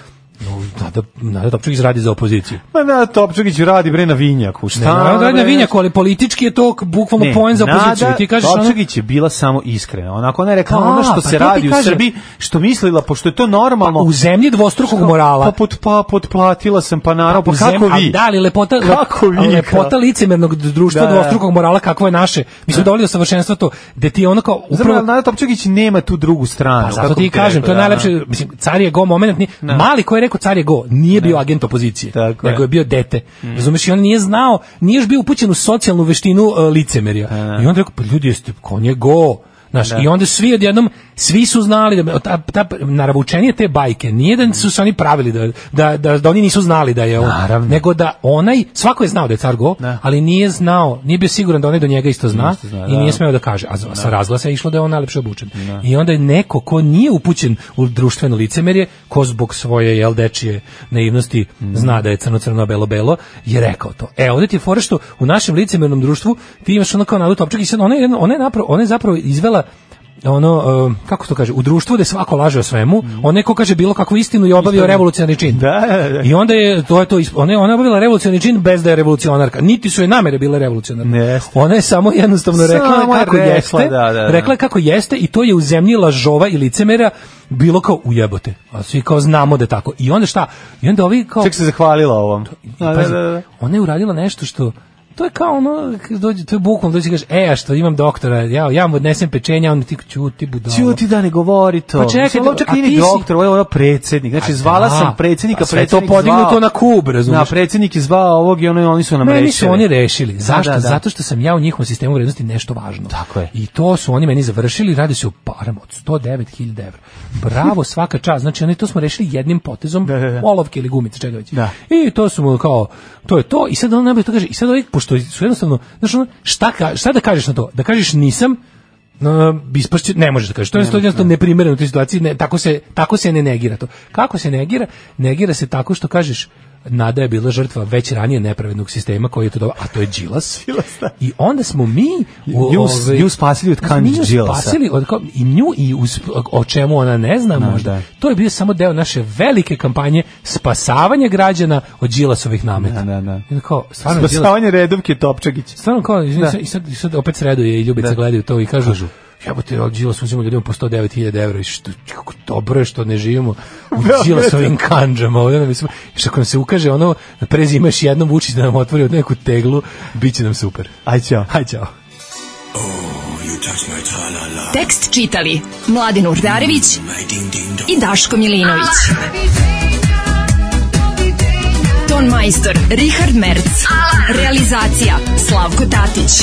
F: no, Nada, Nada Topčagić radi za opoziciju.
E: Ma na Topčagić radi bre na vinjaku. Šta?
F: Ne, Nada radi na
E: bre?
F: vinjaku, ali politički je to k- bukvalno
E: Ne,
F: poen za opoziciju.
E: Nada
F: I ti kažeš ono,
E: Topčagić je bila samo iskrena. Onako ona je rekla
F: Da,
E: ono što
F: pa
E: se
F: to ti
E: radi
F: kažem.
E: u
F: Pa,
E: Srbiji, što mislila, pošto je to normalno.
F: u zemlji dvostrukog
E: Kao,
F: morala.
E: Pa, pot, pa potplatila sam, pa naravno, pa
F: u zemlji-
E: kako
F: a
E: vi?
F: Da, ali lepota, le-
E: Kako vi,
F: lepota
E: kao?
F: licemernog društva
E: Da, da.
F: dvostrukog morala kakvo je naše. Mislim, dovoljno savršenstva to, gde ti ono kao,
E: Zapravo,
F: upravo,
E: Nada Topčagić nema tu drugu stranu.
F: Pa zato
E: kako
F: ti
E: bih
F: kažem,
E: rekao,
F: to je
E: da,
F: najlepše,
E: da.
F: mislim, car je go moment, nije, mali koji je rekao car je go, nije bio agent opozicije,
E: Tako
F: nego
E: je. Mhm.
F: je bio dete. Razumeš, i on nije znao, nije još bio upućen u socijalnu veštinu e, licemerja. I onda je rekao, pa ljudi, jeste, ko on je go. Znaš, i onda svi odjednom, svi su znali, da, ta, ta, naravučenje te bajke, nije da su se oni pravili, da, da, da, da oni nisu znali da je on,
E: Naravno.
F: nego da onaj, svako je znao da je car go, ali nije znao, nije bio siguran da onaj do njega isto zna,
E: Isto zna,
F: i nije
E: da.
F: smeo da kaže, a sa razglasa je išlo da je on najlepše obučen. I onda je neko ko nije upućen u društveno licemerje, ko zbog svoje jel, dečije naivnosti zna da je crno-crno, belo-belo, je rekao to. E, ovdje ti je fora što u našem licemernom društvu ti imaš ono kao nadu topčak i sad ona je, jedno- ona je, napra- ona je zapravo izvela ono, e, kako to kaže, u društvu gde svako laže o svemu, on neko kaže bilo kakvu istinu i obavio revolucionarni čin.
E: Da, da.
F: I onda je to je to isp- ona je, ona je obavila revolucionarni čin bez da je revolucionarka. Niti su je namere bile revolucionarne.
E: Jeste.
F: Ona je samo jednostavno rekla
E: Samo je
F: kako
E: rekla,
F: jeste.
E: da, da, da.
F: Rekla je kako jeste i to je u zemlji lažova i licemera bilo kao ujebote. A svi kao znamo da je tako. I onda šta? I onda ovi kao
E: Čak se zahvalila ovom. Da, da,
F: Pazi,
E: da, da.
F: ona je uradila nešto što To je kao ono, kad dođe, to je bukvalno, dođe i kaže, e, a što imam doktora, ja, ja mu odnesem pečenja, a on ti ćuti budalo.
E: Ćuti da ne govori to.
F: Pa čekaj,
E: Mislim, ovo čak
F: a
E: nije ni
F: ti si-
E: doktor, ovo je ono predsjednik. Znači,
F: A
E: zvala
F: da,
E: sam predsjednika,
F: pa sve je to
E: predsjednik
F: podignuto
E: zvao-
F: na kub, razumeš?
E: Da, predsjednik je zvao ovog i ono, oni su nam
F: Meni
E: rešili.
F: su oni rešili. Zašto?
E: Da, da, da.
F: Zato što sam ja u njihovom sistemu vrednosti nešto važno.
E: Tako je.
F: I to su oni meni završili, radi se o parama od 109.000 evra. Bravo, svaka čast. Znači, oni to smo rešili jednim potezom
E: da, da.
F: olovke ili gumice, čega već.
E: Da.
F: I to su mu kao, to je to. I sad on najbolje to kaže. I sad ovaj, pošto su jednostavno, znaš, ono, šta, ka- šta da kažeš na to? Da kažeš nisam, no, ispašće, ne možeš da kažeš. To je jednostavno neprimereno u toj situaciji, ne, tako, se, tako se ne negira to. Kako se negira? Negira se tako što kažeš Nada je bila žrtva već ranije nepravednog sistema koji je to dobro, a to je Đilas. I onda smo mi u-
E: Nju-
F: ovaj-
E: nju spasili od
F: Mi
E: Kandži
F: nju
E: Đilasa.
F: Spasili od kao- i nju i uz- o čemu ona ne zna možda.
E: da.
F: To je bio samo deo naše velike kampanje spasavanja građana od Đilasovih nameta.
E: Da, da, da.
F: I onda kao, stvarno je Đilas-
E: Spasavanje redovke Topčagić.
F: Stvarno kao, i
E: Da.
F: sad- i sad, i sad opet sreduje i Ljubica
E: Da.
F: gledaju to i kažu, kažu jebote, od Đilas uzima ljudima po 109.000 evra i što, kako dobro je što ne živimo u
E: Beogradu.
F: Đilasovim kanđama. Ovdje nam je sve- I što ako nam se ukaže ono, na prezimaš jednom učiš da nam otvori od neku teglu, bit će nam super.
E: Aj, ćao.
F: Aj, čao.
I: Tekst čitali Mladin Urdarević i Daško Milinović. Ton majstor Richard Merc. Realizacija Slavko Tatić.